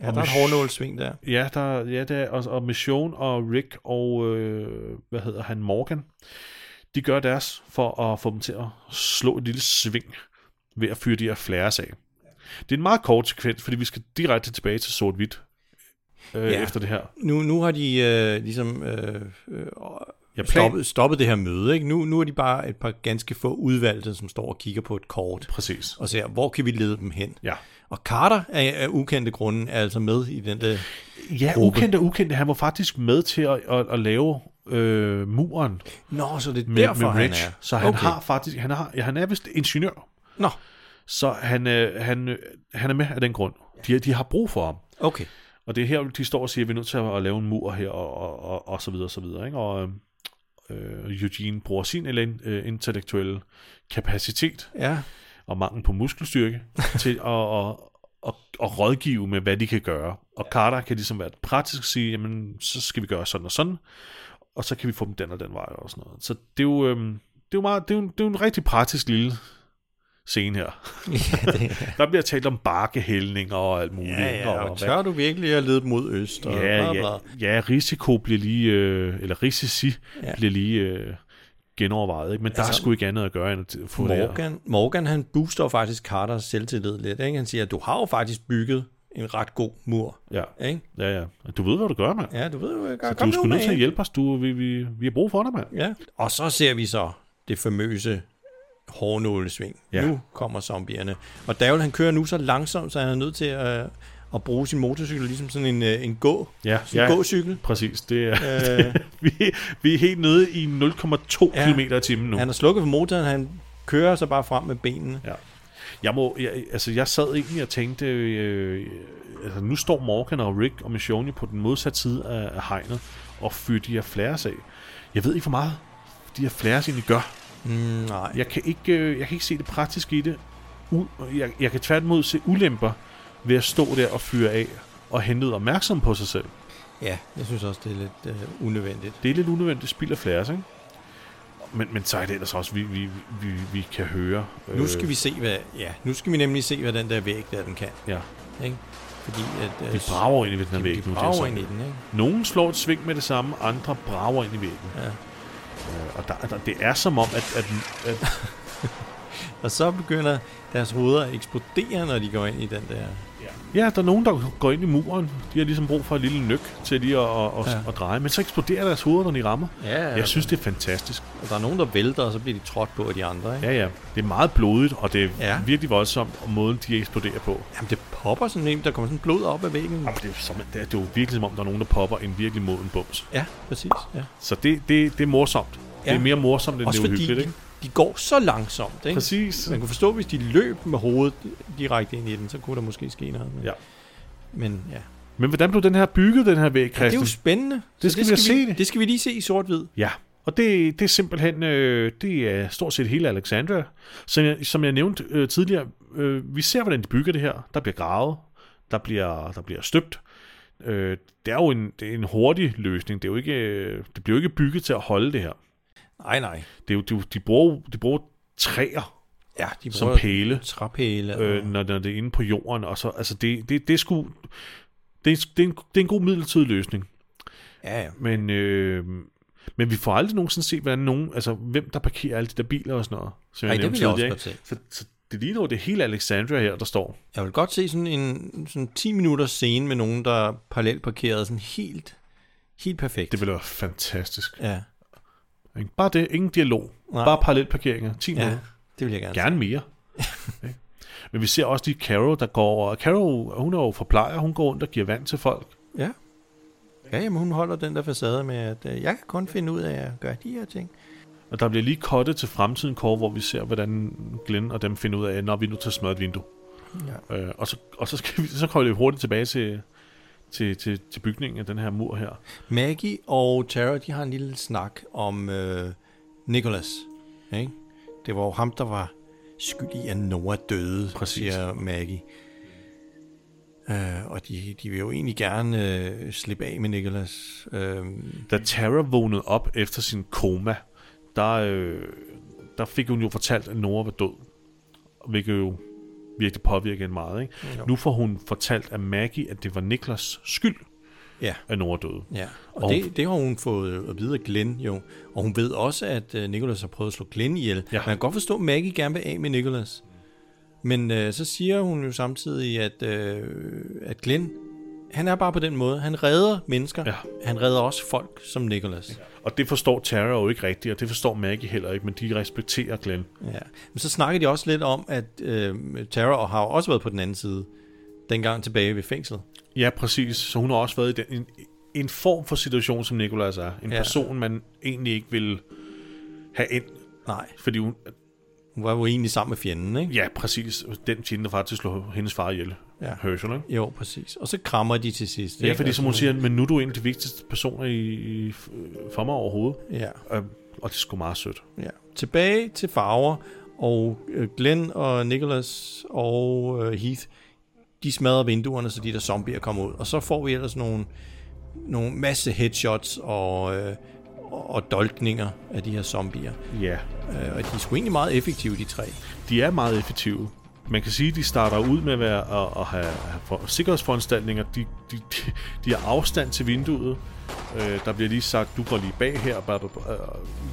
Speaker 2: Ja, der er et hårdnålsving der.
Speaker 1: Ja, der, ja der, og, og Mission og Rick og, øh, hvad hedder han, Morgan, de gør deres for at få dem til at slå et lille sving ved at fyre de her flares af. Det er en meget kort sekvens, fordi vi skal direkte tilbage til sort-hvidt øh,
Speaker 2: Ja.
Speaker 1: ja. efter det her.
Speaker 2: Nu, nu har de øh, ligesom øh, øh,
Speaker 1: plan-
Speaker 2: stoppet, stoppet det her møde. Ikke? Nu, nu er de bare et par ganske få udvalgte, som står og kigger på et kort.
Speaker 1: Præcis.
Speaker 2: Og ser, hvor kan vi lede dem hen?
Speaker 1: Ja.
Speaker 2: Og Carter af, af ukendte grunde er altså med i den der
Speaker 1: Ja,
Speaker 2: gruppe.
Speaker 1: ukendt og ukendt, han var faktisk med til at, at, at lave øh, muren
Speaker 2: Nå, så det er
Speaker 1: med,
Speaker 2: derfor,
Speaker 1: med
Speaker 2: han
Speaker 1: Rich.
Speaker 2: er.
Speaker 1: Så han
Speaker 2: Okay.
Speaker 1: har faktisk, han, har, ja, han er vist ingeniør.
Speaker 2: Nå,
Speaker 1: Så han, øh, han, øh, han er med af den grund. De, de har brug for ham.
Speaker 2: okay.
Speaker 1: Og det er her, de står og siger, at vi er nødt til at lave en mur her, og, og, og, og så videre, og så videre. Ikke? Og øh, Eugene bruger sin eller- øh, intellektuelle kapacitet
Speaker 2: Ja.
Speaker 1: og mangel på muskelstyrke til at, at, at, at rådgive med, hvad de kan gøre. Og Carter kan ligesom være praktisk og sige, jamen, så skal vi gøre sådan og sådan, og så kan vi få dem den og den vej og sådan noget. Så det er jo, øhm, det er jo, meget, det er jo, en, det er jo en rigtig praktisk lille scene her.
Speaker 2: ja, det,
Speaker 1: Der bliver talt om barkehældninger og alt muligt.
Speaker 2: ja, ja, og
Speaker 1: hvad-
Speaker 2: tør du virkelig at lede dem mod øst? Og
Speaker 1: Ja,
Speaker 2: bla, bla.
Speaker 1: ja, ja, risiko bliver lige, øh, eller risici
Speaker 2: Ja.
Speaker 1: ja. bliver lige øh, genovervejet, ikke? men der er
Speaker 2: Altså,
Speaker 1: sgu ikke andet at gøre end at få det her.
Speaker 2: Morgan, Morgan han booster jo faktisk Carters selvtillid lidt. Ikke? Han siger, du har jo faktisk bygget en ret god mur.
Speaker 1: Ja.
Speaker 2: Ikke?
Speaker 1: Ja, ja. Du ved, hvad du gør, mand.
Speaker 2: Ja, du ved jo, hvad jeg gør.
Speaker 1: Så
Speaker 2: Kom
Speaker 1: du er sgu
Speaker 2: nu
Speaker 1: nødt
Speaker 2: med
Speaker 1: til at
Speaker 2: ind.
Speaker 1: hjælpe os. Du, vi, vi, vi har brug for dig, mand.
Speaker 2: Ja. Og så ser vi så det famøse hårdnålesving.
Speaker 1: Ja.
Speaker 2: Ja. Nu kommer zombierne. Og Davel, han kører nu så langsomt, så han er nødt til at, øh, at bruge sin motorcykel ligesom sådan en, øh, en gå.
Speaker 1: Ja,
Speaker 2: sådan en gåcykel.
Speaker 1: Præcis. Det er,
Speaker 2: Øh.
Speaker 1: vi, vi er helt nede i 0,2 ja. km i timen nu.
Speaker 2: Han er slukket for motoren, han kører så bare frem med benene.
Speaker 1: Ja. Jeg, må, jeg, altså, jeg sad egentlig og tænkte, øh, altså, nu står Morgan og Rick og Michonne på den modsatte side af, af hegnet og fyrer de her flares af. Jeg ved ikke, hvor meget de her flares egentlig gør.
Speaker 2: Mm, nej.
Speaker 1: Jeg kan, ikke, øh, jeg kan ikke se det praktisk i det. U- jeg, jeg kan tværtimod se ulemper ved at stå der og fyre af og henlede opmærksom på sig selv.
Speaker 2: Ja, jeg synes også, det er lidt øh, unødvendigt.
Speaker 1: Det er lidt unødvendigt spild af flares, ikke? Men, men så er det ellers også, vi, vi, vi, vi kan høre. øh,
Speaker 2: Nu skal vi se, hvad, ja, nu skal vi nemlig se, hvad den der væg der, den kan.
Speaker 1: Ja.
Speaker 2: Ikke? Fordi at,
Speaker 1: De brager ind i den her
Speaker 2: de-
Speaker 1: væg. nu,
Speaker 2: De
Speaker 1: det er
Speaker 2: brager
Speaker 1: sådan.
Speaker 2: ind i den, ikke?
Speaker 1: Nogen slår et sving med det samme, andre brager ind i væggen.
Speaker 2: Ja.
Speaker 1: Øh, og der, der, det er som om, at... at, at
Speaker 2: Og så begynder deres hoveder at eksplodere, når de går ind i den der...
Speaker 1: ja, der er nogen, der går ind i muren. De har ligesom brug for et lille nøk til lige at, at, at,
Speaker 2: Ja.
Speaker 1: at dreje. Men så eksploderer deres hoveder, når de rammer.
Speaker 2: Ja, ja,
Speaker 1: Jeg synes, det er fantastisk.
Speaker 2: Og der er nogen, der vælter, og så bliver de trådt på af de andre, ikke?
Speaker 1: Ja, ja. Det er meget blodigt, og det er ja.
Speaker 2: Ja.
Speaker 1: virkelig voldsomt, og måden, de eksploderer på.
Speaker 2: Jamen, det popper sådan en, der kommer sådan blod op af væggen.
Speaker 1: Jamen, det, er som, det, er, det er jo virkelig, som om der er nogen, der popper en virkelig moden bums.
Speaker 2: Ja, præcis. Ja.
Speaker 1: Så det, det, det er morsomt. Ja. Det
Speaker 2: Ja.
Speaker 1: er mere morsomt, end
Speaker 2: Også
Speaker 1: det er
Speaker 2: fordi
Speaker 1: uhyggeligt,
Speaker 2: de,
Speaker 1: ikke?
Speaker 2: de går så langsomt, ikke?
Speaker 1: Præcis.
Speaker 2: Man kunne forstå, hvis de løb med hovedet direkte ind i den, så kunne der måske ske noget. Men,
Speaker 1: Ja.
Speaker 2: Men ja.
Speaker 1: Men hvordan blev den her bygget, den her væg,
Speaker 2: Det er
Speaker 1: Christian?
Speaker 2: jo spændende.
Speaker 1: Det
Speaker 2: Så
Speaker 1: skal vi da se det.
Speaker 2: Det skal vi lige se i sort-hvid.
Speaker 1: Ja, og det, det er simpelthen øh, det er stort set hele Alexandria. Som jeg, som jeg nævnte øh, tidligere, øh, vi ser, hvordan de bygger det her. Der bliver gravet, der bliver, der bliver støbt. Øh, det er jo en, det er en hurtig løsning. Det, er jo ikke, øh, det bliver jo ikke bygget til at holde det her.
Speaker 2: Nej, nej.
Speaker 1: Det er jo, de, de, bruger, jo- de bruger træer
Speaker 2: Ja, de
Speaker 1: som
Speaker 2: bruger
Speaker 1: pæle,
Speaker 2: Træpæle. og-
Speaker 1: øh, når, når det er inde på jorden. Og så, altså det, det, det, er sgu, det, er, det, er en, det er en god midlertidig løsning.
Speaker 2: Ja, ja.
Speaker 1: Men, øh, men vi får aldrig nogensinde set, hvordan nogen, altså, hvem der parkerer alle de der biler og sådan noget. Som
Speaker 2: Ej, det
Speaker 1: nævnte
Speaker 2: vil jeg også
Speaker 1: tidligere,
Speaker 2: godt
Speaker 1: ikke? Så, så det ligner jo, det er hele Alexandria her, der står.
Speaker 2: Jeg vil godt se sådan en sådan 10 minutters scene med nogen, der parallelt parkerede sådan helt, helt perfekt.
Speaker 1: Det ville være fantastisk.
Speaker 2: Ja.
Speaker 1: Ikke? Bare det, ingen dialog. Nej.
Speaker 2: Nej.
Speaker 1: Bare parallelparkeringer. 10
Speaker 2: ja,
Speaker 1: minutter.
Speaker 2: det vil jeg gerne.
Speaker 1: Gerne mere. Ikke? men vi ser også lige Caro, der går over. Caro, hun er jo forplejer, hun går rundt og giver vand til folk.
Speaker 2: Ja. Ja, jamen hun holder den der facade med, at øh, jeg kan kun finde ud af at gøre de her ting.
Speaker 1: Og der bliver lige kottet til fremtiden, Kåre, hvor vi ser, hvordan Glenn og dem finder ud af, når vi er nu tager smadret vindue.
Speaker 2: Ja.
Speaker 1: Øh, og, så, og så, skal vi, så kommer vi hurtigt tilbage til, til, til, til bygningen af den her mur her.
Speaker 2: Maggie og Tara, de har en lille snak om øh, Nicholas. Ikke? Det var jo ham, der var skyldig, at Noah døde, Præcis. siger Maggie. Øh, og de, de vil jo egentlig gerne øh, slippe af med Nicholas. Øh,
Speaker 1: Da Tara vågnede op efter sin koma, der, øh, der fik hun jo fortalt, at Nora var død. Hvilket jo virkelig påvirker hende meget. Ikke?
Speaker 2: Jo.
Speaker 1: Nu får hun fortalt af Maggie, at det var Niklas skyld,
Speaker 2: ja.
Speaker 1: at Nora døde.
Speaker 2: Ja, og,
Speaker 1: Og-
Speaker 2: og det, det har hun fået at vide af Glenn jo. Og hun ved også, at øh, Nicholas har prøvet at slå Glenn ihjel.
Speaker 1: Ja.
Speaker 2: Ja. Man kan godt forstå, at Maggie gerne vil af med Nicholas. Men øh, så siger hun jo samtidig, at, øh, at Glenn, han er bare på den måde. Han redder mennesker.
Speaker 1: Ja.
Speaker 2: Han redder også folk som Nicholas.
Speaker 1: Og det forstår Tara jo ikke rigtigt, og det forstår Maggie heller ikke, men de respekterer Glenn.
Speaker 2: Ja. Men så snakker de også lidt om, at øh, Tara og har jo også været på den anden side. Dengang tilbage ved fængslet.
Speaker 1: Ja, præcis. Så hun har også været i den, en, en form for situation, som Nicolas er. En ja.
Speaker 2: Ja.
Speaker 1: person, man egentlig ikke vil have ind.
Speaker 2: Nej,
Speaker 1: Fordi hun,
Speaker 2: hun var jo egentlig sammen med fjenden, ikke?
Speaker 1: ja, præcis. Den tjente faktisk slå hendes far ihjel.
Speaker 2: Ja.
Speaker 1: Herschel, ikke?
Speaker 2: Jo, præcis. Og så krammer de til sidst.
Speaker 1: Ja,
Speaker 2: ikke? Altså,
Speaker 1: fordi
Speaker 2: Og
Speaker 1: som hun
Speaker 2: sådan-
Speaker 1: siger, men nu er du en af de vigtigste personer i, i, for mig overhovedet.
Speaker 2: Ja.
Speaker 1: Øhm, og det er sgu meget sødt.
Speaker 2: Ja. Tilbage til farver, og øh, Glenn og Nicholas og øh, Heath, de smadrer vinduerne, så de der zombier kommer ud. Og så får vi ellers nogle, nogle masse headshots og, øh, og dolkninger af de her zombier.
Speaker 1: Ja,
Speaker 2: Øh, og de er sgu egentlig meget effektive, de tre.
Speaker 1: de er meget effektive. Man kan sige, at de starter ud med at, være, at, at have, have for, sikkerhedsforanstaltninger. De, de, de, de har afstand til vinduet. Øh, der bliver lige sagt, du går lige bag her. Bla, bla, bla. Øh,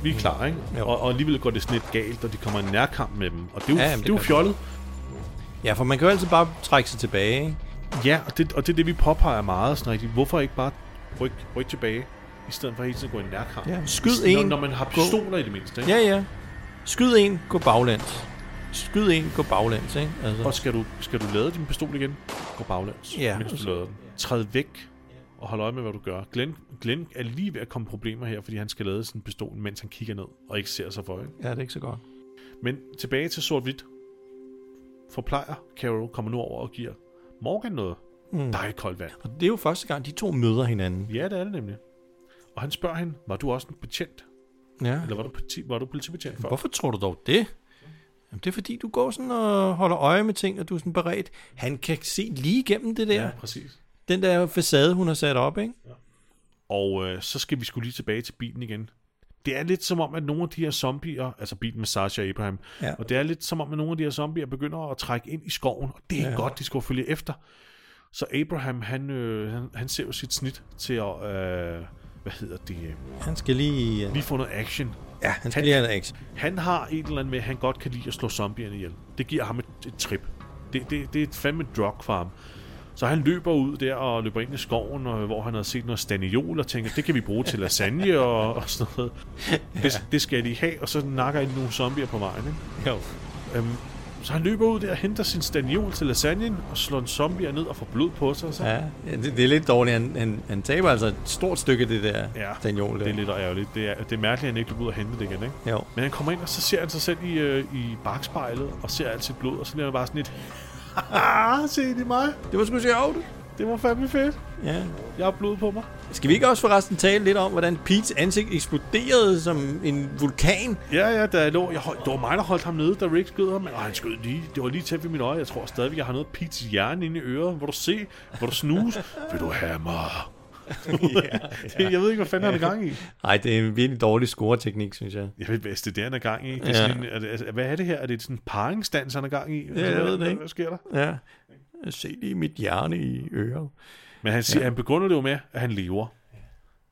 Speaker 1: Vi er klar, ikke?
Speaker 2: Jo.
Speaker 1: Og, og alligevel går det sådan lidt galt, og de kommer i nærkamp med dem. Og det er jo,
Speaker 2: Ja,
Speaker 1: ja,
Speaker 2: jamen,
Speaker 1: det er
Speaker 2: det
Speaker 1: jo
Speaker 2: gør de.
Speaker 1: fjollet.
Speaker 2: Ja, for man kan jo altid bare trække sig tilbage. Ikke?
Speaker 1: Ja, og det, og det er det, vi påpeger meget sådan rigtigt. Hvorfor ikke bare rykke ryk tilbage, i stedet for hele tiden at gå i nærkamp?
Speaker 2: Ja, skyd
Speaker 1: når,
Speaker 2: en,
Speaker 1: Når man har
Speaker 2: gå.
Speaker 1: pistoler i det mindste, ikke?
Speaker 2: Ja, ja. Skyd en, gå baglæns. Skyd en, gå baglæns, ikke? Altså.
Speaker 1: Og skal du, skal du lade din pistol igen, gå baglæns,
Speaker 2: Ja.
Speaker 1: mens du lader den. Træd væk og hold øje med, hvad du gør. Glenn, Glenn er lige ved at komme i problemer her, fordi han skal lade sin pistol, mens han kigger ned og ikke ser sig for. Ikke?
Speaker 2: Ja, det er ikke så godt.
Speaker 1: Men tilbage til sort-hvidt. Forplejer Carol kommer nu over og giver Morgan noget.
Speaker 2: Mm.
Speaker 1: Mm. Der er koldt vand.
Speaker 2: Og det er jo første gang, de to møder hinanden.
Speaker 1: Ja, det er det nemlig. Og han spørger hende, var du også en betjent?
Speaker 2: Ja.
Speaker 1: Eller var du, politi, var du politibetjent før?
Speaker 2: Hvorfor tror du dog det? Jamen, det er fordi, du går sådan og holder øje med ting, og du er sådan beredt. Han kan se lige igennem det der.
Speaker 1: Ja, præcis.
Speaker 2: Den der facade, hun har sat op, ikke?
Speaker 1: Og øh, så skal vi skulle lige tilbage til bilen igen. Det er lidt som om, at nogle af de her zombier, altså bilen med Sasha Abraham,
Speaker 2: Ja.
Speaker 1: ja. og det er lidt som om, at nogle af de her zombier begynder at trække ind i skoven, og det er
Speaker 2: Ja.
Speaker 1: ja. godt, de skal følge efter. Så Abraham, han, øh, han, han ser jo sit snit til at, øh, hvad hedder det, øh,
Speaker 2: Han skal lige... Uh...
Speaker 1: lige få noget action.
Speaker 2: Ja, han skal lige have en action.
Speaker 1: Han har et eller andet med, at han godt kan lide at slå zombierne ihjel. Det giver ham et, et trip. Det, det, det er et fandme drug for ham. Så han løber ud der og løber ind i skoven, og, hvor han havde set noget staniol, og tænker, det kan vi bruge til lasagne og, og sådan noget. Det, det skal de have, og så nakker ind nogle zombier på vejen. Ikke?
Speaker 2: Jo.
Speaker 1: Øhm, så han løber ud der og henter sin staniol til lasagnen, og slår en zombier ned og får blod på sig. og Så.
Speaker 2: Ja, ja, det, det er lidt dårligt. Han, han, han taber altså et stort stykke, det der
Speaker 1: Ja,
Speaker 2: Daniel.
Speaker 1: det er lidt ærgerligt. Det er, det er mærkeligt, at han ikke løb ud og hente det igen, ikke?
Speaker 2: Jo.
Speaker 1: Men han kommer ind, og så ser han sig selv i, øh, i bagspejlet, og ser alt sit blod, og så bliver han bare sådan lidt... Ah, se det er mig.
Speaker 2: Det var sgu sjovt.
Speaker 1: Det var fandme fedt.
Speaker 2: Ja.
Speaker 1: Jeg har blod på mig.
Speaker 2: Skal vi ikke også forresten tale lidt om, hvordan Pete's ansigt eksploderede som en vulkan?
Speaker 1: Ja, ja, da jeg lå, jeg hold, det var mig, der holdt ham nede, da Rick skød ham. Men, åh, han skød lige, det var lige tæt ved mine øje. Jeg tror stadigvæk, jeg har noget pizza hjerne inde i øret. Hvor du se, hvor du snus, vil du have mig?
Speaker 2: ja.
Speaker 1: Det- Jeg ved ikke, hvad fanden han er gang i.
Speaker 2: Nej, det er en virkelig dårlig scoreteknik, synes jeg.
Speaker 1: Jeg ved, hvad det er, det, han er gang i. Det er
Speaker 2: Ja.
Speaker 1: ja. sådan, en- er det, altså, hvad er det her? Er det sådan en paringsdans, han er gang i?
Speaker 2: Ja, jeg ved det ikke.
Speaker 1: Hvad sker der?
Speaker 2: Ja. Se lige mit hjerne i øret.
Speaker 1: Men han, siger, ja. han begynder det jo med, at han lever.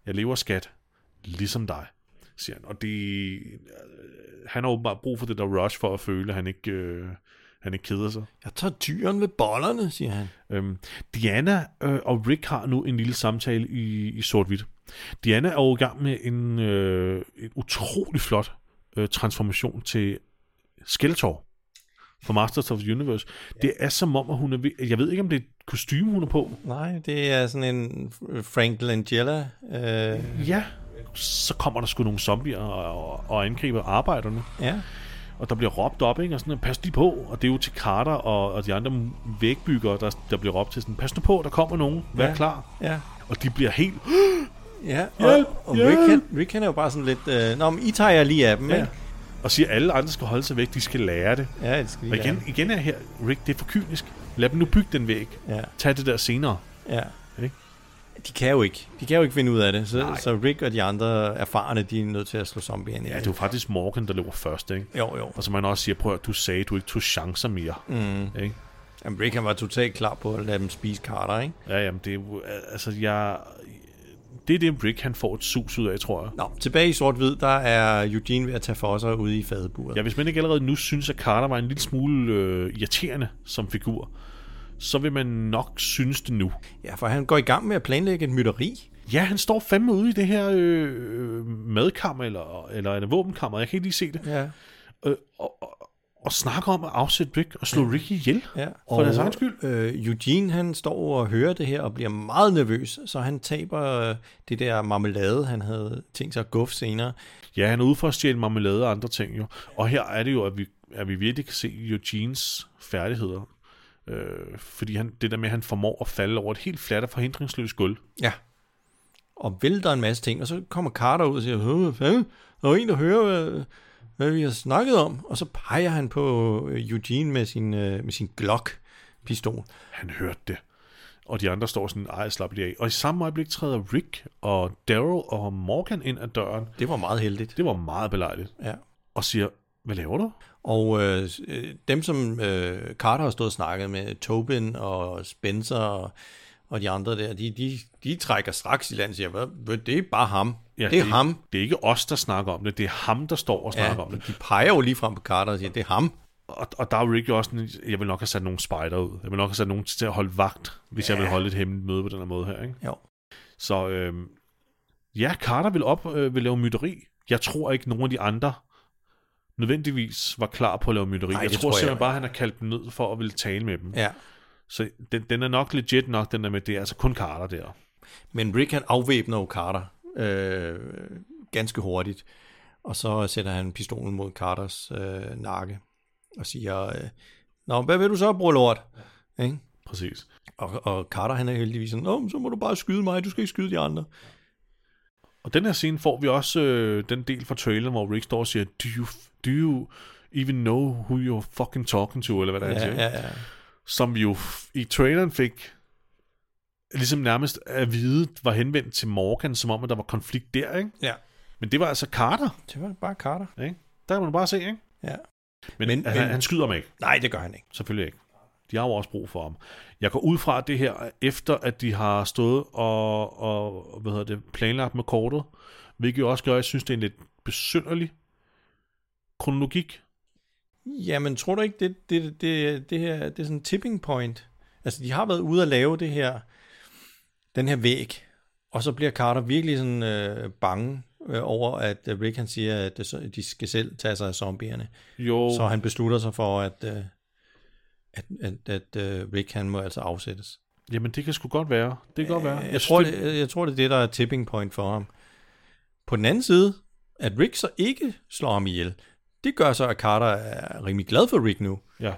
Speaker 1: Jeg lever skat, ligesom dig, siger han. Og det, øh, han har åbenbart brug for det der rush for at føle, at han ikke, øh, han ikke keder sig.
Speaker 2: Jeg tager tyren ved bollerne, siger han.
Speaker 1: Øhm, Diana øh, og Rick har nu en lille samtale i, i sort-hvidt. Diana er jo i gang med en, øh, en utrolig flot øh, transformation til Skeletor fra Masters of the Universe. Det er som om, at hun er ved, jeg ved ikke, om det er et kostume, hun er på.
Speaker 2: Nej, det er sådan en Frank Langella. Øh,
Speaker 1: Ja, så kommer der sgu nogle zombier og, og, og angriber arbejderne.
Speaker 2: ja.
Speaker 1: Og der bliver råbt op, ikke? Og sådan, pas lige på. Og det er jo til Carter og, og de andre vægbyggere, der, der bliver råbt til sådan, pas nu på, der kommer nogen. Vær
Speaker 2: Ja.
Speaker 1: ja. klar.
Speaker 2: Ja.
Speaker 1: Og de bliver helt...
Speaker 2: Ja,
Speaker 1: Hjælp,
Speaker 2: og, og Rick,
Speaker 1: hjælp.
Speaker 2: han, Rick han er jo bare sådan lidt, øh, Nå, men I tager jeg lige af dem,
Speaker 1: Ja.
Speaker 2: ikke?
Speaker 1: Og siger, at alle andre skal holde sig væk, de skal lære det.
Speaker 2: Ja, det skal lige
Speaker 1: Og igen,
Speaker 2: være.
Speaker 1: igen er her, Rick, det er for kynisk. Lad dem nu bygge den væg.
Speaker 2: Ja.
Speaker 1: Tag det der senere.
Speaker 2: Ja.
Speaker 1: Ikke?
Speaker 2: De kan jo ikke. De kan jo ikke finde ud af det. Så,
Speaker 1: Nej.
Speaker 2: så Rick og de andre erfarne, de er nødt til at slå zombierne
Speaker 1: Ja, det er jo faktisk Morgan, der løber først, ikke?
Speaker 2: Jo, jo.
Speaker 1: Og som man også siger, prøv at du sagde, du ikke tog chancer mere.
Speaker 2: Mm.
Speaker 1: Ikke?
Speaker 2: Jamen, Rick han var totalt klar på at lade dem spise Carter, ikke?
Speaker 1: Ja, jamen, det er jo- altså, jeg... Det er det, Rick, han får et sus ud af, tror jeg.
Speaker 2: Nå, tilbage i sort-hvid, der er Eugene ved at tage for sig ude i fadeburet.
Speaker 1: Ja, hvis man ikke allerede nu synes, at Carter var en lille smule øh, irriterende som figur, så vil man nok synes det nu.
Speaker 2: Ja, for han går i gang med at planlægge et mytteri.
Speaker 1: Ja, han står fandme ude i det her øh, øh, madkammer, eller, eller en våbenkammer, jeg kan ikke lige se det,
Speaker 2: Ja.
Speaker 1: øh, og, og, og snakker om at afsætte Rick og slå Rick ihjel,
Speaker 2: Ja,
Speaker 1: for deres egen skyld.
Speaker 2: Øh, Eugene han står og hører det her og bliver meget nervøs, så han taber øh, det der marmelade, han havde tænkt sig at guffe senere.
Speaker 1: Ja, han er ude for at stjæle marmelade og andre ting jo. Og her er det jo, at vi, at vi virkelig kan se Eugenes færdigheder. Øh, fordi han, det der med, at han formår at falde over et helt fladt og forhindringsløst gulv.
Speaker 2: Ja. Og vælter en masse ting, og så kommer Carter ud og siger, "Hå, hvad fanden, der er jo en, der hører, hvad, hvad vi har snakket om. Og så peger han på øh, Eugene med sin, øh, med sin Glock-pistol.
Speaker 1: Han hørte det. Og de andre står sådan, ej, slap lige af. Og i samme øjeblik træder Rick og Daryl og Morgan ind ad døren.
Speaker 2: Det var meget heldigt.
Speaker 1: Det var meget belejligt.
Speaker 2: Ja.
Speaker 1: Og siger, hvad laver du?
Speaker 2: Og øh, s- øh, dem, som øh, Carter har stået og snakket med, Tobin og Spencer og, og de andre der, de, de, de trækker straks i land og siger, hvad, hvad, det er bare ham. Ja, det er
Speaker 1: det,
Speaker 2: ham.
Speaker 1: Det er ikke os, der snakker om det. Det er ham, der står og snakker
Speaker 2: Ja,
Speaker 1: om det.
Speaker 2: de peger jo lige frem på Carter og siger, det er ham.
Speaker 1: Og, og der er Rick jo også sådan, jeg vil nok have sat nogle spider ud. Jeg vil nok have sat nogen til at holde vagt, hvis ja. jeg vil holde et hemmeligt møde på den her måde her. Ikke?
Speaker 2: Jo.
Speaker 1: Så øh, ja, Carter vil op, øh, vil lave mytteri. Jeg tror ikke, nogen af de andre nødvendigvis var klar på at lave mytteri.
Speaker 2: Nej,
Speaker 1: jeg
Speaker 2: det
Speaker 1: tror
Speaker 2: tror jeg
Speaker 1: simpelthen
Speaker 2: ikke.
Speaker 1: bare, han har kaldt dem ned for at ville tale med dem.
Speaker 2: Ja.
Speaker 1: Så den, den er nok legit nok, den der med, det er altså kun Carter der.
Speaker 2: Men Rick han afvæbner jo Carter øh, ganske hurtigt, og så sætter han pistolen mod Carters øh, nakke og siger, øh, Nå, hvad vil du så, bror lort? Ikke?
Speaker 1: Præcis.
Speaker 2: Og, og Carter han er heldigvis sådan, Nå, men så må du bare skyde mig, du skal ikke skyde de andre.
Speaker 1: Og den her scene får vi også øh, den del fra traileren, hvor Rick står og siger, do you, do you even know who you're fucking talking to, eller hvad der
Speaker 2: Ja,
Speaker 1: er, siger, ikke?
Speaker 2: ja, ja.
Speaker 1: som vi jo f- i traileren fik ligesom nærmest at vide, var henvendt til Morgan, som om, at der var konflikt der, ikke?
Speaker 2: Ja.
Speaker 1: Men det var altså Carter,
Speaker 2: Det var bare Carter.
Speaker 1: ikke? Der kan man bare se, ikke?
Speaker 2: Ja.
Speaker 1: Men,
Speaker 2: Men-
Speaker 1: men, han,
Speaker 2: men-
Speaker 1: han skyder mig ikke.
Speaker 2: Nej, det gør han ikke.
Speaker 1: Selvfølgelig ikke. De har jo også brug for ham. Jeg går ud fra at det her, er efter at de har stået og, og hvad hedder det, planlagt med kortet, hvilket jo også gør, at jeg synes, det er en lidt besynderlig kronologik.
Speaker 2: Jamen, tror du ikke, det, det, det, det her det er sådan en tipping point? Altså, de har været ude at lave det her, den her væg, og så bliver Carter virkelig sådan øh, bange øh, over, at øh, Rick han siger, at det så- de skal selv tage sig af zombierne.
Speaker 1: Jo.
Speaker 2: Så han beslutter sig for, at, øh, at, at, at øh, Rick han må altså afsættes.
Speaker 1: Jamen, det kan sgu godt være. Det kan godt være.
Speaker 2: Øh, Jeg,
Speaker 1: synes,
Speaker 2: tror, det... jeg, jeg tror, det er det, der er tipping point for ham. På den anden side, at Rick så ikke slår ham ihjel, det gør så, at Carter er rimelig glad for Rick nu.
Speaker 1: Ja.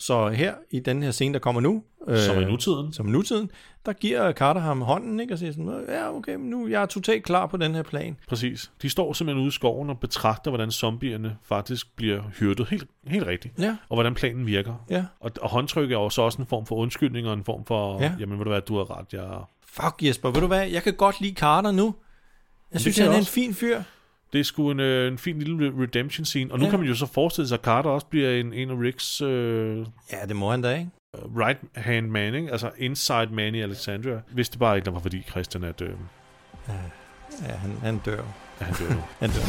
Speaker 2: Så her i den her scene, der kommer nu, øh,
Speaker 1: Som er nutiden.
Speaker 2: som er nutiden, der giver Carter ham hånden, ikke, og siger sådan, ja, okay, men nu jeg er totalt klar på den her plan.
Speaker 1: Præcis. De står simpelthen ude i skoven og betragter, hvordan zombierne faktisk bliver hyrdet helt, helt rigtigt.
Speaker 2: Ja.
Speaker 1: Og hvordan planen virker.
Speaker 2: Ja.
Speaker 1: Og, og håndtryk er jo så også en form for undskyldning og en form for,
Speaker 2: Ja.
Speaker 1: ja. jamen ved du hvad, du har ret, jeg...
Speaker 2: Fuck Jesper, ved du hvad, jeg kan godt lide Carter nu. Jeg synes,
Speaker 1: kan
Speaker 2: han
Speaker 1: jeg
Speaker 2: er en
Speaker 1: også.
Speaker 2: fin fyr.
Speaker 1: Det er sgu en, øh, en fin lille re- redemption scene. Og nu
Speaker 2: Ja.
Speaker 1: ja. kan man jo så forestille sig, at Carter også bliver en, en af Ricks øh,
Speaker 2: Ja, det må han da, ikke?
Speaker 1: right hand man, ikke? altså inside man i Alexandria. Hvis det bare ikke der var fordi, Christian, at, øh,
Speaker 2: Ja, han, han dør.
Speaker 1: at han dør nu.
Speaker 2: Han dør.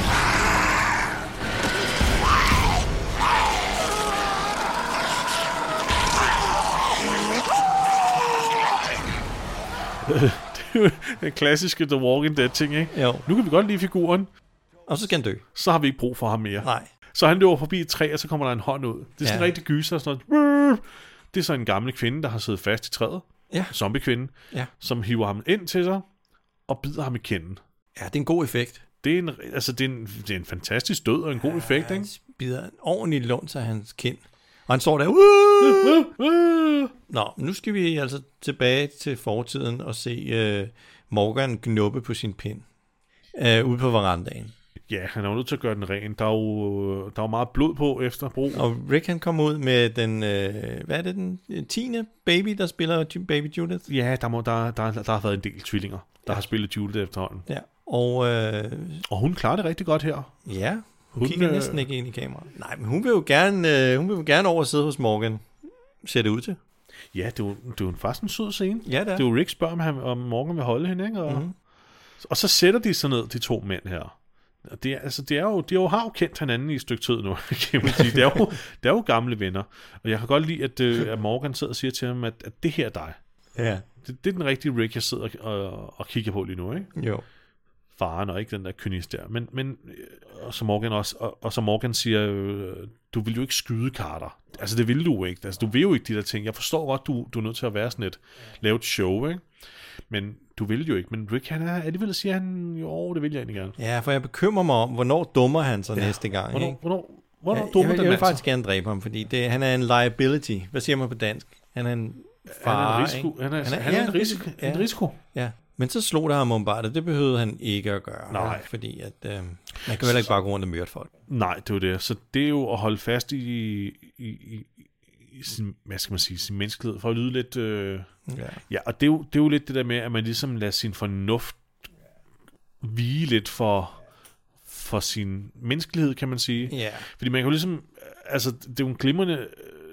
Speaker 1: det er jo den klassiske The Walking Dead ting, ikke?
Speaker 2: Jo.
Speaker 1: Nu kan vi godt lide figuren,
Speaker 2: Og så skal han dø.
Speaker 1: så har vi ikke brug for ham mere.
Speaker 2: Nej.
Speaker 1: Så han løber forbi et træ, og så kommer der en hånd ud. Det er sådan
Speaker 2: Ja.
Speaker 1: ja. rigtig gyser og sådan noget. Det er så en gammel kvinde, der har siddet fast i træet.
Speaker 2: Ja.
Speaker 1: Zombie-kvinde.
Speaker 2: Ja.
Speaker 1: Som hiver ham ind til sig og bider ham i kinden.
Speaker 2: Ja, det er en god effekt.
Speaker 1: Det er en, altså, det er en, det er en fantastisk død og en god effekt, ikke?
Speaker 2: Bider en ordentlig luns af hans kind. Og han står der, "Woo!" Nå, nu skal vi altså tilbage til fortiden og se øh, Morgan knuppe på sin pind øh, ude på verandaen.
Speaker 1: Ja, han er jo nødt til at gøre den ren. Der er jo, øh, der er jo meget blod på efter brug.
Speaker 2: Og Rick han kom ud med den, øh, hvad er det, den øh, tiende baby, der spiller Ju- Baby Judith.
Speaker 1: Ja, der, må, der, der, der har været en del tvillinger, der har spillet Judith efterhånden.
Speaker 2: Ja, og øh,
Speaker 1: Og hun klarer det rigtig godt her.
Speaker 2: ja, hun, hun
Speaker 1: Hun,
Speaker 2: kigger
Speaker 1: øh,
Speaker 2: næsten ikke ind i kameraet. Nej, men hun vil jo gerne, øh, hun vil jo gerne over og sidde hos Morgan, ser det ud til.
Speaker 1: Ja, det er jo, det er jo faktisk en sød scene.
Speaker 2: Ja, det er.
Speaker 1: Det er jo Rick spørger, om, han, om Morgan vil holde hende, ikke? Og, mm-hmm. og så sætter de sig ned, de to mænd her. Og det er, altså, det er jo, de er jo, har jo kendt hinanden i et stykke tid nu, kan man sige. Det er, jo, det er jo gamle venner. Og jeg kan godt lide, at, øh, at Morgan sidder og siger til ham, at, at det her er dig.
Speaker 2: Ja.
Speaker 1: Det, det er den rigtige Rick, jeg sidder og, og kigger på lige nu, ikke?
Speaker 2: Jo.
Speaker 1: faren og ikke den der kynist der. Men, men øh, og som Morgan også, og, og som Morgan siger, øh, du vil jo ikke skyde Carter. Altså det vil du ikke. Altså du vil jo ikke de der ting. Jeg forstår godt, du, du er nødt til at være sådan et, lave et show, ikke? Men du vil jo ikke. Men Rick, han er alligevel siger han, jo, det vil jeg egentlig gerne.
Speaker 2: Ja, for jeg bekymrer mig om, hvornår dummer han så ja. næste gang.
Speaker 1: Hvornår,
Speaker 2: ikke?
Speaker 1: hvornår, hvornår
Speaker 2: Ja,
Speaker 1: ja, dummer
Speaker 2: jeg, vil,
Speaker 1: den
Speaker 2: jeg vil
Speaker 1: altså?
Speaker 2: faktisk gerne dræbe ham, fordi det, han er en liability. Hvad siger man på dansk? Han er en
Speaker 1: Han er
Speaker 2: far,
Speaker 1: en risiko.
Speaker 2: ikke?
Speaker 1: Han er, han er, han er
Speaker 2: ja,
Speaker 1: en risiko.
Speaker 2: Ja.
Speaker 1: En risiko.
Speaker 2: ja. Men så slog der ham ombart, og det behøvede han ikke at gøre.
Speaker 1: Nej.
Speaker 2: vel? Fordi at, øh, man kan jo heller ikke bare gå rundt og myrde folk.
Speaker 1: Nej, det er jo det. Så det er jo at holde fast i, i, i, i sin, hvad skal man sige, sin menneskelighed, for at lyde lidt... Øh,
Speaker 2: Ja.
Speaker 1: Ja, og det er, jo, det er jo lidt det der med, at man ligesom lader sin fornuft hvile lidt for, for sin menneskelighed, kan man sige.
Speaker 2: Ja.
Speaker 1: Fordi man kan jo ligesom, altså det er jo en glimrende, øh,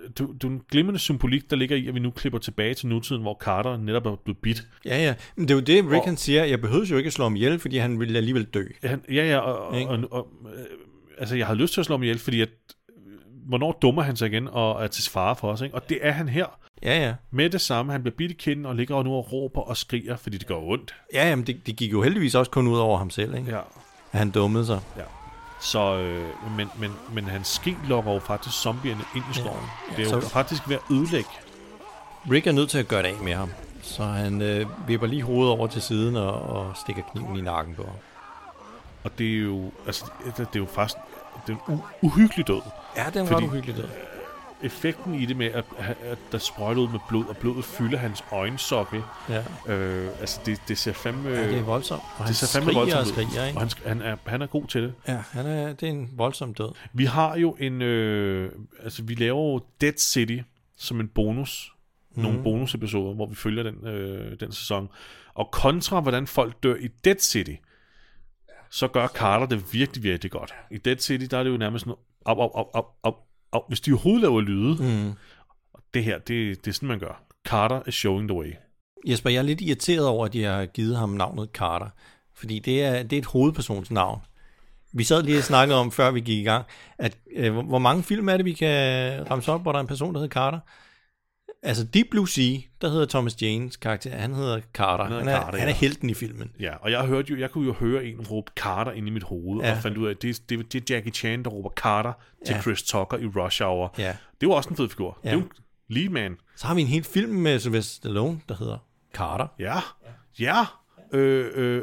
Speaker 1: det, er jo- det er jo en glimrende symbolik, der ligger i, at vi nu klipper tilbage til nutiden, hvor Carter netop er blevet bidt.
Speaker 2: Ja, ja. Men det er jo det, Rick
Speaker 1: Og-
Speaker 2: han siger. Jeg behøvede jo ikke at slå ham ihjel, fordi han ville alligevel dø.
Speaker 1: Han, ja, ja, og, og,
Speaker 2: Ikke?
Speaker 1: og, og, øh, altså jeg havde lyst til at slå ham ihjel, fordi at, øh, hvornår dummer han sig igen og er til fare for os, ikke? Og det er han her.
Speaker 2: Ja, ja.
Speaker 1: Med det samme, han bliver bidt i kinden og ligger nu og råber og skriger, fordi det gør ondt.
Speaker 2: Ja, jamen, det, det gik jo heldigvis også kun ud over ham selv, ikke?
Speaker 1: Ja.
Speaker 2: At han dummede sig.
Speaker 1: Ja. Så, øh, men, men, men hans ske lokker jo faktisk zombierne ind i skoven.
Speaker 2: Ja,
Speaker 1: Ja, det er
Speaker 2: så-
Speaker 1: jo faktisk ved at ødelægge.
Speaker 2: Rick er nødt til at gøre det af med ham, så han øh, vipper lige hovedet over til siden og, og stikker kniven i nakken på ham.
Speaker 1: Og det er jo, altså, det er det er jo faktisk det er en u- uhyggelig død.
Speaker 2: Ja, det er en
Speaker 1: Fordi
Speaker 2: ret uhyggelig død.
Speaker 1: Effekten i det med, at, at der sprøjter ud med blod, og blodet fylder hans øjensokkel.
Speaker 2: Ja.
Speaker 1: Øh, altså, det, det ser fandme...
Speaker 2: Ja, det er voldsomt. Og han
Speaker 1: det ser fandme
Speaker 2: skriger og
Speaker 1: voldsomt ud.
Speaker 2: skriger, ikke?
Speaker 1: Og han, sk- han, er, han er god til det.
Speaker 2: Ja, han er, det er en voldsom død.
Speaker 1: Vi har jo en... Øh, altså, vi laver jo Dead City som en bonus. Nogle
Speaker 2: Mhm.
Speaker 1: bonusepisoder, hvor vi følger den, øh, den sæson. Og kontra, hvordan folk dør i Dead City, så gør Carter det virkelig, virkelig godt. I Dead City, der er det jo nærmest sådan... Op, op, op, op, op, op. Hvis de overhovedet laver lyde,
Speaker 2: mm.
Speaker 1: det her, det, det er sådan, man gør. Carter is showing the way.
Speaker 2: Jesper, jeg er lidt irriteret over, at de har givet ham navnet Carter, fordi det er, det er et hovedpersons navn. Vi sad lige og snakkede om, før vi gik i gang, at øh, hvor- hvor mange film er det, vi kan ramse op, hvor der er en person, der hedder Carter? Altså Deep Blue Sea, der hedder Thomas Janes karakter, han hedder Carter. Han,
Speaker 1: hedder
Speaker 2: han, er,
Speaker 1: Carter,
Speaker 2: han er
Speaker 1: ja.
Speaker 2: helten i filmen.
Speaker 1: Ja, og jeg, hørte jo, jeg kunne jo høre en råbe Carter ind i mit hoved,
Speaker 2: Ja.
Speaker 1: ja. og fandt ud af, at det, det, det er Jackie Chan, der råber Carter til
Speaker 2: Ja.
Speaker 1: ja. Chris Tucker i Rush Hour.
Speaker 2: Ja.
Speaker 1: Det var også en fed figur.
Speaker 2: Ja.
Speaker 1: Ja. Det er jo lead man.
Speaker 2: Så har vi en hel film med Sylvester Stallone, der hedder Carter.
Speaker 1: Ja, ja. Øh, øh.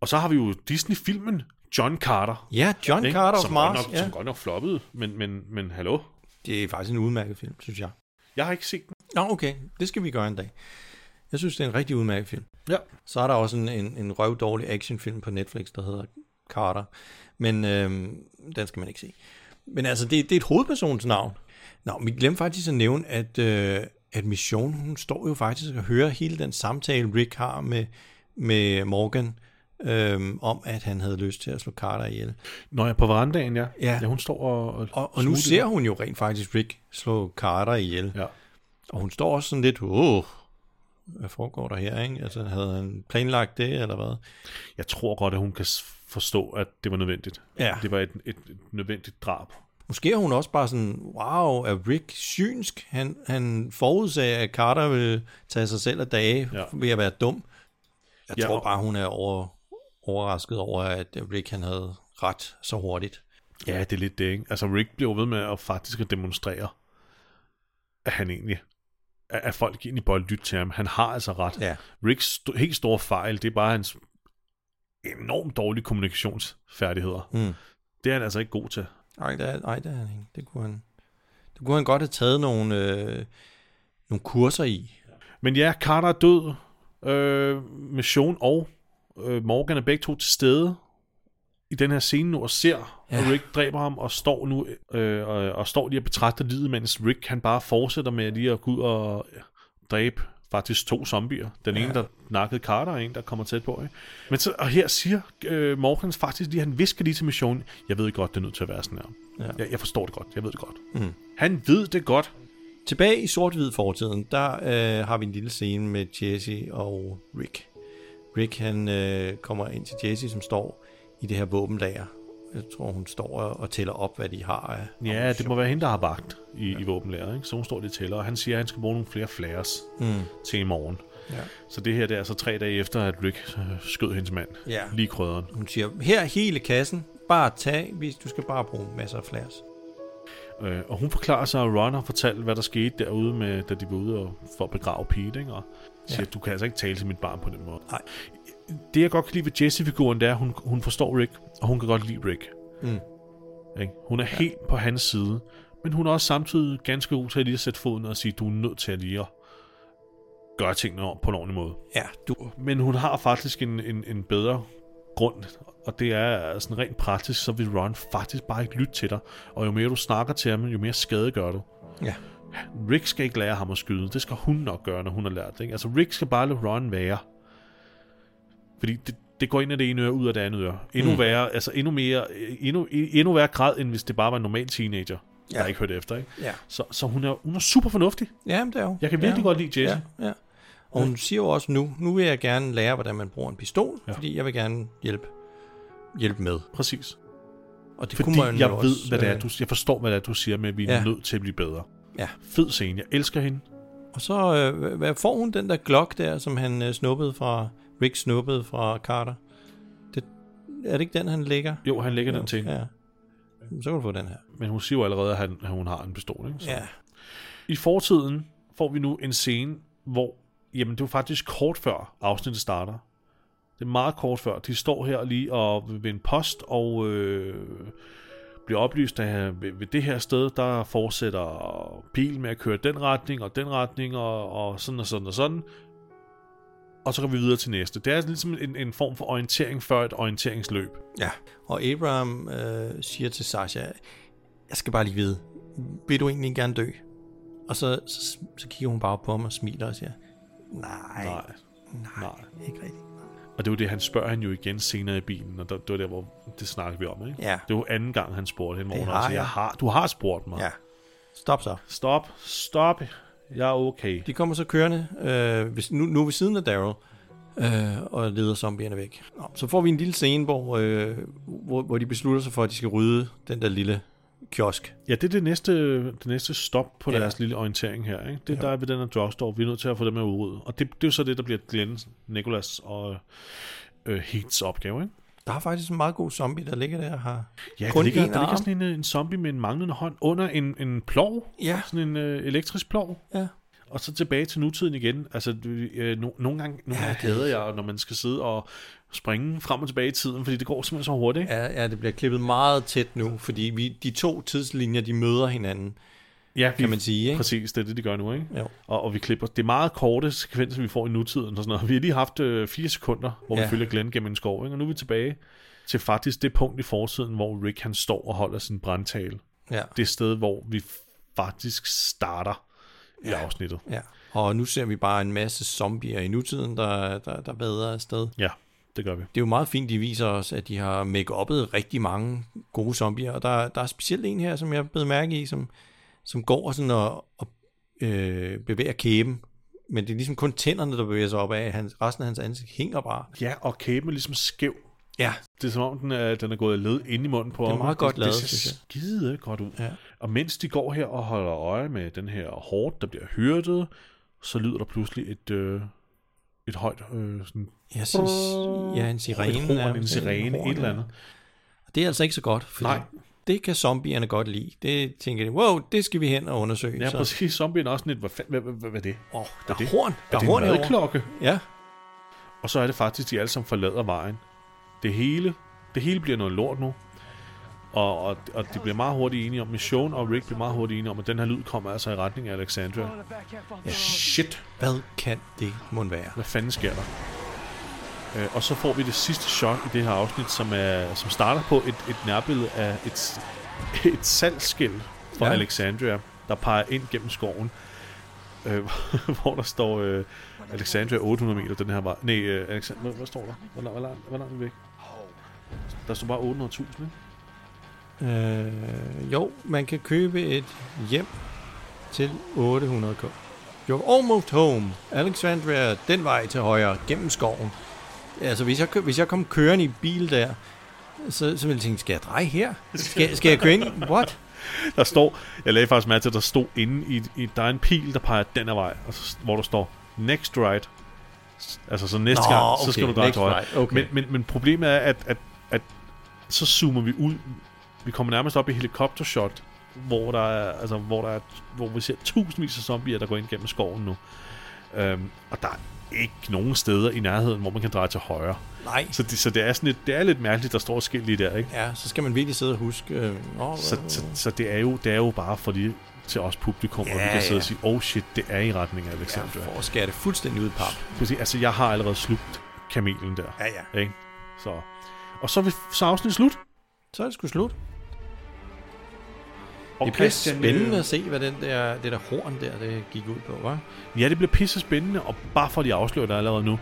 Speaker 1: Og så har vi jo Disney-filmen John Carter.
Speaker 2: Ja, John Carter of
Speaker 1: som
Speaker 2: Mars,
Speaker 1: Godt nok,
Speaker 2: ja.
Speaker 1: Som godt nok floppede, men, men, men hallo?
Speaker 2: Det er faktisk en udmærket film, synes jeg.
Speaker 1: Jeg har ikke set den.
Speaker 2: Nå, okay. Det skal vi gøre en dag. Jeg synes, det er en rigtig udmærket film.
Speaker 1: Ja.
Speaker 2: Så er der også en, en, en røvdårlig actionfilm på Netflix, der hedder Carter. Men øhm, den skal man ikke se. Men altså, det, det er et hovedpersons navn. Nå, vi glemte faktisk at nævne, at, øh, at Mission, hun står jo faktisk og hører hele den samtale, Rick har med, med Morgan, øhm, om at han havde lyst til at slå Carter ihjel.
Speaker 1: Når jeg er på verandaen, ja. ja. ja hun står og... Og,
Speaker 2: Og, og nu ser hun jo rent faktisk Rick slå Carter ihjel.
Speaker 1: Ja.
Speaker 2: Og hun står også sådan lidt, åh, hvad foregår der her, ikke? Altså, havde han planlagt det, eller hvad?
Speaker 1: Jeg tror godt, at hun kan s- forstå, at det var nødvendigt.
Speaker 2: Ja.
Speaker 1: Det var et, et, et nødvendigt drab.
Speaker 2: Måske er hun også bare sådan, wow, er Rick synsk? Han, han forudsagde, at Carter ville tage sig selv af dage ja.
Speaker 1: Ja.
Speaker 2: ved at være dum. Jeg ja.
Speaker 1: Ja.
Speaker 2: tror bare, hun er over, overrasket over, at Rick han havde ret så hurtigt.
Speaker 1: Ja, det er lidt det, ikke? Altså, Rick bliver jo ved med at faktisk at demonstrere, at han egentlig, at at folk egentlig bare lytter til ham. Han har altså ret.
Speaker 2: Ja.
Speaker 1: Ricks st- helt store fejl, det er bare hans enormt dårlige kommunikationsfærdigheder.
Speaker 2: Mm.
Speaker 1: Det er han altså ikke god til.
Speaker 2: Nej, det, er- nej, det er han ikke. Det kunne han, det kunne han godt have taget nogle, øh, nogle kurser i.
Speaker 1: Men ja, Carter er død. Øh, Mission og øh, Morgan er begge to til stede i den her scene nu og ser, ja.
Speaker 2: Ja.
Speaker 1: at Rick dræber ham og står nu øh, og, og står lige og betragter livet, mens Rick han bare fortsætter med lige at gå ud og øh, dræbe faktisk to zombier. Den
Speaker 2: Ja.
Speaker 1: ja. ene, der nakkede Carter, og en, der kommer tæt på. Ikke? Men så, og her siger øh, Morgan faktisk lige, han visker lige til Mission, jeg ved godt, det er nødt til at være sådan her.
Speaker 2: Ja.
Speaker 1: Ja. Jeg, jeg forstår det godt, jeg ved det godt.
Speaker 2: Mm.
Speaker 1: Han ved det godt.
Speaker 2: Tilbage i sort-hvid fortiden, der øh, har vi en lille scene med Jesse og Rick. Rick han øh, kommer ind til Jesse, som står i det her våbenlager. Jeg tror, hun står og, og tæller op, hvad de har af.
Speaker 1: Ja, det må være hende, der har bagt i, ja. i våbenlæret, ikke? Så hun står lidt tæller, og han siger, at han skal bruge nogle flere flares
Speaker 2: Mm.
Speaker 1: til i morgen.
Speaker 2: Ja.
Speaker 1: Så det her, det er altså tre dage efter, at Rick øh, skød hendes mand.
Speaker 2: Ja.
Speaker 1: Lige i krydderen.
Speaker 2: Hun siger, her er hele kassen, bare tag, hvis du skal bare bruge masser af flares.
Speaker 1: Øh, og hun forklarer sig, at Ron har fortalt, hvad der skete derude, med, da de var ude og, for at begrave Pete, ikke? Og siger,
Speaker 2: Ja.
Speaker 1: ja. du kan altså ikke tale til mit barn på den måde.
Speaker 2: Nej.
Speaker 1: Det, jeg godt kan lide ved Jessie-figuren, det er, at hun, hun forstår Rick, og hun kan godt lide Rick.
Speaker 2: Mm.
Speaker 1: Ikke? Hun er ja. helt på hans side, men hun er også samtidig ganske god til at lige at sætte foden og sige, du er nødt til at lige at gøre tingene om på en ordentlig måde.
Speaker 2: Ja, du,
Speaker 1: Men hun har faktisk en, en, en bedre grund, og det er sådan rent praktisk, så vil Ron faktisk bare ikke lytte til dig. Og jo mere du snakker til ham, jo mere skade gør du.
Speaker 2: ja.
Speaker 1: Rick skal ikke lære ham at skyde. Det skal hun nok gøre, når hun har lært det. Ikke? Altså, Rick skal bare lade Ron være. Fordi det, det går ind af det ene øre, ud af det andet øre. Endnu
Speaker 2: Mm.
Speaker 1: mm. værre, altså endnu mere, endnu, endnu værre grad, end hvis det bare var en normal teenager, ja.
Speaker 2: Ja.
Speaker 1: der ikke hørte efter. Ikke?
Speaker 2: Ja.
Speaker 1: Så, så hun, er, hun er super fornuftig.
Speaker 2: Ja, men det er jo.
Speaker 1: Jeg kan
Speaker 2: det er
Speaker 1: virkelig
Speaker 2: hun.
Speaker 1: godt lide Jesse.
Speaker 2: Ja, ja. Og hun siger jo også nu, nu vil jeg gerne lære, hvordan man bruger en pistol, ja. fordi jeg vil gerne hjælpe, hjælpe med.
Speaker 1: Præcis.
Speaker 2: Og det
Speaker 1: Fordi
Speaker 2: kunne man
Speaker 1: jeg
Speaker 2: jo
Speaker 1: ved,
Speaker 2: også,
Speaker 1: hvad det er,
Speaker 2: øh,
Speaker 1: du, jeg forstår, hvad det er, du siger med, at vi er
Speaker 2: Ja.
Speaker 1: nødt til at blive bedre.
Speaker 2: Ja.
Speaker 1: Fed scene. Jeg elsker hende.
Speaker 2: Og så øh, hvad- hvad får hun den der Glock der, som han øh, snuppede fra, Rick snuppede fra Carter? Det, er det ikke den, han lægger?
Speaker 1: Jo, han lægger den til hende.
Speaker 2: Ja. Jamen, Så kan du få den her.
Speaker 1: Men hun siger jo allerede, at, han, at hun har en pistol. Ikke?
Speaker 2: Ja.
Speaker 1: I fortiden får vi nu en scene, hvor jamen, det er jo faktisk kort før afsnittet starter. Det er meget kort før. De står her lige og ved en post og øh, bliver oplyst, at ved, ved det her sted, der fortsætter bilen med at køre den retning og den retning og, og sådan og sådan og sådan. Og så går vi videre til næste. Det er ligesom en, en form for orientering før et orienteringsløb.
Speaker 2: Ja. Og Abraham øh, siger til Sasha, jeg skal bare lige vide, vil du egentlig gerne dø? Og så, så, så kigger hun bare på ham og smiler og siger, nej,
Speaker 1: Nej.
Speaker 2: nej, ikke rigtigt.
Speaker 1: Og det var det, han spørger han jo igen senere i bilen, og der, det var der, hvor det snakkede vi om, ikke?
Speaker 2: Ja.
Speaker 1: Det var anden gang, han spurgte hende, hvor
Speaker 2: Det
Speaker 1: hun
Speaker 2: har
Speaker 1: også siger,
Speaker 2: jeg.
Speaker 1: har, du har spurgt mig.
Speaker 2: Ja. Stop så.
Speaker 1: Stop, stop, jeg er okay.
Speaker 2: De kommer så kørende, øh, hvis, nu, nu ved siden af Daryl, øh, og leder zombierne væk. Nå, så får vi en lille scene, hvor, øh, hvor, hvor de beslutter sig for, at de skal rydde den der lille kiosk.
Speaker 1: Ja, det er det næste, det næste stop på ja.
Speaker 2: Ja.
Speaker 1: deres lille orientering her, ikke? Det er der ved den her drugstore, vi er nødt til at få dem her udryddet. Og det, det er jo så det, der bliver Glenn, Nicholas og øh, Heats opgave, ikke?
Speaker 2: Der er faktisk en meget god zombie, der ligger der og har
Speaker 1: Ja,
Speaker 2: kun
Speaker 1: der ligger,
Speaker 2: en
Speaker 1: der ligger
Speaker 2: arm.
Speaker 1: sådan en, øh, en zombie med en manglende hånd under en, en plov.
Speaker 2: Ja.
Speaker 1: Sådan en øh, elektrisk plov.
Speaker 2: Ja.
Speaker 1: Og så tilbage til nutiden igen. Altså, du- øh, no, nogle gange, nogle gange hader jeg, når man skal sidde og springe frem og tilbage i tiden, fordi det går simpelthen så hurtigt. ikke?
Speaker 2: Ja, ja, det bliver klippet meget tæt nu, fordi vi, de to tidslinjer, de møder hinanden.
Speaker 1: Ja,
Speaker 2: kan man sige, ikke?
Speaker 1: Præcis, det er det, de gør nu, ikke?
Speaker 2: Jo.
Speaker 1: Og, og vi klipper. Det er meget korte sekvenser, vi får i nutiden og sådan noget. Vi har lige haft øh, fire sekunder, hvor ja. vi
Speaker 2: Ja.
Speaker 1: følger Glenn gennem en skov, ikke? Og nu er vi tilbage til faktisk det punkt i fortiden, hvor Rick han står og holder sin brandtale.
Speaker 2: Ja.
Speaker 1: Det sted, hvor vi faktisk starter i afsnittet.
Speaker 2: Ja. Og nu ser vi bare en masse zombier i nutiden, der, der, der vader afsted.
Speaker 1: Ja, det gør vi.
Speaker 2: Det er jo meget fint, de viser os, at de har make-uppet rigtig mange gode zombier. Og der, der er specielt en her, som jeg blev mærke i, som, som går sådan og, og øh, bevæger kæben. Men det er ligesom kun tænderne, der bevæger sig op af. Hans, resten af hans ansigt hænger bare.
Speaker 1: Ja, og kæben er ligesom skæv.
Speaker 2: Ja.
Speaker 1: Det er som om, den er, den er gået af led ind i munden på
Speaker 2: Det er
Speaker 1: ham.
Speaker 2: meget godt lavet,
Speaker 1: Det
Speaker 2: synes
Speaker 1: ser
Speaker 2: jeg.
Speaker 1: skide godt ud.
Speaker 2: Ja.
Speaker 1: Og mens de går her og holder øje med den her hårdt, der bliver hyrdet, så lyder der pludselig et, øh, et højt... Øh, sådan,
Speaker 2: Jeg synes, ja, en sirene.
Speaker 1: Et horn,
Speaker 2: nærmest,
Speaker 1: en sirene,
Speaker 2: horn,
Speaker 1: et eller andet.
Speaker 2: Og det er altså ikke så godt, fordi
Speaker 1: Nej.
Speaker 2: Nej. det kan zombierne godt lide. Det tænker de, wow, det skal vi hen og undersøge.
Speaker 1: Ja,
Speaker 2: Så-
Speaker 1: præcis. Zombien er også sådan lidt, hvad, fa- hvad, hvad, hvad, hvad er det?
Speaker 2: Åh,
Speaker 1: Hvad
Speaker 2: der
Speaker 1: er
Speaker 2: er
Speaker 1: det?
Speaker 2: horn.
Speaker 1: er
Speaker 2: Der er
Speaker 1: det
Speaker 2: horn
Speaker 1: en
Speaker 2: herovre.
Speaker 1: madklokke?
Speaker 2: Ja,
Speaker 1: Og så er det faktisk, de alle sammen forlader vejen. Det hele, det hele bliver noget lort nu. Og, og, og de bliver meget hurtigt enige om, Mission og Rick bliver meget hurtigt enige om, at den her lyd kommer altså i retning af Alexandria. Ja. Shit,
Speaker 2: hvad kan det mon være?
Speaker 1: hvad fanden sker der? Øh, og så får vi det sidste shot i det her afsnit, som, er, som starter på et, et nærbillede af et, et salgsskilt fra ja.
Speaker 2: Ja.
Speaker 1: Alexandria, der peger ind gennem skoven, øh, hvor der står øh, Alexandria 800 meter den her vej. Nej, øh, Alexand- hvad, hvad står der? Hvor langt, hvor langt, hvor langt er vi væk? Der står bare 800.000, ikke?
Speaker 2: Øh, jo, man kan købe et hjem til 800k. You're almost home. Alexandria, den vej til højre, gennem skoven. Altså, hvis jeg, kø- hvis jeg kom kørende i bil der, så, så ville jeg tænke, skal jeg dreje her? Skal, skal jeg køre ind? i- What?
Speaker 1: Der står, jeg lagde faktisk mærke til, at der stod inde i, i der er en pil, der peger den her vej, og så, hvor der står, next right. Altså så næste
Speaker 2: Nå,
Speaker 1: gang, så
Speaker 2: okay,
Speaker 1: skal du dreje
Speaker 2: next
Speaker 1: til højre.
Speaker 2: right, okay.
Speaker 1: Men, men, men problemet er, at, at, at så zoomer vi ud, vi kommer nærmest op i helikoptershot, hvor der er, altså, hvor der er, hvor vi ser tusindvis af zombier, der går ind gennem skoven nu. Øhm, og der er ikke nogen steder i nærheden, hvor man kan dreje til højre.
Speaker 2: Nej.
Speaker 1: Så det, så det er sådan lidt, det er lidt mærkeligt, der står et skilt lige der, ikke?
Speaker 2: Ja, så skal man virkelig sidde og huske. Øh, nå,
Speaker 1: Så, så, så det, er jo, det er jo bare for de, til os publikum, ja, og vi
Speaker 2: Ja,
Speaker 1: kan sidde
Speaker 2: ja.
Speaker 1: og sige, oh shit, det er i retning af Alexandria.
Speaker 2: for at skære det fuldstændig ud i pap.
Speaker 1: Ja, altså, jeg har allerede slugt kamelen der.
Speaker 2: Ja, ja.
Speaker 1: Ikke? Så. Og så er, vi, så er afsnittet slut.
Speaker 2: Så er det sgu slut.
Speaker 1: Og
Speaker 2: Det bliver
Speaker 1: Christian,
Speaker 2: spændende
Speaker 1: øh,
Speaker 2: at se, hvad den der, det der horn der, det gik ud på, hva'?
Speaker 1: Ja, det bliver pisse spændende, og bare for at de afslører det allerede nu.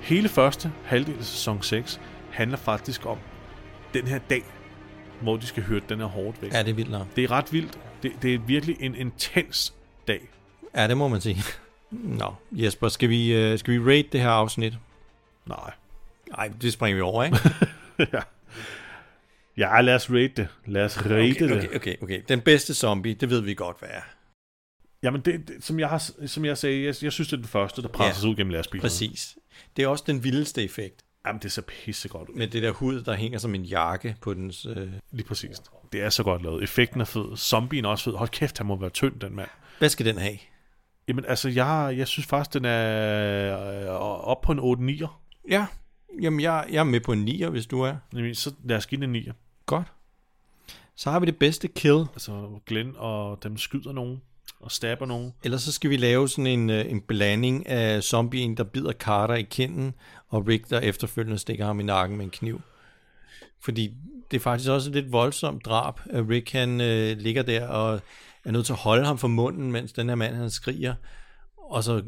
Speaker 1: Hele første halvdel af sæson 6 handler faktisk om den her dag, hvor de skal høre den her hårdt væk.
Speaker 2: Ja, det er vildt nok.
Speaker 1: Det er ret vildt. Det, det er virkelig en intens dag.
Speaker 2: Ja, det må man sige. Nå, Jesper, skal vi, øh, skal vi rate det her afsnit?
Speaker 1: Nej.
Speaker 2: Nej, det springer vi over, ikke?
Speaker 1: ja. ja, lad os rate det. Lad os rate
Speaker 2: Okay,
Speaker 1: det.
Speaker 2: okay, okay, okay. Den bedste zombie, det ved vi godt, hvad er.
Speaker 1: Jamen, det, det, som, jeg har, som jeg sagde, jeg, jeg synes, det er den første, der presser sig ud gennem lastbilen.
Speaker 2: Præcis. Det er også den vildeste effekt.
Speaker 1: Jamen, det ser pissegodt ud.
Speaker 2: Med det der hud, der hænger som en jakke på dens... Øh...
Speaker 1: Lige præcis. Det er så godt lavet. Effekten er fed. Zombien er også fed. Hold kæft, han må være tynd, den mand.
Speaker 2: Hvad skal den have?
Speaker 1: Jamen, altså, jeg, jeg synes faktisk, den er øh, op på en 8-9'er.
Speaker 2: Ja, jamen jeg, jeg er med på en 9'er, hvis du er.
Speaker 1: Jamen, så lad os give den en 9'er.
Speaker 2: Godt. Så har vi det bedste kill.
Speaker 1: Altså, Glenn og dem skyder nogen og stabber nogen.
Speaker 2: Ellers så skal vi lave sådan en, øh, en blanding af zombien, der bider Carter i kinden, og Rick, der efterfølgende stikker ham i nakken med en kniv. Fordi det er faktisk også et lidt voldsomt drab, at Rick han øh, ligger der og er nødt til at holde ham for munden, mens den her mand han skriger, og så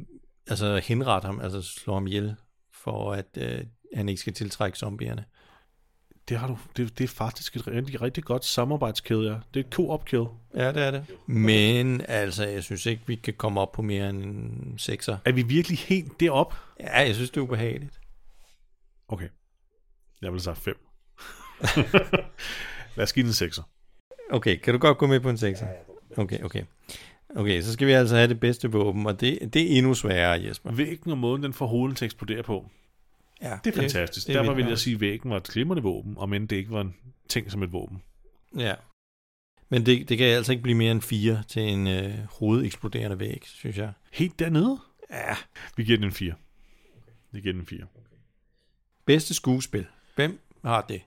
Speaker 2: altså, henrette ham, altså slå ham ihjel, for at øh, han ikke skal tiltrække zombierne.
Speaker 1: Det, har du, det, det er faktisk et rigtig, rigtig godt samarbejdskæde, ja. Det er et co-op kæde.
Speaker 2: Ja, det er det. Men altså, jeg synes ikke, vi kan komme op på mere end en 6'er.
Speaker 1: Er vi virkelig helt derop?
Speaker 2: Ja, jeg synes, det er ubehageligt.
Speaker 1: Okay. Jeg vil sige 5. lad os give den en 6'er.
Speaker 2: Okay, kan du godt gå med på en 6'er? Okay, okay. Okay, så skal vi altså have det bedste våben, og det, det er endnu sværere, Jesper.
Speaker 1: Væggen og måden, den får hovedet til at eksplodere på.
Speaker 2: Ja,
Speaker 1: Det er fantastisk. Det,
Speaker 2: er
Speaker 1: Derfor
Speaker 2: vildt
Speaker 1: vil
Speaker 2: nok.
Speaker 1: jeg sige, at væggen var et glimrende våben, om end det ikke var en ting som et våben.
Speaker 2: Ja. Men det, det kan altså ikke blive mere end 4 til en øh, hovedeksploderende væg, synes jeg.
Speaker 1: Helt dernede?
Speaker 2: Ja.
Speaker 1: Vi giver den en 4. Vi giver den en 4.
Speaker 2: Bedste skuespil. Hvem har det?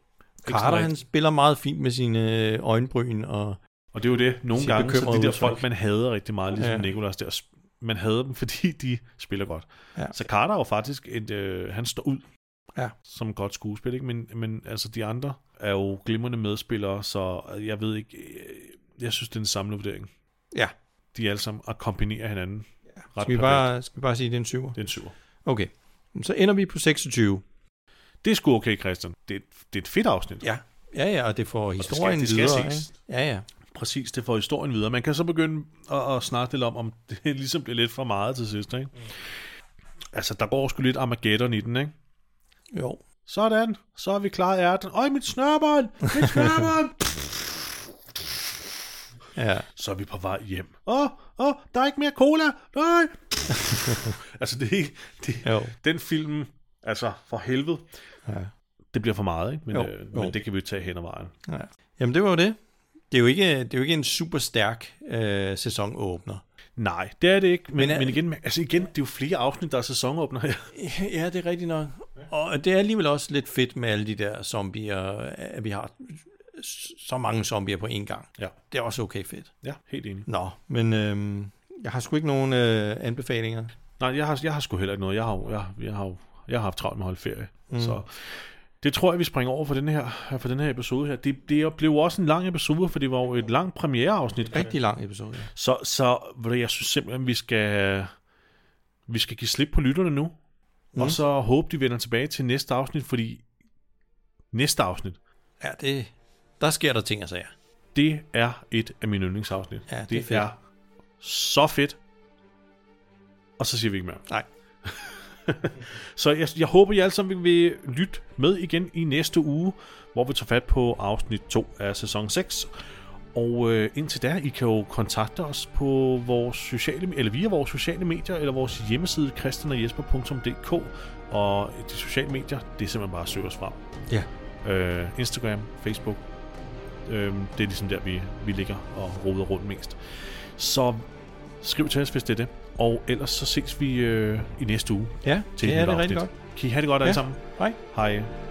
Speaker 2: Carter,
Speaker 1: rigtig.
Speaker 2: han spiller meget fint med sine øh, øjenbryn og...
Speaker 1: Og det er jo det, nogle
Speaker 2: Sit
Speaker 1: gange, så
Speaker 2: bekymrede
Speaker 1: de der
Speaker 2: udtryk.
Speaker 1: folk, man hader rigtig meget, ligesom
Speaker 2: Ja.
Speaker 1: ja. Nicolas der, s- man hader dem, fordi de spiller godt.
Speaker 2: Ja.
Speaker 1: Så Carter er jo faktisk, et, øh, han står ud
Speaker 2: Ja.
Speaker 1: som godt skuespil, ikke? Men, men altså de andre er jo glimrende medspillere, så jeg ved ikke, øh, jeg synes, det er en samlet vurdering.
Speaker 2: Ja.
Speaker 1: De alle sammen og kombinerer hinanden. Ja. Ret
Speaker 2: Skal vi,
Speaker 1: perfekt.
Speaker 2: bare, skal vi bare sige, at det er en syver?
Speaker 1: Det er en syver.
Speaker 2: Okay. Så ender vi på 26.
Speaker 1: Det er sgu okay, Christian. Det er, et- det er et fedt afsnit.
Speaker 2: Ja. Ja, ja, og det får
Speaker 1: det skal-
Speaker 2: historien
Speaker 1: det skal
Speaker 2: videre.
Speaker 1: ses.
Speaker 2: ikke? Ja, ja.
Speaker 1: Præcis, det får historien videre. Man kan så begynde at, at snakke lidt om, om det ligesom bliver lidt for meget til sidst, ikke?
Speaker 2: Mm.
Speaker 1: Altså, der går sgu lidt Armageddon i den, ikke?
Speaker 2: Jo.
Speaker 1: Sådan, så er vi klar i ærten. Øj, mit snørbånd! Mit snørbånd!
Speaker 2: Ja.
Speaker 1: så er vi på vej hjem. Åh, åh, der er ikke mere cola! Nej! altså, det er ikke... Det,
Speaker 2: Jo.
Speaker 1: den film, altså, for helvede,
Speaker 2: Ja.
Speaker 1: det bliver for meget, ikke? Men,
Speaker 2: Jo,
Speaker 1: øh,
Speaker 2: jo.
Speaker 1: men det kan vi jo tage hen ad vejen.
Speaker 2: ja. Jamen, det var jo det. Det er jo ikke, det er jo ikke en super stærk øh, sæsonåbner.
Speaker 1: Nej, det er det ikke. Men,
Speaker 2: Men øh,
Speaker 1: men,
Speaker 2: er-
Speaker 1: men igen, altså igen, det er jo flere afsnit, der er sæsonåbner her.
Speaker 2: Ja, det er rigtigt nok. Og det er alligevel også lidt fedt med alle de der zombier, at vi har så mange zombier på én gang.
Speaker 1: Ja.
Speaker 2: Det er også okay fedt.
Speaker 1: Ja, helt enig.
Speaker 2: Nå, men øhm, jeg har sgu ikke nogen øh, anbefalinger.
Speaker 1: Nej, jeg har, jeg har sgu heller ikke noget. Jeg har, jo- jeg, jeg har, jo- jeg har haft travlt med at holde ferie. Mm. Så det tror jeg, vi springer over for den her, for den her episode her. Det, det blev jo også en lang episode, for det var jo et langt premiereafsnit.
Speaker 2: Rigtig lang episode. ja.
Speaker 1: Så, så ved du, jeg synes simpelthen, vi skal, vi skal give slip på lytterne nu. Mm. Og så håbe, de vender tilbage til næste afsnit, fordi næste afsnit,
Speaker 2: Ja, det, der sker der ting og sager.
Speaker 1: det er et af mine yndlingsafsnit.
Speaker 2: Ja, det er
Speaker 1: det
Speaker 2: fedt.
Speaker 1: er så fedt. Og så siger vi ikke mere.
Speaker 2: Nej.
Speaker 1: Så jeg, jeg håber, I alle sammen vil lytte med igen i næste uge, hvor vi tager fat på afsnit 2 af sæson 6. Og øh, indtil da, I kan jo kontakte os på vores sociale, eller via vores sociale medier, eller vores hjemmeside kristianogjesper.dk og de sociale medier, det er simpelthen bare at søge os frem.
Speaker 2: Ja.
Speaker 1: Øh, Instagram, Facebook, øh, det er ligesom der, vi, vi ligger og roder rundt mest. Så skriv til os, hvis det er det. Og ellers så ses vi øh, i næste uge
Speaker 2: Ja,
Speaker 1: til
Speaker 2: det
Speaker 1: et
Speaker 2: er
Speaker 1: nyt
Speaker 2: det rigtig
Speaker 1: afsnit.
Speaker 2: godt.
Speaker 1: Kan I have det godt alle
Speaker 2: Ja.
Speaker 1: sammen.
Speaker 2: Hej.
Speaker 1: Hej.